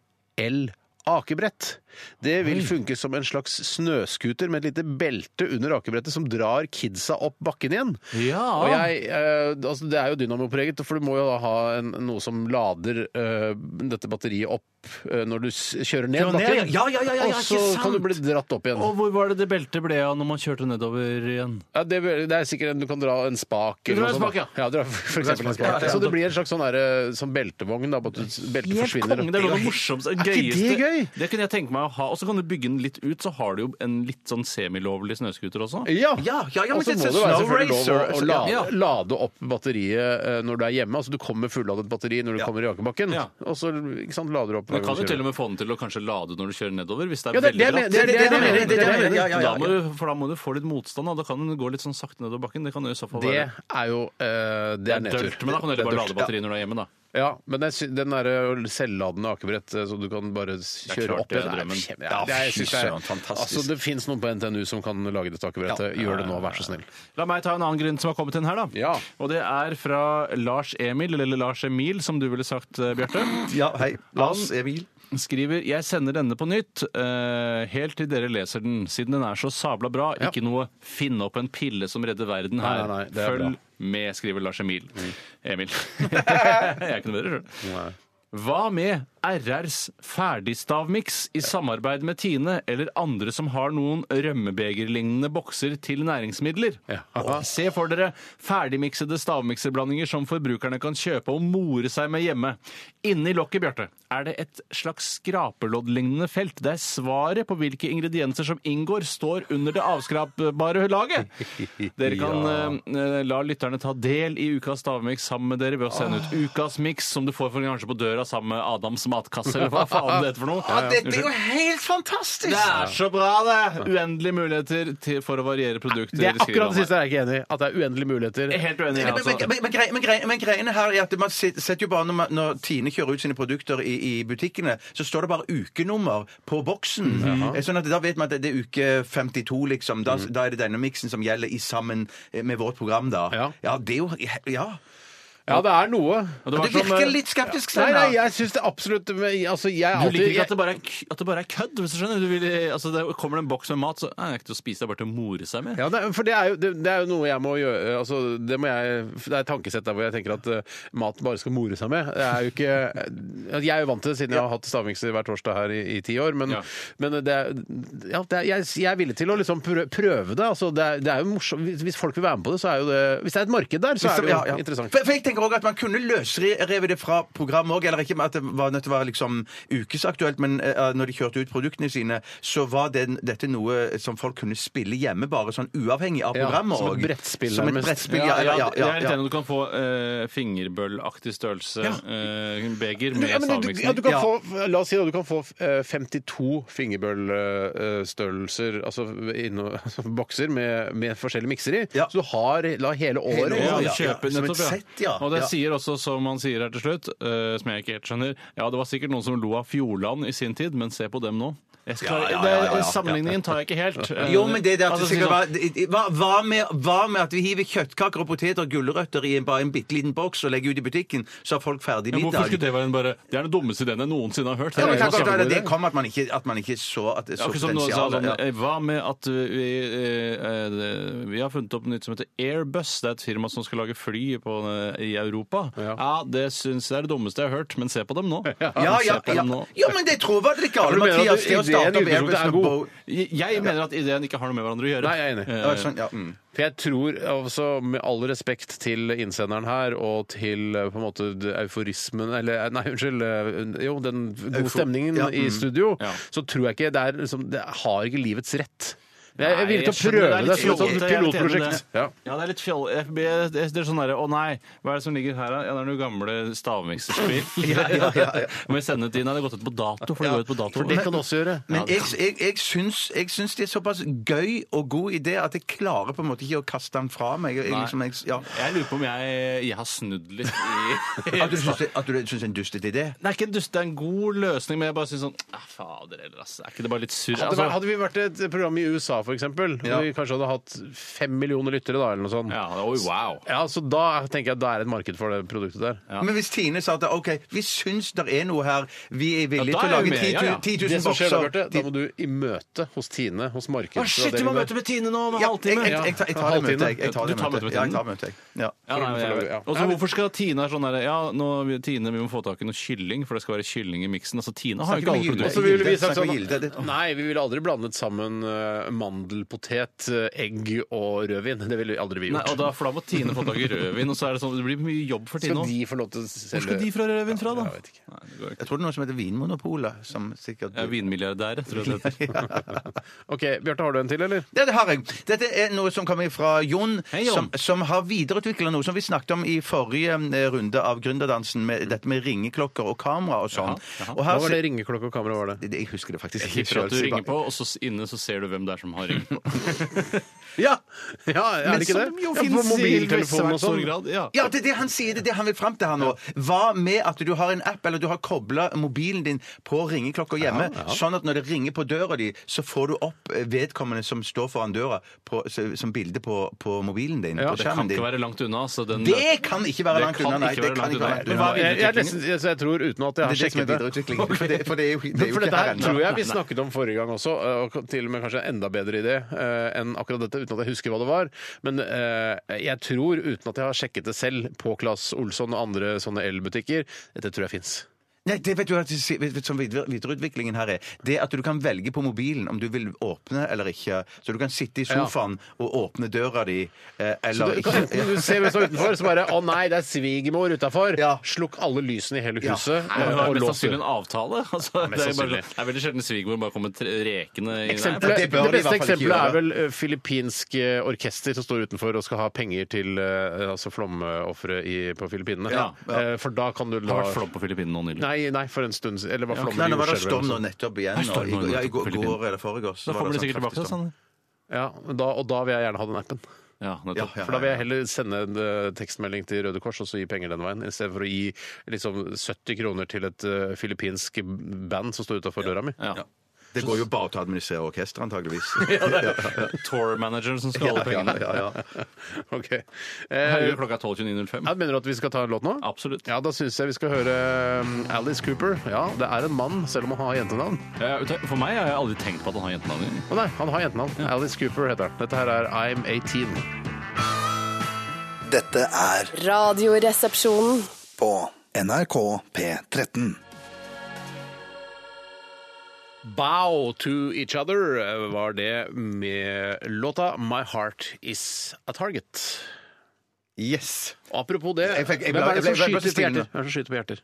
Speaker 4: el-akebrett? Det vil funke som en slags snøskuter med et lite belte under akebrettet som drar kidsa opp bakken igjen.
Speaker 5: Ja.
Speaker 4: Og jeg, eh, altså det er jo dynamopreget, for du må jo da ha en, noe som lader eh, dette batteriet opp eh, når du s kjører ned
Speaker 3: Kjører ned,
Speaker 4: bakken.
Speaker 3: ja, ja, ja, ja, ja,
Speaker 4: og så
Speaker 3: ikke sant.
Speaker 4: kan du bli dratt opp igjen.
Speaker 5: Og hvor var det det beltet ble av når man kjørte nedover igjen?
Speaker 4: Ja, det, det er sikkert en, Du kan dra en spak.
Speaker 5: drar en
Speaker 4: noe sånt,
Speaker 5: spak,
Speaker 4: da.
Speaker 5: ja.
Speaker 4: ja. du drar for, for eksempel en
Speaker 5: spak, ja,
Speaker 4: spak.
Speaker 5: ja.
Speaker 4: Så det blir en slags sånn der, eh, sånn beltevogn. Da, bare at du- beltet forsvinner.
Speaker 5: Helt konge, det er noe av det morsomste,
Speaker 4: Er ikke det
Speaker 5: gøyeste.
Speaker 4: gøy?
Speaker 5: Det kunne jeg tenke meg å ha. Og så kan du bygge den litt ut, så har du jo en litt sånn semilovlig snøscooter også.
Speaker 4: Ja.
Speaker 3: Ja, ja, ja, men
Speaker 4: og så
Speaker 3: det
Speaker 4: må
Speaker 3: er sånn
Speaker 4: det være
Speaker 3: slow
Speaker 4: selvfølgelig lov å, å
Speaker 3: racer.
Speaker 4: lade,
Speaker 5: Ja.
Speaker 4: lade opp batteriet eh, når du er hjemme. Altså Du kommer fulladet batteri når du kommer i akebakken,
Speaker 5: Ja.
Speaker 4: og så ikke sant, lader du opp.
Speaker 5: Du kan jo til og med få den til å kanskje lade når du kjører nedover, hvis det er
Speaker 4: Ja, det- det
Speaker 5: veldig
Speaker 4: er
Speaker 5: bratt.
Speaker 4: det- det er det jeg mener, det er det jeg mener.
Speaker 5: Ja, ja, ja,
Speaker 4: Da
Speaker 5: ja. Da må
Speaker 4: må
Speaker 5: du- For da må du få litt motstand, og da kan den gå litt sånn sakte nedover bakken. Det kan jo i så fall
Speaker 4: det
Speaker 5: være
Speaker 4: er jo eh, Det er nedtur.
Speaker 5: dølt, men da kan du heller
Speaker 4: Det er
Speaker 5: bare
Speaker 4: dølt.
Speaker 5: lade batteriet når du er hjemme, da.
Speaker 4: Ja, men jeg sy- den der eh, selvladende akebrett eh, så du kan bare s-
Speaker 5: Det er
Speaker 4: kjøre
Speaker 5: klart
Speaker 4: opp
Speaker 5: det er
Speaker 4: igjen Nei,
Speaker 5: drømmen.
Speaker 4: kjem- Ja, det er- jeg
Speaker 3: fy
Speaker 4: synes det er-
Speaker 3: søren, fantastisk.
Speaker 4: Altså, det fins noen på NTNU som kan lage dette akebrettet. Gjør det nå, vær så snill.
Speaker 5: La meg ta en annen grunn som har kommet inn her, da.
Speaker 4: Ja.
Speaker 5: Og det er fra Lars Emil, eller Lars Emil, som du ville sagt, eh, Bjarte.
Speaker 3: Ja, hei. Lars Emil.
Speaker 5: skriver Jeg sender denne på nytt, eh, helt til dere leser den. Siden den er så sabla bra,
Speaker 4: Ja.
Speaker 5: ikke noe 'finn opp en pille som redder verden' her.
Speaker 4: Nei, nei, nei, det er
Speaker 5: Følg
Speaker 4: bra. Mm.
Speaker 5: med, skriver Lars Emil. Emil. jeg er ikke noe bedre sjøl. Hva med RRs ferdigstavmiks i samarbeid med Tine eller andre som har noen rømmebegerlignende bokser til næringsmidler?
Speaker 4: Ja.
Speaker 5: Og Se for dere ferdigmiksede stavmikserblandinger som forbrukerne kan kjøpe og more seg med hjemme. Inni lokket, Bjarte, er det et slags skrapeloddlignende felt der svaret på hvilke ingredienser som inngår, står under det avskrapbare laget. Dere kan eh, la lytterne ta del i ukas stavmiks sammen med dere ved å sende ut ukas miks, som du får for kanskje på døra sammen med Adams matkasse, eller hva faen det heter for noe. Unnskyld.
Speaker 3: helt fantastisk!
Speaker 5: det er så bra, det! Uendelige muligheter til, for å variere produkter.
Speaker 4: Det er
Speaker 5: skriver han
Speaker 4: akkurat
Speaker 5: her.
Speaker 4: det siste jeg er ikke enig i. At det er uendelige muligheter.
Speaker 5: Jeg er Helt uenig. jeg,
Speaker 3: Men,
Speaker 5: Altså.
Speaker 3: men, men, grei- men, grei- men greiene her er at man sit- setter jo bare når, man, når Tine kjører ut sine produkter i, i butikkene, så står det bare ukenummer på boksen.
Speaker 5: Mm,
Speaker 3: Eh, Sånn at da vet man at det- det er uke 52, liksom. Da,
Speaker 5: Mm.
Speaker 3: da er det denne miksen som gjelder i sammen eh, med vårt program, da.
Speaker 4: Ja.
Speaker 3: det er jo Ja.
Speaker 4: Ja, det er noe.
Speaker 5: Det var
Speaker 3: Du
Speaker 5: som,
Speaker 3: virker
Speaker 5: eh,
Speaker 3: litt skeptisk,
Speaker 4: Nei,
Speaker 3: Steinar.
Speaker 4: nei, jeg syns det absolutt men, altså, jeg,
Speaker 5: Du liker
Speaker 4: er alltid,
Speaker 5: ikke at det bare er, k- at det bare er kødd? hvis du skjønner? Du vil, altså, det kommer det en boks med mat, så nei, det er ikke til å spise, det er bare til å more seg med.
Speaker 4: ja, det, er- for det er, jo, det, det er jo noe jeg må gjøre altså, Det, må jeg, det er et tankesett der hvor jeg tenker at eh, mat bare skal more seg med. Det er jo ikke, altså, jeg er jo vant til det siden jeg har hatt stavmikser hver torsdag her i, i ti år. Men,
Speaker 5: Ja.
Speaker 4: men det, er- ja, det er, jeg, jeg er villig til å liksom prø- prøve det. Altså, det, er, det er jo morsomt. Hvis- Hvis folk vil være med på det, så er jo det Hvis det er et marked der, så er det jo
Speaker 3: Ja, ja.
Speaker 4: interessant.
Speaker 3: For, for jeg tenker også at Man kunne løsreve det fra programmet òg, eller ikke at det var nødt til å være liksom ukesaktuelt, men eh, når de kjørte ut produktene sine, så var den, dette noe som folk kunne spille hjemme, bare sånn uavhengig av
Speaker 4: Ja,
Speaker 3: programmet
Speaker 4: som et
Speaker 3: og-
Speaker 4: brettspill,
Speaker 3: Som et
Speaker 4: nærmest.
Speaker 3: brettspill, ja. ja, ja,
Speaker 5: Jeg er litt
Speaker 3: ja,
Speaker 5: enig i at du kan få eh, fingerbøllaktig størrelse eh, beger med
Speaker 4: Ja, men du,
Speaker 5: stavmiksen.
Speaker 4: ja, du kan
Speaker 3: Ja.
Speaker 4: få, la oss si da, du kan få eh, 52 fingerbøllstørrelser, altså, inno- altså bokser med, med forskjellige mikser i.
Speaker 3: Ja.
Speaker 4: Så du har la hele året.
Speaker 3: Hele
Speaker 5: Ja,
Speaker 3: året,
Speaker 5: du
Speaker 3: ja.
Speaker 5: kjøper
Speaker 3: Som et
Speaker 5: nettopp, ja.
Speaker 3: sett, ja.
Speaker 5: Og det
Speaker 3: Ja.
Speaker 5: sier også, som man sier her til slutt, eh, som jeg ikke helt skjønner Ja, det var sikkert noen som lo av Fjordland i sin tid, men se på dem nå. Jeg skal,
Speaker 3: Ja, ja, ja, ja, ja.
Speaker 5: det- Sammenligningen tar jeg ikke helt.
Speaker 3: Jo, men det der at
Speaker 5: Altså,
Speaker 3: det sikkert var, hva, hva, med, hva med at vi hiver kjøttkaker og poteter og gulrøtter i en, bare en bitte liten boks og legger ut i butikken, så har folk ferdig
Speaker 5: Ja, Hvorfor
Speaker 3: middag?
Speaker 5: skulle det være en bare Det er den dummeste ideen jeg noensinne har hørt.
Speaker 3: Ja,
Speaker 5: Det er jo
Speaker 3: men kan godt være
Speaker 5: kjempegod
Speaker 3: det, det
Speaker 5: idé.
Speaker 3: kom at man ikke, at man ikke så at det
Speaker 5: Ja,
Speaker 3: så
Speaker 5: Akkurat som noen sa
Speaker 3: potensial.
Speaker 5: sånn,
Speaker 3: Ja.
Speaker 5: eh, Hva med at uh, vi, eh, eh, vi har funnet opp noe nytt som heter Airbus? Det er et firma som skal lage fly på, eh, i Europa. Ja, Det syns jeg er det dummeste jeg har hørt, men se på dem nå.
Speaker 3: Ja, ja,
Speaker 5: Se på
Speaker 3: ja.
Speaker 5: dem nå.
Speaker 3: Jo, men det tror jeg var litt
Speaker 4: Ja,
Speaker 3: gale,
Speaker 4: men du mener
Speaker 3: Mathias.
Speaker 4: at
Speaker 3: Det
Speaker 4: ideen i
Speaker 3: å
Speaker 4: utgangspunktet
Speaker 3: starte opp Airbus
Speaker 4: er
Speaker 3: med
Speaker 4: god.
Speaker 3: Bo-
Speaker 5: Jeg jeg mener at ideen ikke har noe med hverandre å gjøre.
Speaker 4: Nei, jeg er enig.
Speaker 5: Eh,
Speaker 3: Ja, sånn, ja. Mm.
Speaker 4: For jeg tror også, med all respekt til innsenderen her, og til eh, på en måte d- euforismen Eller nei, unnskyld. eh, Jo, den gode
Speaker 3: Eufor-
Speaker 4: stemningen
Speaker 3: ja,
Speaker 4: i
Speaker 3: mm.
Speaker 4: studio,
Speaker 5: Ja.
Speaker 4: så tror jeg ikke det er liksom Det har ikke livets rett. Jeg jeg er
Speaker 5: Nei,
Speaker 4: villig til å
Speaker 5: jeg skjønner,
Speaker 4: prøve
Speaker 5: er
Speaker 4: det,
Speaker 5: litt
Speaker 4: som et sånt
Speaker 5: fjollete, jeg er litt enig med
Speaker 4: pilotprosjekt.
Speaker 5: det.
Speaker 4: Ja.
Speaker 5: Ja, det er litt fjoll... jeg blir- Det er sånn derre Å nei, hva er det som ligger her, da? Ja, det er noen gamle stavmikserspill. ja, ja, ja, ja. Må vi sende det inn? Nei, det har gått ut på dato. For det går ut på dato.
Speaker 4: For det kan du også gjøre.
Speaker 3: Men jeg, jeg, jeg, syns, jeg syns det er såpass gøy og god idé at jeg klarer på en måte ikke å kaste den fra meg. Jeg,
Speaker 5: Nei.
Speaker 3: liksom, jeg, ja.
Speaker 5: Jeg lurer på om jeg, jeg har snudd litt i
Speaker 3: At du syns det at du syns det er en dustete idé?
Speaker 5: Det er ikke en dust, det er en god løsning, men jeg bare syns sånn ah, Fader heller, ass. Er ikke det bare litt surr?
Speaker 4: Hadde,
Speaker 5: Altså,
Speaker 4: vært- hadde vi vært et program i USA, for eksempel,
Speaker 3: Ja.
Speaker 4: hvor vi kanskje hadde hatt fem millioner lyttere, da, eller noe sånt.
Speaker 5: ja, oi, wow.
Speaker 4: Ja, så da tenker jeg at det er et marked for det produktet der.
Speaker 3: Men hvis Tine sa at OK, vi syns det er noe her, vi er villige
Speaker 5: Ja, da
Speaker 3: til å
Speaker 5: er vi
Speaker 3: lage
Speaker 5: med,
Speaker 3: 10
Speaker 5: ja, ja.
Speaker 3: 10
Speaker 4: Det
Speaker 3: 000
Speaker 4: som skjer da,
Speaker 3: bokser
Speaker 4: Bjarte, da må du i møte hos Tine, hos
Speaker 5: Å, shit, du må
Speaker 4: markedsavdelingen
Speaker 5: møte
Speaker 4: der.
Speaker 5: med Tine nå om en
Speaker 3: ja, jeg,
Speaker 5: halvtime!
Speaker 3: jeg, jeg, tar- jeg tar det
Speaker 4: Halvtime.
Speaker 3: møtet, jeg. jeg tar
Speaker 5: Du
Speaker 3: det
Speaker 5: tar møtet
Speaker 3: møtet.
Speaker 5: med
Speaker 3: Ja,
Speaker 5: Tine.
Speaker 3: jeg tar møtet, jeg. Ja.
Speaker 5: Ja, nei,
Speaker 4: For å-
Speaker 5: jeg-
Speaker 4: ja.
Speaker 5: Og så hvorfor skal Tine være sånn derre Ja, nå, vi- Tine, vi må få tak i noe kylling, for det skal være kylling i miksen. Altså, Tine har jo ikke alle
Speaker 3: Snakker med
Speaker 5: produkter.
Speaker 4: Så ville vi
Speaker 3: Gilde,
Speaker 4: sagt
Speaker 3: snakker
Speaker 4: sånn
Speaker 3: med Gilde.
Speaker 4: Nei, vi ville aldri blandet sammen eh, mandelpotet, eh, egg og rødvin. Det ville aldri vi
Speaker 5: Nei, og
Speaker 4: gjort.
Speaker 5: da, for da må Tine få tak i rødvin, og så er det sånn Det blir mye jobb for Tine
Speaker 4: Skal
Speaker 5: òg.
Speaker 4: de få lov til å selge
Speaker 5: Hvor skal de få rødvin fra, da?
Speaker 4: Jeg vet ikke.
Speaker 5: Nei, det går ikke.
Speaker 3: Jeg tror det er noe som heter Vinmonopolet, som sikkert
Speaker 5: Jeg er vinmilliardær, jeg tror jeg det heter.
Speaker 4: OK, Bjarte, har du en til, eller?
Speaker 3: Ja, det har jeg. Dette er noe som kommer fra Jon,
Speaker 5: Hei, Jon.
Speaker 3: Som, som har videreutvikla noe som vi snakket om i forrige eh, runde av Gründerdansen, med dette med ringeklokker og kamera og sånn. Og her
Speaker 4: Hva var det
Speaker 3: ser-
Speaker 4: ringeklokke og kamera var det?
Speaker 3: Det- Jeg husker det faktisk
Speaker 5: Jeg tipper at du
Speaker 3: selv, så
Speaker 5: ringer
Speaker 3: bare-
Speaker 5: på, og så s- inne så ser du hvem det er som har ringt på.
Speaker 4: Ja! ja er det ikke det?
Speaker 5: som jo
Speaker 4: ja, på
Speaker 5: finnes i
Speaker 4: mobiltelefonen og
Speaker 5: svært stor
Speaker 4: sånn.
Speaker 5: grad, Ja.
Speaker 3: Ja, det er det han sier, det er det han vil fram til her nå. Hva med at du har en app, eller du har kobla mobilen din på ringeklokka hjemme, sånn at når det ringer på døra di, så får du opp eh, vedkommende som står foran døra, på, så- som bilde på, på mobilen din.
Speaker 4: Ja,
Speaker 3: på
Speaker 5: Det kan
Speaker 3: skjermen din.
Speaker 5: ikke være langt unna. Så den,
Speaker 3: Det kan ikke være
Speaker 5: Det
Speaker 3: langt
Speaker 5: kan
Speaker 3: unna, nei.
Speaker 5: ikke
Speaker 3: Det
Speaker 5: være
Speaker 3: kan
Speaker 5: langt
Speaker 3: ikke
Speaker 5: unna.
Speaker 3: være langt
Speaker 5: Men
Speaker 3: unna.
Speaker 5: hva er
Speaker 4: Jeg, jeg, nesten- jeg, så jeg tror, uten at jeg
Speaker 3: Det
Speaker 4: har
Speaker 3: er det som er
Speaker 4: sjekket det
Speaker 3: videreutviklingen. For det, for det er jo, det er jo
Speaker 4: For
Speaker 3: ikke
Speaker 4: dette
Speaker 3: her
Speaker 4: her
Speaker 3: ennå.
Speaker 4: tror jeg vi snakket om forrige gang også, og til og med kanskje enda bedre idé eh, enn akkurat dette, uten at jeg husker hva det var. Men eh, jeg tror, uten at jeg har sjekket det selv, på Claes Olsson og andre sånne elbutikker, dette tror jeg fins.
Speaker 3: Nei, det vet du hva jeg sier- vet- vet- som videre- videreutviklingen her er. Det at du kan velge på mobilen om du vil åpne eller ikke. Så du kan sitte i sofaen og åpne døra di eh, eller
Speaker 4: Du kan
Speaker 3: ikke.
Speaker 4: enten du ser hvem som er utenfor, så bare 'Å nei, det er svigermor utafor'.
Speaker 3: Ja.
Speaker 4: Slukk alle lysene i hele
Speaker 3: Ja.
Speaker 4: huset
Speaker 5: Nei, men
Speaker 4: og,
Speaker 5: det er
Speaker 4: og
Speaker 5: mest
Speaker 4: lås
Speaker 5: sannsynlig
Speaker 4: døren.
Speaker 5: en avtale. Altså,
Speaker 4: mest
Speaker 5: det, er bare,
Speaker 4: sannsynlig.
Speaker 5: det er veldig sjelden svigermor bare kommer tre- rekende inn.
Speaker 4: Eksempelet,
Speaker 3: det
Speaker 4: det,
Speaker 3: bør de i hvert
Speaker 4: beste
Speaker 3: fall ikke
Speaker 4: eksempelet
Speaker 3: gjøre.
Speaker 4: er vel eh, filippinsk eh, orkester som står utenfor og skal ha penger til eh, altså flomofre i- på Filippinene.
Speaker 5: Ja,
Speaker 3: ja.
Speaker 4: Eh, For da kan du
Speaker 5: Det
Speaker 4: la
Speaker 5: har vært flom på Filippinene nå nylig.
Speaker 4: Nei, nei, for en stund siden. Eller var flommen
Speaker 3: Nei, nå
Speaker 4: i
Speaker 3: var det
Speaker 4: jordskjelvet
Speaker 3: storm nå
Speaker 4: eller noe sånt.
Speaker 3: nettopp igjen.
Speaker 5: storm
Speaker 3: nå. I,
Speaker 5: nå
Speaker 3: ja, i
Speaker 5: nettopp på
Speaker 3: går,
Speaker 5: Filippinene.
Speaker 3: går eller foregårs.
Speaker 5: Da
Speaker 3: var
Speaker 5: kommer de
Speaker 3: det sånn
Speaker 5: sikkert tilbake til
Speaker 3: kraftig
Speaker 5: oss.
Speaker 3: storm.
Speaker 5: sånn.
Speaker 4: Ja, og da, og da vil jeg gjerne ha den appen.
Speaker 5: Ja, nettopp.
Speaker 3: Ja, ja.
Speaker 4: For da vil jeg heller sende en eh, tekstmelding til Røde Kors og så gi penger den veien, istedenfor å gi liksom 70 kroner til et eh, filippinsk band som står utafor døra mi.
Speaker 5: Ja.
Speaker 3: Det går jo bare til å administrere orkesteret, antageligvis.
Speaker 5: Tour-manageren som skal
Speaker 3: Ja,
Speaker 5: holde
Speaker 3: ja,
Speaker 5: pengene.
Speaker 3: ja, ja.
Speaker 4: OK. Eh,
Speaker 5: Herregud, klokka er 12.29.05.
Speaker 4: ja, mener du at vi skal ta en låt nå?
Speaker 5: Absolutt.
Speaker 4: Ja, da syns jeg vi skal høre eh, Alice Cooper. Ja, det er en mann, selv om han har jentenavn.
Speaker 5: Ja, Eh, vet du, For meg har jeg aldri tenkt på at han har jentenavn.
Speaker 4: Å nei, han har jentenavn. Alice Cooper heter han. Dette her er I'm 18.
Speaker 6: Dette er
Speaker 7: Radioresepsjonen.
Speaker 6: på NRK P13.
Speaker 4: Bow to each other eh, var det med låta My heart is a target.
Speaker 3: Yes.
Speaker 4: Og apropos det,
Speaker 3: Jeg fikk- jeg
Speaker 4: hvem
Speaker 3: ble-
Speaker 4: er det som
Speaker 3: jeg ble- jeg ble
Speaker 4: skyter på
Speaker 3: stille nå.
Speaker 4: hjerter? Hvem er det som skyter på hjerter?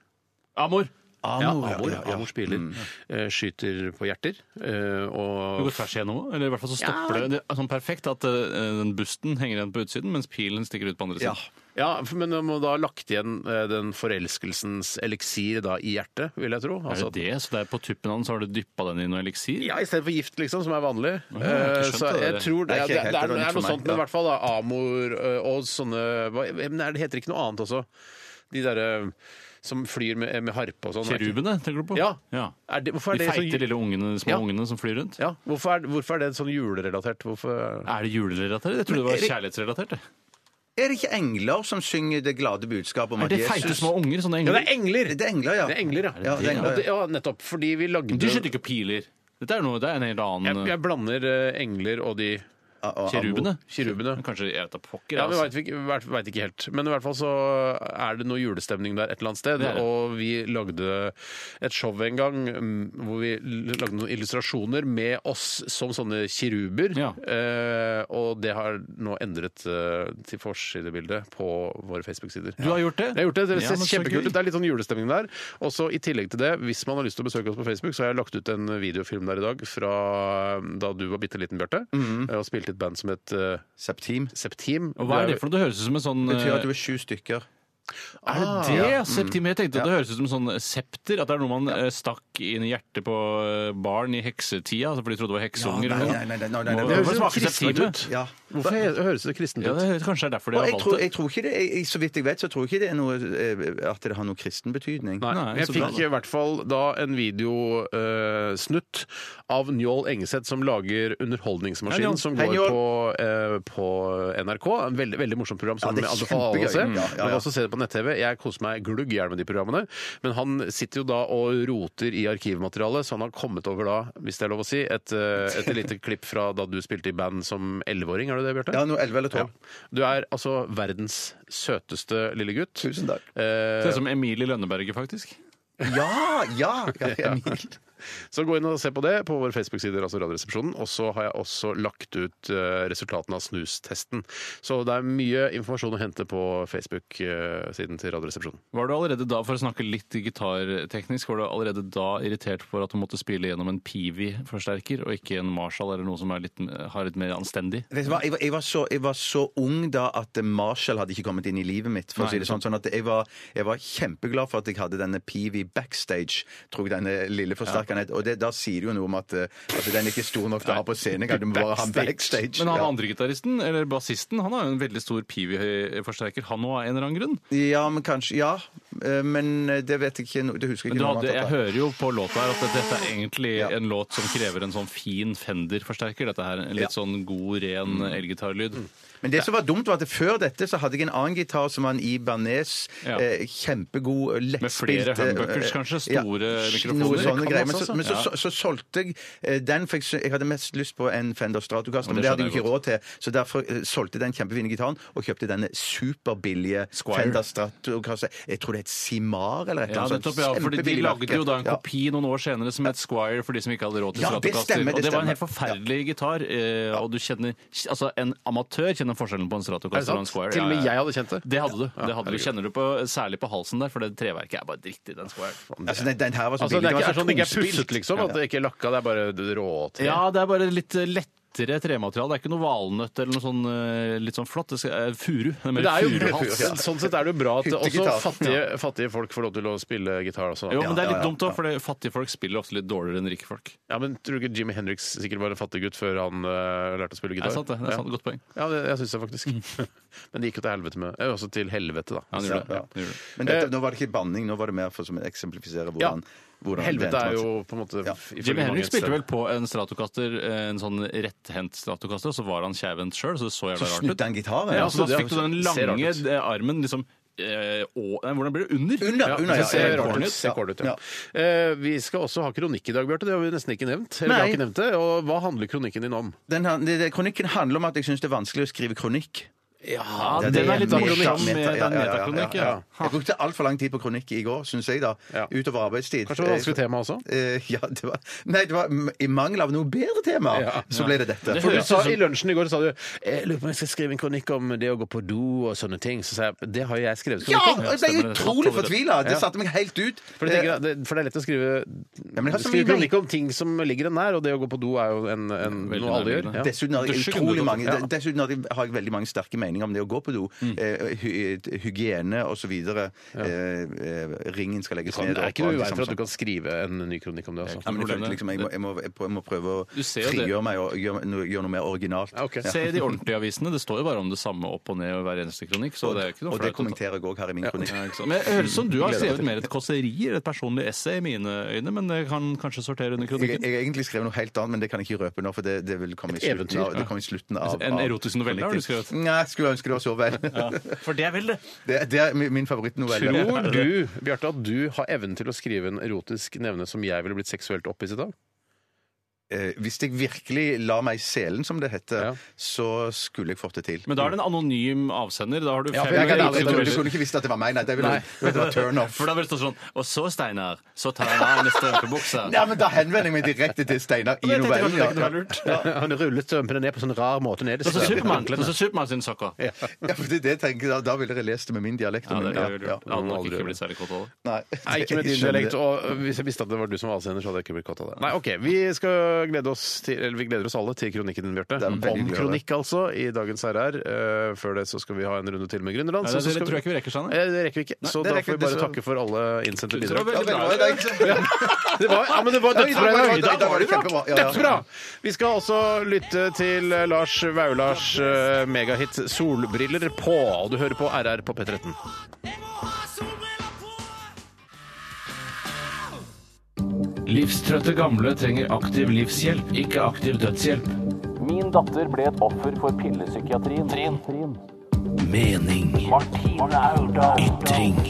Speaker 5: Amor!
Speaker 3: Amor,
Speaker 4: ja, Amor, Amor spiller.
Speaker 3: Mm.
Speaker 4: eh, Skyter på hjerter. eh,
Speaker 5: Du
Speaker 4: Og
Speaker 5: går tvers igjennom, eller i hvert fall så stopper
Speaker 4: Ja.
Speaker 5: det. det er sånn perfekt at eh, den busten henger igjen på utsiden, mens pilen stikker ut på andre
Speaker 3: Ja.
Speaker 5: siden.
Speaker 4: Ja, for- men de må da ha lagt igjen eh, den forelskelsens eliksir da i hjertet, vil jeg tro.
Speaker 5: Er
Speaker 4: Altså,
Speaker 5: det det? Så det er på tuppen av den, så har du dyppa den i noe eliksir?
Speaker 4: ja, i stedet for gift, liksom, som er vanlig.
Speaker 5: jeg har
Speaker 4: Eh,
Speaker 5: ikke skjønt
Speaker 4: Så
Speaker 5: det
Speaker 4: jeg
Speaker 5: der.
Speaker 4: tror det,
Speaker 3: Det er
Speaker 4: ja,
Speaker 3: ikke
Speaker 4: det,
Speaker 3: helt
Speaker 4: det, er, det
Speaker 3: ironisk
Speaker 4: er noe
Speaker 3: for meg,
Speaker 4: sånt, men i
Speaker 3: ja.
Speaker 4: hvert fall da, amor eh, og sånne hva- Men er det heter ikke noe annet også? De derre som flyr med, med harpe og sånn.
Speaker 5: Kerubene, tenker du på?
Speaker 4: Ja. Er det, hvorfor er
Speaker 5: De
Speaker 4: det
Speaker 5: feite
Speaker 4: sånn,
Speaker 5: lille ungene, små
Speaker 4: Ja.
Speaker 5: ungene som flyr rundt.
Speaker 4: ja, hvorfor, er, hvorfor er det sånn julerelatert? Hvorfor
Speaker 5: Er det julerelatert? Jeg trodde det
Speaker 3: Men er
Speaker 5: var
Speaker 3: det-
Speaker 5: kjærlighetsrelatert. jeg.
Speaker 3: Er det ikke engler som synger det glade budskapet om
Speaker 5: Er
Speaker 3: at
Speaker 5: det
Speaker 3: Jesus
Speaker 5: feite små unger? Sånne
Speaker 4: Ja,
Speaker 5: engler?
Speaker 4: det er engler!
Speaker 3: Det er engler, ja.
Speaker 4: Det er engler, ja.
Speaker 3: Ja, det er engler,
Speaker 4: Og det- ja nettopp. Fordi vi lagde
Speaker 5: De skyter ikke piler. Dette er, noe, det er en helt
Speaker 4: jeg,
Speaker 5: annen
Speaker 4: jeg blander eh, engler og de
Speaker 3: Ja, ja, ja.
Speaker 5: Kerubene?
Speaker 4: Kerubene.
Speaker 5: Men Kanskje jeg vet da pokker.
Speaker 4: Ja, vi
Speaker 5: altså.
Speaker 4: veit ikke, vet- vet ikke helt. Men i hvert fall så er det noe julestemning der et eller annet sted.
Speaker 5: Det er det.
Speaker 4: Og vi lagde et show en gang mm, hvor vi l- lagde noen illustrasjoner med oss som sånne kiruber.
Speaker 5: Ja.
Speaker 4: Eh, og det har nå endret eh, til forsidebildet på våre Facebook-sider.
Speaker 5: Du har gjort det?
Speaker 4: Jeg har gjort det. Det
Speaker 5: Ja,
Speaker 4: ser
Speaker 5: men så
Speaker 4: kjempekult
Speaker 5: gøy.
Speaker 4: ut. Det er litt sånn julestemning der. Og så i tillegg til det, hvis man har lyst til å besøke oss på Facebook, så har jeg lagt ut en videofilm der i dag fra eh, da du var bitte liten, Bjarte, eh, og spilte i et band som het eh,
Speaker 3: Septim.
Speaker 5: Mhm.
Speaker 4: Septim.
Speaker 5: Og hva er det for noe? Det høres ut som en sånn
Speaker 3: Det betyr at du
Speaker 5: eh,
Speaker 3: Ah, er sju stykker.
Speaker 5: Er det det? Septim? Jeg tenkte at det høres ut som en sånn septer. At det er noe man eh, stakk inn i hjertet på eh, barn i heksetida, altså for de trodde det var hekseunger.
Speaker 3: nei,
Speaker 5: eller noe.
Speaker 3: nei, nei, nei, nei, nei,
Speaker 5: Må-
Speaker 3: det høres
Speaker 5: må
Speaker 4: jo
Speaker 5: smake
Speaker 4: kristent
Speaker 5: septim,
Speaker 4: ut.
Speaker 5: vet du.
Speaker 3: Ja.
Speaker 4: Hvorfor he- høres det kristent ut?
Speaker 5: Ja, det høres, kanskje det er derfor de
Speaker 3: Og
Speaker 5: har
Speaker 3: jeg
Speaker 5: valgt
Speaker 3: tror,
Speaker 5: det.
Speaker 3: jeg tror ikke det, jeg, så vidt jeg vet, så tror jeg ikke det er noe, eh, at det har noe kristen betydning.
Speaker 4: Nei,
Speaker 5: Nei,
Speaker 4: jeg
Speaker 5: så bra,
Speaker 4: fikk
Speaker 5: da.
Speaker 4: i hvert fall da en videosnutt av Njål Engeseth som lager
Speaker 5: Hei,
Speaker 4: Underholdningsmaskinen,
Speaker 5: Njål.
Speaker 4: som
Speaker 3: Hei,
Speaker 4: går
Speaker 3: Njål.
Speaker 4: på, eh, på NRK. En veldig, veldig morsomt program som
Speaker 3: Ja, det
Speaker 4: jeg
Speaker 3: er
Speaker 4: anbefaler alle å se.
Speaker 3: kjempegøy. Mm, ja, ja,
Speaker 4: Man
Speaker 3: ja.
Speaker 4: kan også se det på nett-TV. Jeg koser meg glugg i hjel med de programmene. Men han sitter jo da og roter i arkivmaterialet, så han har kommet over da, hvis det er lov å si, et, eh, et lite klipp fra da du spilte i band som 11-åring, er det det, Bjarte?
Speaker 3: Ja, noe 11 eller 12.
Speaker 4: Du er altså verdens søteste lille gutt.
Speaker 3: Tusen takk.
Speaker 5: Det
Speaker 4: Eh,
Speaker 5: er som Emilie Lønneberget, faktisk.
Speaker 3: Ja, ja! ja, ja.
Speaker 4: Så gå inn og se på det på våre Facebook-sider, altså Radioresepsjonen. Og så har jeg også lagt ut eh, resultatene av snustesten. Så det er mye informasjon å hente på Facebook-siden til Radioresepsjonen.
Speaker 5: Var du allerede da, for å snakke litt gitarteknisk, var du allerede da irritert for at du måtte spille gjennom en Peavy-forsterker, og ikke en Marshall eller noe som er litt, har litt mer anstendig?
Speaker 3: Vet du hva, Jeg var, jeg, var så, jeg var så ung da at Marshall hadde ikke kommet inn i livet mitt. for å si det sånn, sånn at jeg var, jeg var kjempeglad for at jeg hadde denne Peavy backstage, tror jeg denne lille forsterkeren het. Og det, da sier det jo noe om at, eh, at den ikke er stor nok til å ha på scenen. Kan du bare ha en backstage?
Speaker 5: Men han
Speaker 3: ja.
Speaker 5: andre gitaristen, eller bassisten, han har jo en veldig stor Peavy-forsterker, han òg av en eller annen grunn.
Speaker 3: Ja, men kanskje Ja. Eh, Men det vet jeg ikke no- Det husker jeg
Speaker 5: Men
Speaker 3: ikke.
Speaker 5: du
Speaker 3: noe om
Speaker 5: hadde,
Speaker 3: at-
Speaker 5: jeg hører jo på låta her at dette er egentlig
Speaker 3: Ja.
Speaker 5: en låt som krever en sånn fin Fender-forsterker. Dette her, En litt sånn god,
Speaker 3: Mm.
Speaker 5: ren elgitarlyd.
Speaker 3: Men det som var dumt, var at før dette så hadde jeg en annen gitar som var en Ibanez.
Speaker 5: Ja.
Speaker 3: Eh, kjempegod,
Speaker 5: Med
Speaker 3: lettspilt
Speaker 5: flere
Speaker 3: eh,
Speaker 5: humbuckers, kanskje? Store mikrofoner?
Speaker 3: Noe
Speaker 5: Det
Speaker 3: sånne
Speaker 5: kan
Speaker 3: greier. Men,
Speaker 5: også,
Speaker 3: så, men så,
Speaker 5: altså.
Speaker 3: så, så solgte jeg eh, den, for jeg, sy- jeg hadde mest lyst på en Fender Stratocaster,
Speaker 5: Og det
Speaker 3: men det hadde jeg jo
Speaker 5: skjønner
Speaker 3: ikke råd til, så derfor eh, solgte jeg den kjempefine gitaren og kjøpte denne superbillige Fender Stratocaster. Jeg tror det het Simar eller et
Speaker 5: Ja,
Speaker 3: eller annet
Speaker 5: nettopp, ja, fordi De
Speaker 3: Kjempebillig
Speaker 5: lagde jo da en
Speaker 3: merke. Ja.
Speaker 5: kopi noen år senere som het Squire for de som ikke hadde råd til
Speaker 3: Ja, det
Speaker 5: Stratocaster.
Speaker 3: stemmer, det
Speaker 5: og det var en helt
Speaker 3: stemmer.
Speaker 5: forferdelig gitar. eh, Og du kjenner, altså En amatør kjenner forskjellen på en
Speaker 4: Er det
Speaker 5: Stratocaster og en
Speaker 4: sant?
Speaker 5: Squire.
Speaker 4: Til og med
Speaker 5: Ja, ja.
Speaker 4: jeg hadde kjent det.
Speaker 5: Det hadde du. det hadde du.
Speaker 4: herregud.
Speaker 5: Kjenner du på, særlig på halsen der, for det treverket er bare dritt i den Squire.
Speaker 3: Altså, den, den her var så
Speaker 4: Altså,
Speaker 3: billig.
Speaker 4: det er
Speaker 3: Den
Speaker 4: ikke
Speaker 3: var
Speaker 4: er sånn det ikke er
Speaker 3: tungspilt.
Speaker 4: pusset, liksom. At det ikke er lakka, det er bare råte.
Speaker 5: Ja, det er bare litt eh, lettere tremateriale. Det er ikke noe valnøtt eller noe sånn eh, litt sånn flott. Det skal, eh, furu. Det er
Speaker 4: Men
Speaker 5: mer
Speaker 4: det er jo,
Speaker 5: furuhals.
Speaker 4: Men sånn sett er det jo bra at også
Speaker 3: Hyttegitar.
Speaker 4: fattige, fattige folk får lov til å spille gitar. Også.
Speaker 5: Jo, men det er
Speaker 3: ja,
Speaker 5: litt
Speaker 3: ja,
Speaker 5: dumt òg, for det- fattige folk spiller ofte litt dårligere enn rike folk.
Speaker 4: Ja, men Tror du ikke Jimmy Henriks sikkert var en fattig gutt før han eh, lærte å spille
Speaker 5: Det
Speaker 4: gitar?
Speaker 5: er sant, det. det er
Speaker 4: Ja.
Speaker 5: sant, Godt poeng.
Speaker 4: Ja, det, jeg syns det faktisk. Men det gikk jo til helvete med eh, Også til helvete, da.
Speaker 5: Ja, han
Speaker 3: Ja,
Speaker 5: gjorde det.
Speaker 3: ja.
Speaker 5: Ja, han gjorde det.
Speaker 3: Men dette, nå var det ikke banning, nå var det mer for som eksemplifisere hvordan, hvordan
Speaker 4: Helvete
Speaker 3: det
Speaker 4: er
Speaker 3: endte.
Speaker 4: jo på en måte
Speaker 3: Ja.
Speaker 4: ifølge
Speaker 5: Jimmy
Speaker 4: mange
Speaker 5: Henrik
Speaker 4: et
Speaker 5: spilte
Speaker 4: sted.
Speaker 5: vel på en Stratocaster, en sånn retthendt Stratocaster, og så var han kjevhendt sjøl, så det så jævla
Speaker 3: Så
Speaker 5: rart ut.
Speaker 3: snudde han gitaren.
Speaker 5: Ja, så da
Speaker 4: det-
Speaker 5: fikk du den
Speaker 4: ser
Speaker 5: lange
Speaker 4: rart ut.
Speaker 5: eh, armen liksom eh, å, nei, Hvordan blir det? Under? altså,
Speaker 3: Under,
Speaker 4: Ja,
Speaker 3: under,
Speaker 4: det
Speaker 3: ja.
Speaker 4: ser
Speaker 3: ja,
Speaker 4: rart
Speaker 3: ja.
Speaker 4: ut. Ser kål ut ja. Eh, vi skal også ha kronikk i dag, Bjarte. Det har vi nesten ikke nevnt. Eller, vi
Speaker 3: Nei.
Speaker 4: har ikke nevnt det. Og hva handler kronikken din om?
Speaker 3: Den, han- det- det- kronikken handler om at jeg syns det er vanskelig å skrive kronikk.
Speaker 5: Ja,
Speaker 3: Det-
Speaker 5: den
Speaker 3: det
Speaker 5: er litt
Speaker 3: meta-
Speaker 5: morsom.
Speaker 3: meta-
Speaker 5: Det er
Speaker 3: ja,
Speaker 5: en
Speaker 3: ja, ja, ja,
Speaker 5: metakronikk,
Speaker 3: ja.
Speaker 5: ja.
Speaker 3: Jeg brukte altfor lang tid på kronikk i går, syns jeg, da.
Speaker 4: Ja.
Speaker 3: Utover arbeidstid.
Speaker 4: Kanskje det var vanskelig
Speaker 3: Eh,
Speaker 4: tema også?
Speaker 3: eh, ja, det var, nei, det var m- i mangel av noe bedre tema, så ble det dette.
Speaker 4: For du sa I lunsjen i går sa du jeg lurer på om jeg skal skrive en kronikk om det å gå på do og sånne ting. Så sa jeg det har jeg skrevet
Speaker 3: ja,
Speaker 4: kronikk om.
Speaker 3: jeg ble utrolig fortvila! Det satte meg helt ut.
Speaker 4: For, jeg tenker, det, for det er lett å skrive,
Speaker 3: Eh, men det har så
Speaker 4: skrive
Speaker 3: mye mening.
Speaker 4: kronikk om ting som ligger en nær, og det å gå på do er jo en, en,
Speaker 5: Veldig
Speaker 4: noe alle gjør.
Speaker 5: nærliggende.
Speaker 4: Ja.
Speaker 3: Dessuten har jeg
Speaker 5: Dusje kunne
Speaker 3: utrolig
Speaker 5: du godt
Speaker 3: mange
Speaker 5: ha.
Speaker 3: Dessuten har jeg har jeg veldig mange sterke mening om det å gå på do.
Speaker 5: Mm.
Speaker 3: Eh, hy, hygiene osv. Eh, eh, ringen skal legges
Speaker 4: Kan,
Speaker 3: ned.
Speaker 4: det er
Speaker 3: og
Speaker 4: ikke noe i
Speaker 3: alt det
Speaker 4: veien for
Speaker 3: samme
Speaker 4: at du kan skrive en ny kronikk om det.
Speaker 3: ja,
Speaker 4: Altså.
Speaker 3: men jeg følte liksom, jeg, må, jeg, må, jeg, må, jeg må prøve å
Speaker 5: Du ser jo det.
Speaker 3: frigjøre meg og gjøre noe, gjøre noe mer originalt.
Speaker 4: Ja, ok.
Speaker 5: Se i de ordentlige avisene. Det står jo bare om det samme opp og ned i hver eneste kronikk. så det er jo ikke noe
Speaker 3: og det
Speaker 5: flaut å ta-
Speaker 3: kommenterer jeg òg her i min kronikk.
Speaker 5: Ja, ikke sant. Men jeg høres som du har skrevet mer et kåseri eller et personlig essay i mine øyne, men det kan kanskje sortere under
Speaker 3: Jeg, jeg
Speaker 5: kronikken.
Speaker 3: har egentlig skrevet noe helt annet, men det kan jeg ikke røpe nå. For det, det vil komme i slutten
Speaker 4: eventyr,
Speaker 3: av, det kommer i slutten av
Speaker 5: En
Speaker 3: av-
Speaker 5: erotisk novelle har du skrevet.
Speaker 3: Nei, jeg skulle ønske det var så vel.
Speaker 5: For det er vel det!
Speaker 3: Det, det er min min favorittnovelle.
Speaker 4: Tror du, Bjarte, at du har evnen til å skrive en erotisk nevne som jeg ville blitt seksuelt opphisset av?
Speaker 3: Eh, hvis jeg virkelig la meg i selen, som det heter,
Speaker 4: Ja.
Speaker 3: så skulle jeg fått det til.
Speaker 5: Men da er det en anonym avsender. Da har du
Speaker 4: Ja,
Speaker 5: fem
Speaker 4: for jeg kan-
Speaker 3: Du
Speaker 5: erotiske
Speaker 4: jeg kan-
Speaker 5: noveller.
Speaker 3: kunne ikke visst at det var meg, nei. Det ville
Speaker 4: Nei.
Speaker 3: det ville vært turn off.
Speaker 5: For da vil det stå sånn Og så, Steinar, så tar jeg av neste strømpebukse.
Speaker 3: Ja, men da henvender jeg meg direkte til Steinar i novellen. Ja.
Speaker 4: Han rullet strømpene ned på sånn rar måte nede.
Speaker 5: Og så Supermann og så Supermann sine sokker. Ja,
Speaker 3: Ja, for det, er det jeg tenker, da, da ville dere lest det med min dialekt. og
Speaker 5: det,
Speaker 3: min-
Speaker 5: det, det,
Speaker 3: ja, ja.
Speaker 5: hadde nok ikke blitt særlig kåt av det.
Speaker 3: Nei,
Speaker 4: Nei, ikke med
Speaker 3: jeg
Speaker 4: din
Speaker 3: skjønner
Speaker 4: dialekt.
Speaker 3: det.
Speaker 4: Og øh, hvis jeg visste at det var du som var avsender, så hadde jeg ikke blitt kåt av det. Nei, ok, Vi skal glede oss til, eller vi gleder oss alle til kronikken din, Bjarte.
Speaker 3: Det er veldig
Speaker 4: Om
Speaker 3: hyggelig å
Speaker 4: kronikk, altså, i dagens RR. Eh, før det så skal vi ha en runde til med Gründerland.
Speaker 5: Nei,
Speaker 4: så-
Speaker 5: det-
Speaker 4: så
Speaker 5: det
Speaker 4: skal
Speaker 5: tror jeg ikke vi rekker, Steinar.
Speaker 4: Eh, Det rekker vi ikke. så
Speaker 3: det
Speaker 4: da
Speaker 3: rekker
Speaker 4: får vi
Speaker 3: vi
Speaker 4: bare
Speaker 3: ikke, så-
Speaker 4: takke for alle innsendte bidrag.
Speaker 3: Ja, veldig bra. Ja,
Speaker 4: Det var, ja, men det var dødsbra i dag.
Speaker 3: I dag var det kjempebra. Ja, ja.
Speaker 4: Dødsbra! Vi skal også lytte til eh, Lars Vaulars eh, megahit 'Solbriller på'. Og du hører på RR på P13.
Speaker 10: Livstrøtte gamle trenger aktiv livshjelp, ikke aktiv dødshjelp.
Speaker 8: Min datter ble et offer for pillepsykiatrien. Trin. Trin.
Speaker 10: Mening. Ytring.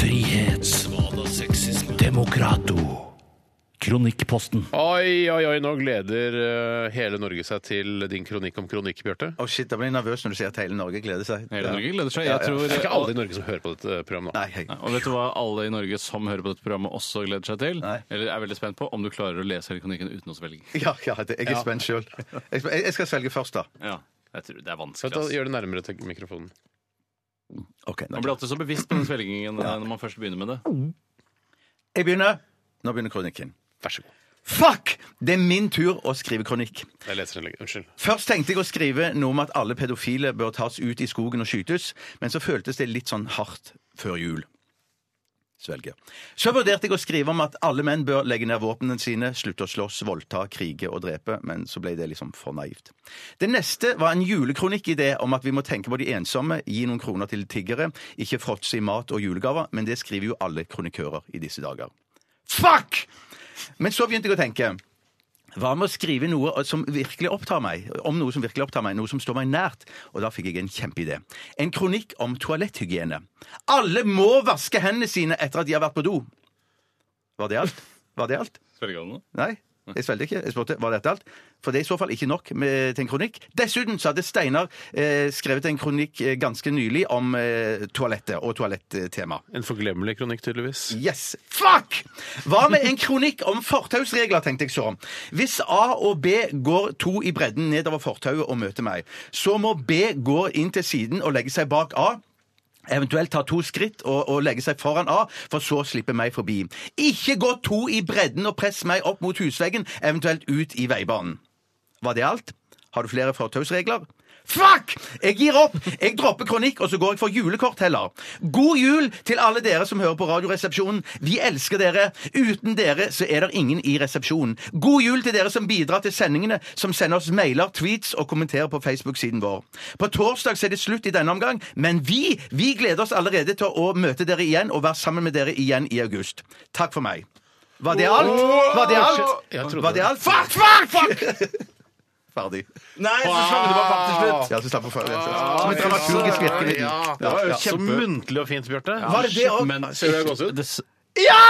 Speaker 10: Frihet. Demokrato. Kronikkposten.
Speaker 4: Oi, oi, oi, nå gleder eh, hele Norge seg til din kronikk om kronikk, Bjarte.
Speaker 3: Å, shit, da blir jeg nervøs når du sier at hele Norge gleder seg.
Speaker 5: Hele Norge gleder seg. Jeg
Speaker 3: Ja, ja.
Speaker 5: tror
Speaker 4: Det er ikke alle i Norge som hører på dette programmet. da.
Speaker 3: Nei, hei.
Speaker 5: Og vet du hva alle i Norge som hører på dette programmet også gleder seg til?
Speaker 3: Nei.
Speaker 5: Eller er veldig spent på om du klarer å lese hele kronikken uten å svelge.
Speaker 3: Ja, ja, det- jeg er spent sjøl. Jeg sp- jeg skal svelge først, da.
Speaker 5: Ja, jeg tror det er
Speaker 4: Så ta,
Speaker 5: vanskelig. ass.
Speaker 4: gjør det nærmere til mikrofonen.
Speaker 3: Ok,
Speaker 5: Man blir alltid så bevisst på den svelgingen eh, når man først begynner med det.
Speaker 3: Jeg begynner. Nå begynner kronikken.
Speaker 4: Vær så god.
Speaker 3: Fuck! Det er min tur å skrive kronikk.
Speaker 4: Jeg leser innlegget. Unnskyld.
Speaker 3: Først tenkte jeg å skrive noe om at alle pedofile bør tas ut i skogen og skytes, men så føltes det litt sånn hardt før jul. Svelge. Så vurderte jeg å skrive om at alle menn bør legge ned våpnene sine, slutte å slåss, voldta, krige og drepe, men så ble det liksom for naivt. Det neste var en julekronikkidé om at vi må tenke på de ensomme, gi noen kroner til tiggere, ikke fråtse i mat og julegaver, men det skriver jo alle kronikører i disse dager. Fuck! Men så begynte jeg å tenke. Hva med å skrive noe som virkelig opptar meg? Om noe som virkelig opptar meg, noe som står meg nært. Og da fikk jeg en kjempeidé. En kronikk om toaletthygiene. Alle må vaske hendene sine etter at de har vært på do. Var det alt? Var det alt?
Speaker 5: Svelger du nå?
Speaker 3: Nei. Jeg svelget ikke. Jeg spurte var dette alt. For det er i så fall ikke nok med, til en kronikk. Dessuten så hadde Steinar eh, skrevet en kronikk eh, ganske nylig om eh, toalettet og toalettema.
Speaker 4: En forglemmelig kronikk, tydeligvis.
Speaker 3: Yes! Fuck! Hva med en kronikk om fortausregler, tenkte jeg så. Hvis A og B går to i bredden nedover fortauet og møter meg, så må B gå inn til siden og legge seg bak A. Eventuelt ta to skritt og, og legge seg foran A, for så å slippe meg forbi. Ikke gå to i bredden og press meg opp mot husveggen, eventuelt ut i veibanen. Var det alt? Har du flere fortausregler? Fuck! Jeg gir opp! Jeg dropper kronikk, og så går jeg for julekort heller. God jul til alle dere som hører på Radioresepsjonen. Vi elsker dere. Uten dere så er det ingen i resepsjonen. God jul til dere som bidrar til sendingene, som sender oss mailer, tweets og kommenterer på Facebook-siden vår. På torsdag så er det slutt i denne omgang, men vi, vi gleder oss allerede til å møte dere igjen og være sammen med dere igjen i august. Takk for meg. Var det alt? Var det
Speaker 4: Jeg
Speaker 3: alt?
Speaker 4: trodde
Speaker 3: Var det alt? Fuck, fuck, fuck! Ferdig.
Speaker 5: Nei, så
Speaker 3: Ah,
Speaker 5: svelger du bare fram til slutt!
Speaker 3: Ja, så slapp å følge etter. Som et dramaturgisk virkemiddel.
Speaker 4: Det var jo kjempe... Så muntlig og fint, Bjarte.
Speaker 3: Var det det også?
Speaker 4: Ser du jeg gås ut?
Speaker 3: Ja!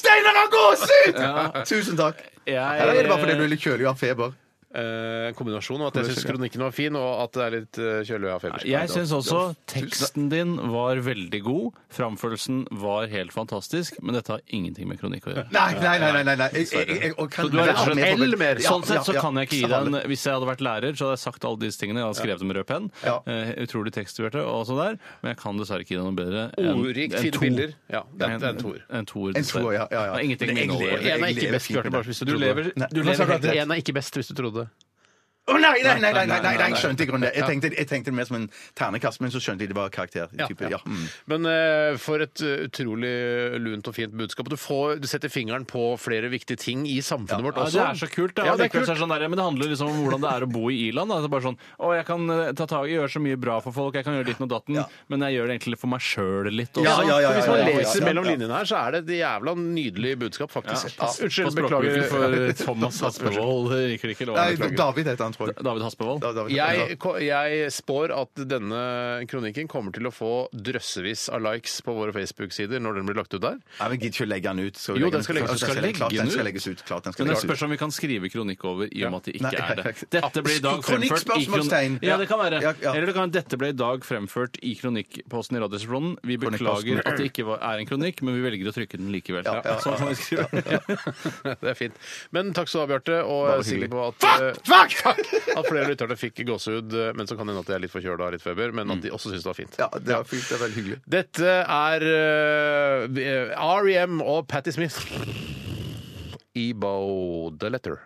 Speaker 3: Steinar har gåsehud! Tusen takk. Eller er det bare fordi du er litt kjølig og har feber?
Speaker 4: Eh, kombinasjonen av at jeg syns kronikken var fin, og at det er litt eh, kjølig og har feber.
Speaker 5: Jeg syns også teksten din var veldig god. Framførelsen var helt fantastisk, men dette har ingenting med kronikk å gjøre.
Speaker 3: Nei, nei, nei. nei, nei, nei. Jeg, jeg, jeg, jeg
Speaker 5: Så
Speaker 3: kan
Speaker 5: du har rett og slett
Speaker 3: Mer forberedt. Ja,
Speaker 5: Sånn sett så
Speaker 3: ja, ja.
Speaker 5: kan jeg ikke gi deg en Hvis jeg hadde vært lærer, så hadde jeg sagt alle disse tingene. Jeg hadde skrevet dem med rød penn.
Speaker 3: Ja.
Speaker 5: Eh, utrolig tekstberte og så der. Men jeg kan dessverre ikke gi deg noe bedre
Speaker 4: Ordrikt, fine
Speaker 5: to.
Speaker 4: bilder. Ja, det er-
Speaker 5: En-
Speaker 4: det er en toer.
Speaker 5: En toer,
Speaker 3: En toer, ja, ja, ja.
Speaker 5: Det er Ingenting
Speaker 3: Men jeg
Speaker 5: med innholdet. å
Speaker 3: lever-
Speaker 5: gjøre.
Speaker 4: En er
Speaker 3: Jeg
Speaker 4: ikke
Speaker 3: lever
Speaker 4: best,
Speaker 3: fint med
Speaker 4: Bjarte, bare hvis du
Speaker 5: Du
Speaker 4: trodde det.
Speaker 5: lever,
Speaker 3: Nei.
Speaker 5: du
Speaker 3: Nå
Speaker 5: lever
Speaker 3: snakker jeg
Speaker 5: helt
Speaker 3: til-
Speaker 4: En er ikke best hvis du trodde det.
Speaker 3: Å nei, nei, nei, nei, nei, nei, nei, jeg skjønte ikke det. Jeg tenkte, jeg tenkte det mer som en ternekast, men så skjønte jeg det var karakter. Type, ja. Mm.
Speaker 4: Men eh, for et eh, utrolig lunt og fint budskap. Du, får, du setter fingeren på flere viktige ting i samfunnet vårt
Speaker 5: Ja,
Speaker 4: også.
Speaker 5: det er så kult, da.
Speaker 4: Ja, det er
Speaker 5: Allikevel så
Speaker 4: kult.
Speaker 5: sånn der, men det handler liksom om hvordan det er å bo i Irland. Da. Det er bare sånn Å, jeg kan eh, ta tag i, gjøre så mye bra for folk, jeg kan gjøre ditt og datten, men jeg gjør det egentlig for meg sjøl litt også.
Speaker 3: Ja, ja, ja,
Speaker 4: Hvis man
Speaker 3: ja, ja, ja,
Speaker 4: leser
Speaker 3: ja.
Speaker 4: mellom linjene her, så er det et jævla nydelig budskap, faktisk.
Speaker 5: Unnskyld, beklager for Thomas Haspevold. Det gikk ikke lov.
Speaker 3: Nei, David heter han, tror jeg.
Speaker 5: David Haspevold.
Speaker 3: Da- David.
Speaker 4: Jeg, ko- jeg spår at denne kronikken kommer til å få drøssevis av likes på våre Facebook-sider når den blir lagt ut der.
Speaker 3: Nei, men Gidder ikke å legge den ut.
Speaker 4: Jo, den skal legges ut.
Speaker 3: ut. Klart,
Speaker 5: Skal legge
Speaker 3: den
Speaker 5: den
Speaker 3: skal
Speaker 5: ut?
Speaker 3: legges ut. Klart, den skal
Speaker 5: Men det
Speaker 3: legges ut.
Speaker 5: spørs om vi kan skrive kronikk over i og med at det ikke
Speaker 3: Nei,
Speaker 5: er det.
Speaker 3: jeg-
Speaker 5: Dette ble i dag
Speaker 3: Kronikk,
Speaker 5: fremført i
Speaker 3: spørsmålstegn.
Speaker 5: kronikk... Ja, det kan være.
Speaker 3: Ja, ja.
Speaker 5: Eller det kan, dette ble i dag fremført i kronikkposten i Radioresepsjonen. Vi beklager
Speaker 3: Kronikkposten.
Speaker 5: at det ikke var, er en kronikk, men vi velger å trykke den likevel.
Speaker 3: Ja, ja,
Speaker 5: Sånn kan vi skrive.
Speaker 4: Det er fint. Men takk skal du ha, Bjarte. Og jeg er sikker på at, eh, at flere lytterne fikk gåsehud. eh, Men så kan det hende at jeg er litt forkjøla og har litt feber, men at de også syns det var fint.
Speaker 3: Ja, det er fint. Det er veldig hyggelig.
Speaker 4: Dette er eh, R.E.M. og Patti Smith. Ebo The Letter.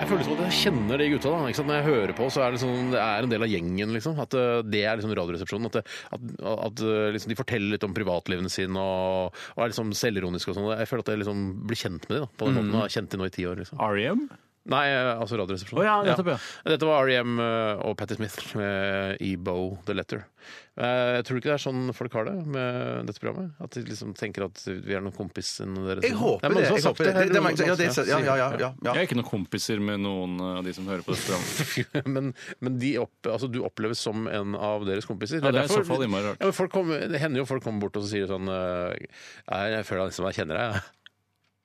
Speaker 4: Jeg føler som at jeg kjenner de gutta. da, ikke sant? Når jeg hører på, så er det, sånn, det er en del av gjengen. liksom, At eh, det er liksom Radioresepsjonen. At, det, at, at eh, liksom, de forteller litt om privatlivene sine og, og er liksom selvironiske og sånn. Jeg føler at jeg liksom blir kjent med de da, på den måten. og har Kjent de nå i ti år. liksom.
Speaker 5: R.E.M.?
Speaker 4: Nei, altså Radioresepsjonen.
Speaker 5: Å ja, nettopp, ja.
Speaker 4: Dette var R.E.M. eh, og Patti Smith med Ebo The Letter. Eh, Jeg tror ikke det er sånn folk har det med dette programmet. At de liksom tenker at vi er noen kompisene deres.
Speaker 3: Jeg håper det.
Speaker 4: Det er mange som har
Speaker 3: Jeg
Speaker 4: sagt
Speaker 3: håper det.
Speaker 4: her.
Speaker 3: Det- det er mange som- ja, det er- ja, ja, ja, ja, ja.
Speaker 5: Jeg er ikke noen kompiser med noen eh, av de som hører på dette programmet.
Speaker 4: men, men de opp, altså, du oppleves som en av deres kompiser.
Speaker 5: Ja, det er i så fall innmari rart.
Speaker 4: Ja, men folk kommer, det hender jo folk kommer bort og så sier sånn eh, «Nei, Jeg føler liksom jeg kjenner deg. jeg».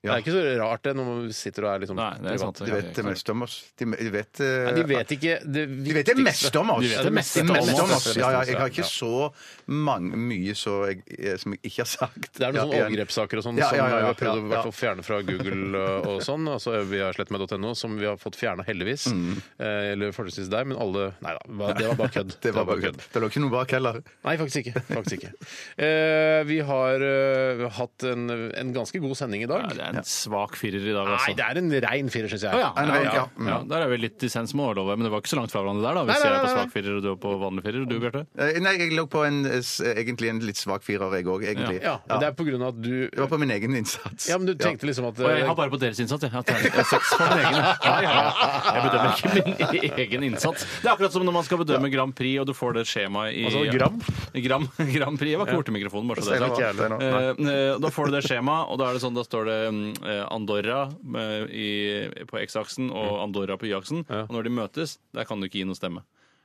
Speaker 4: Det er ikke så rart det når man sitter og er liksom
Speaker 5: Nei, det er sant.
Speaker 3: De vet det meste om oss. De de vet eh,
Speaker 4: Nei, de vet ikke det
Speaker 3: De vet det meste om oss.
Speaker 4: De vet det meste om oss.
Speaker 3: om oss. Ja, ja, jeg har
Speaker 4: Ja.
Speaker 3: ikke så mange, mye så jeg, eh, som jeg ikke har sagt.
Speaker 4: Det er noen sånne
Speaker 3: Ja, ja.
Speaker 4: overgrepssaker og sånn
Speaker 3: Ja, ja,
Speaker 4: som
Speaker 3: ja,
Speaker 4: vi
Speaker 3: ja,
Speaker 4: har prøvd å
Speaker 3: ja,
Speaker 4: i
Speaker 3: ja.
Speaker 4: hvert fall fjerne fra Google og, og sånn. Altså via slettmeg.no, som vi har fått fjerna heldigvis.
Speaker 3: Mm.
Speaker 4: Eh, eller fortrinnsvis deg, men alle Nei da, hva- det var bare kødd.
Speaker 3: Det var bare kødd. Det lå ikke noe bak heller.
Speaker 4: Nei, faktisk ikke. Faktisk ikke. Eh, vi har eh, hatt en, en ganske god sending i dag.
Speaker 5: Ja, det er en svak firer i dag,
Speaker 4: Nei,
Speaker 5: altså.
Speaker 4: det er en rein firer, syns jeg.
Speaker 5: Å ja.
Speaker 3: Nei, nei, ja. Mm.
Speaker 5: Ja, der er vi litt dissens med årlovet, men det var ikke så langt fra hverandre der, da.
Speaker 4: Nei,
Speaker 5: Hvis
Speaker 4: nei,
Speaker 5: jeg er på
Speaker 4: nei, nei.
Speaker 5: svak firer, og du er på vanlig firer. Og du, Bjarte?
Speaker 3: Eh, Nei, jeg lå på en, eh, s- egentlig en litt svak firer, jeg òg, egentlig.
Speaker 4: Ja, men Det er på grunn av at du
Speaker 3: Det var på min egen innsats.
Speaker 4: Ja, men du tenkte liksom at
Speaker 5: Og jeg har bare på deres innsats, jeg. Jeg har- jeg har seks på min egen. Ja, ja, ja. Jeg bedømmer ikke min egen innsats. Det er akkurat som når man skal bedømme Grand Prix, og du får det skjemaet i
Speaker 4: Altså, gram?
Speaker 5: Gram, Grand Prix. Jeg var ikke borti mikrofonen, bare så det er
Speaker 3: Steinar
Speaker 5: sagt.
Speaker 3: var- Steinar, nei.
Speaker 5: Eh, eh, Da får du det skjemaet, og da er det sånn, da står det mm, eh, Andorra eh, i, på X-aksen og Andorra på Y-aksen. Og når de møtes, der kan du ikke gi noe stemme.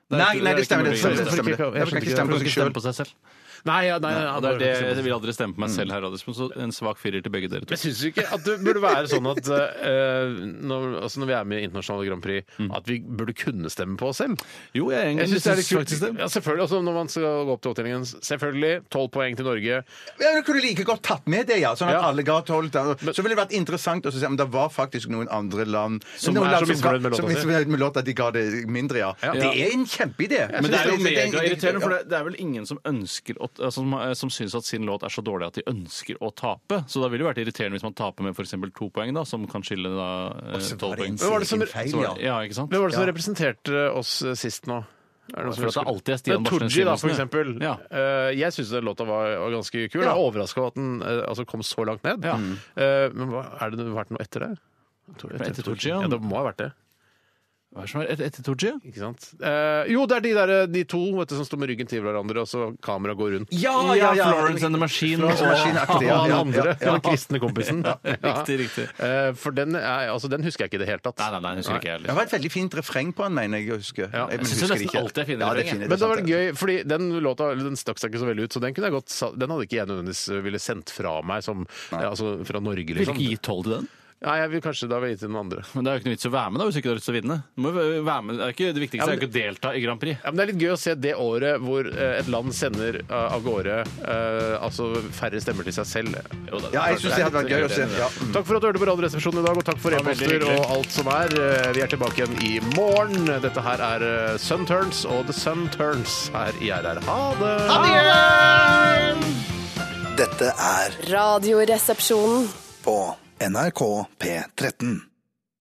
Speaker 5: Der-
Speaker 3: Nei, nei, det stemmer. Det
Speaker 5: ikke mulig å gi noe
Speaker 3: stemmer, det
Speaker 5: stemme.
Speaker 4: Jeg skjønte
Speaker 3: stemmer. Jeg kan
Speaker 4: ikke-
Speaker 3: ikke stemme
Speaker 5: Du
Speaker 3: på
Speaker 5: kan
Speaker 3: seg
Speaker 5: ikke stemme
Speaker 3: sjøl.
Speaker 5: på seg selv.
Speaker 4: Nei, ja, nei, nei,
Speaker 5: Og det er det, jeg vil aldri stemme på meg selv her, Radisson, så en svak firer til begge dere to.
Speaker 4: Jeg syns ikke at det burde være sånn at eh, når, altså når vi er med i internasjonale Grand Prix, at vi burde kunne stemme på oss selv.
Speaker 5: Mm. Jo, jeg,
Speaker 4: Jeg synes det er litt kult.
Speaker 5: faktisk det.
Speaker 4: Ja, selvfølgelig, altså når man skal gå opp til opptellingen. Selvfølgelig, 12 poeng til Norge.
Speaker 3: Ja, Du kunne like godt tatt med det, ja. Sånn at
Speaker 4: Ja.
Speaker 3: alle ga tolv. da. Så ville det vært interessant å se om det var faktisk noen andre land
Speaker 4: Som
Speaker 3: noen
Speaker 4: er
Speaker 3: land
Speaker 4: så misfornøyd med låta
Speaker 3: som
Speaker 4: si.
Speaker 3: misfornøyd med låta at de ga det mindre, ja. Det er en kjempeidé.
Speaker 5: Men det er jo
Speaker 3: det-
Speaker 5: megairriterende, for det, det er vel ingen som ønsker å, altså, som, som syns at sin låt er så dårlig at de ønsker å tape. Så da ville det vært irriterende hvis man taper med f.eks. to poeng, da, som kan skille da eh,
Speaker 3: Så
Speaker 5: tolv
Speaker 3: var det
Speaker 5: poeng.
Speaker 3: en
Speaker 4: Hvem var det som-
Speaker 3: egen feil,
Speaker 5: Så var
Speaker 3: ja.
Speaker 5: det- Ja, ikke sant?
Speaker 4: Hvem var det som representerte oss eh, sist nå? Er det noen som
Speaker 5: For at det
Speaker 4: husker?
Speaker 5: alltid er Stian
Speaker 4: Det
Speaker 5: Barsnes
Speaker 4: Tooji, da,
Speaker 5: Simonsen,
Speaker 4: for
Speaker 5: ja.
Speaker 4: eksempel.
Speaker 5: Ja.
Speaker 4: Eh, jeg syns den låta var, var ganske kul. Jeg er overraska over at den eh, altså kom så langt ned.
Speaker 5: Ja.
Speaker 4: Eh, men hva, er det vært noe etter det?
Speaker 5: Etter Tooji, ja.
Speaker 4: ja. Det må ha vært det.
Speaker 5: Hva er det som er et- etter Tooji?
Speaker 4: Ikke sant? Eh, jo, det er de, der, eh, de to vet du, som står med ryggen til hverandre, og så kameraet går rundt.
Speaker 5: Ja,
Speaker 3: ja, ja.
Speaker 5: Florence and the Machine.
Speaker 3: Florence and the Machine, aktig, ja.
Speaker 5: og-
Speaker 4: Og han
Speaker 3: Ja,
Speaker 4: andre,
Speaker 3: ja, ja.
Speaker 4: den kristne kompisen.
Speaker 5: Riktig, riktig.
Speaker 4: Eh, For den, er, altså, den husker jeg ikke i det hele tatt.
Speaker 5: Nei, nei, nei, jeg husker ikke liksom. jeg
Speaker 3: Det
Speaker 5: heller.
Speaker 3: var et veldig fint refreng på den, mener jeg å huske.
Speaker 4: Ja.
Speaker 3: men
Speaker 5: Jeg synes
Speaker 3: husker
Speaker 5: nesten
Speaker 3: ikke.
Speaker 5: alltid er fine
Speaker 3: Ja, det
Speaker 5: refrenger.
Speaker 3: fine,
Speaker 4: Men det var
Speaker 3: sant,
Speaker 4: gøy, fordi den låta den stakk seg ikke så veldig ut, så den kunne jeg godt sa- Den hadde ikke jeg nødvendigvis eh, ville sendt fra meg som eh, Altså fra Norge,
Speaker 5: Vil du
Speaker 4: liksom.
Speaker 5: ikke gi tolv til den?
Speaker 4: Nei, jeg vil kanskje da ville gitt til den andre.
Speaker 5: Men det er jo ikke noe vits å være med da, hvis du ikke har lyst til å vinne. Du må jo være med. Det, er ikke, det viktigste er jo ikke å delta i Grand Prix.
Speaker 4: Ja, men Det er litt gøy å se det året hvor eh, et land sender eh, av gårde eh, altså færre stemmer til seg selv.
Speaker 3: Ja, jeg syns det hadde vært gøy å se. Ja. Mm.
Speaker 4: Takk for at du hørte på Radioresepsjonen i dag, og takk for e-poster og alt som er. Eh, Vi er tilbake igjen i morgen. Dette her er eh, Sun Turns og The Sun Turns her i RR. Ha det! Ha det!
Speaker 6: Dette er
Speaker 7: Radioresepsjonen.
Speaker 6: på NRK P13.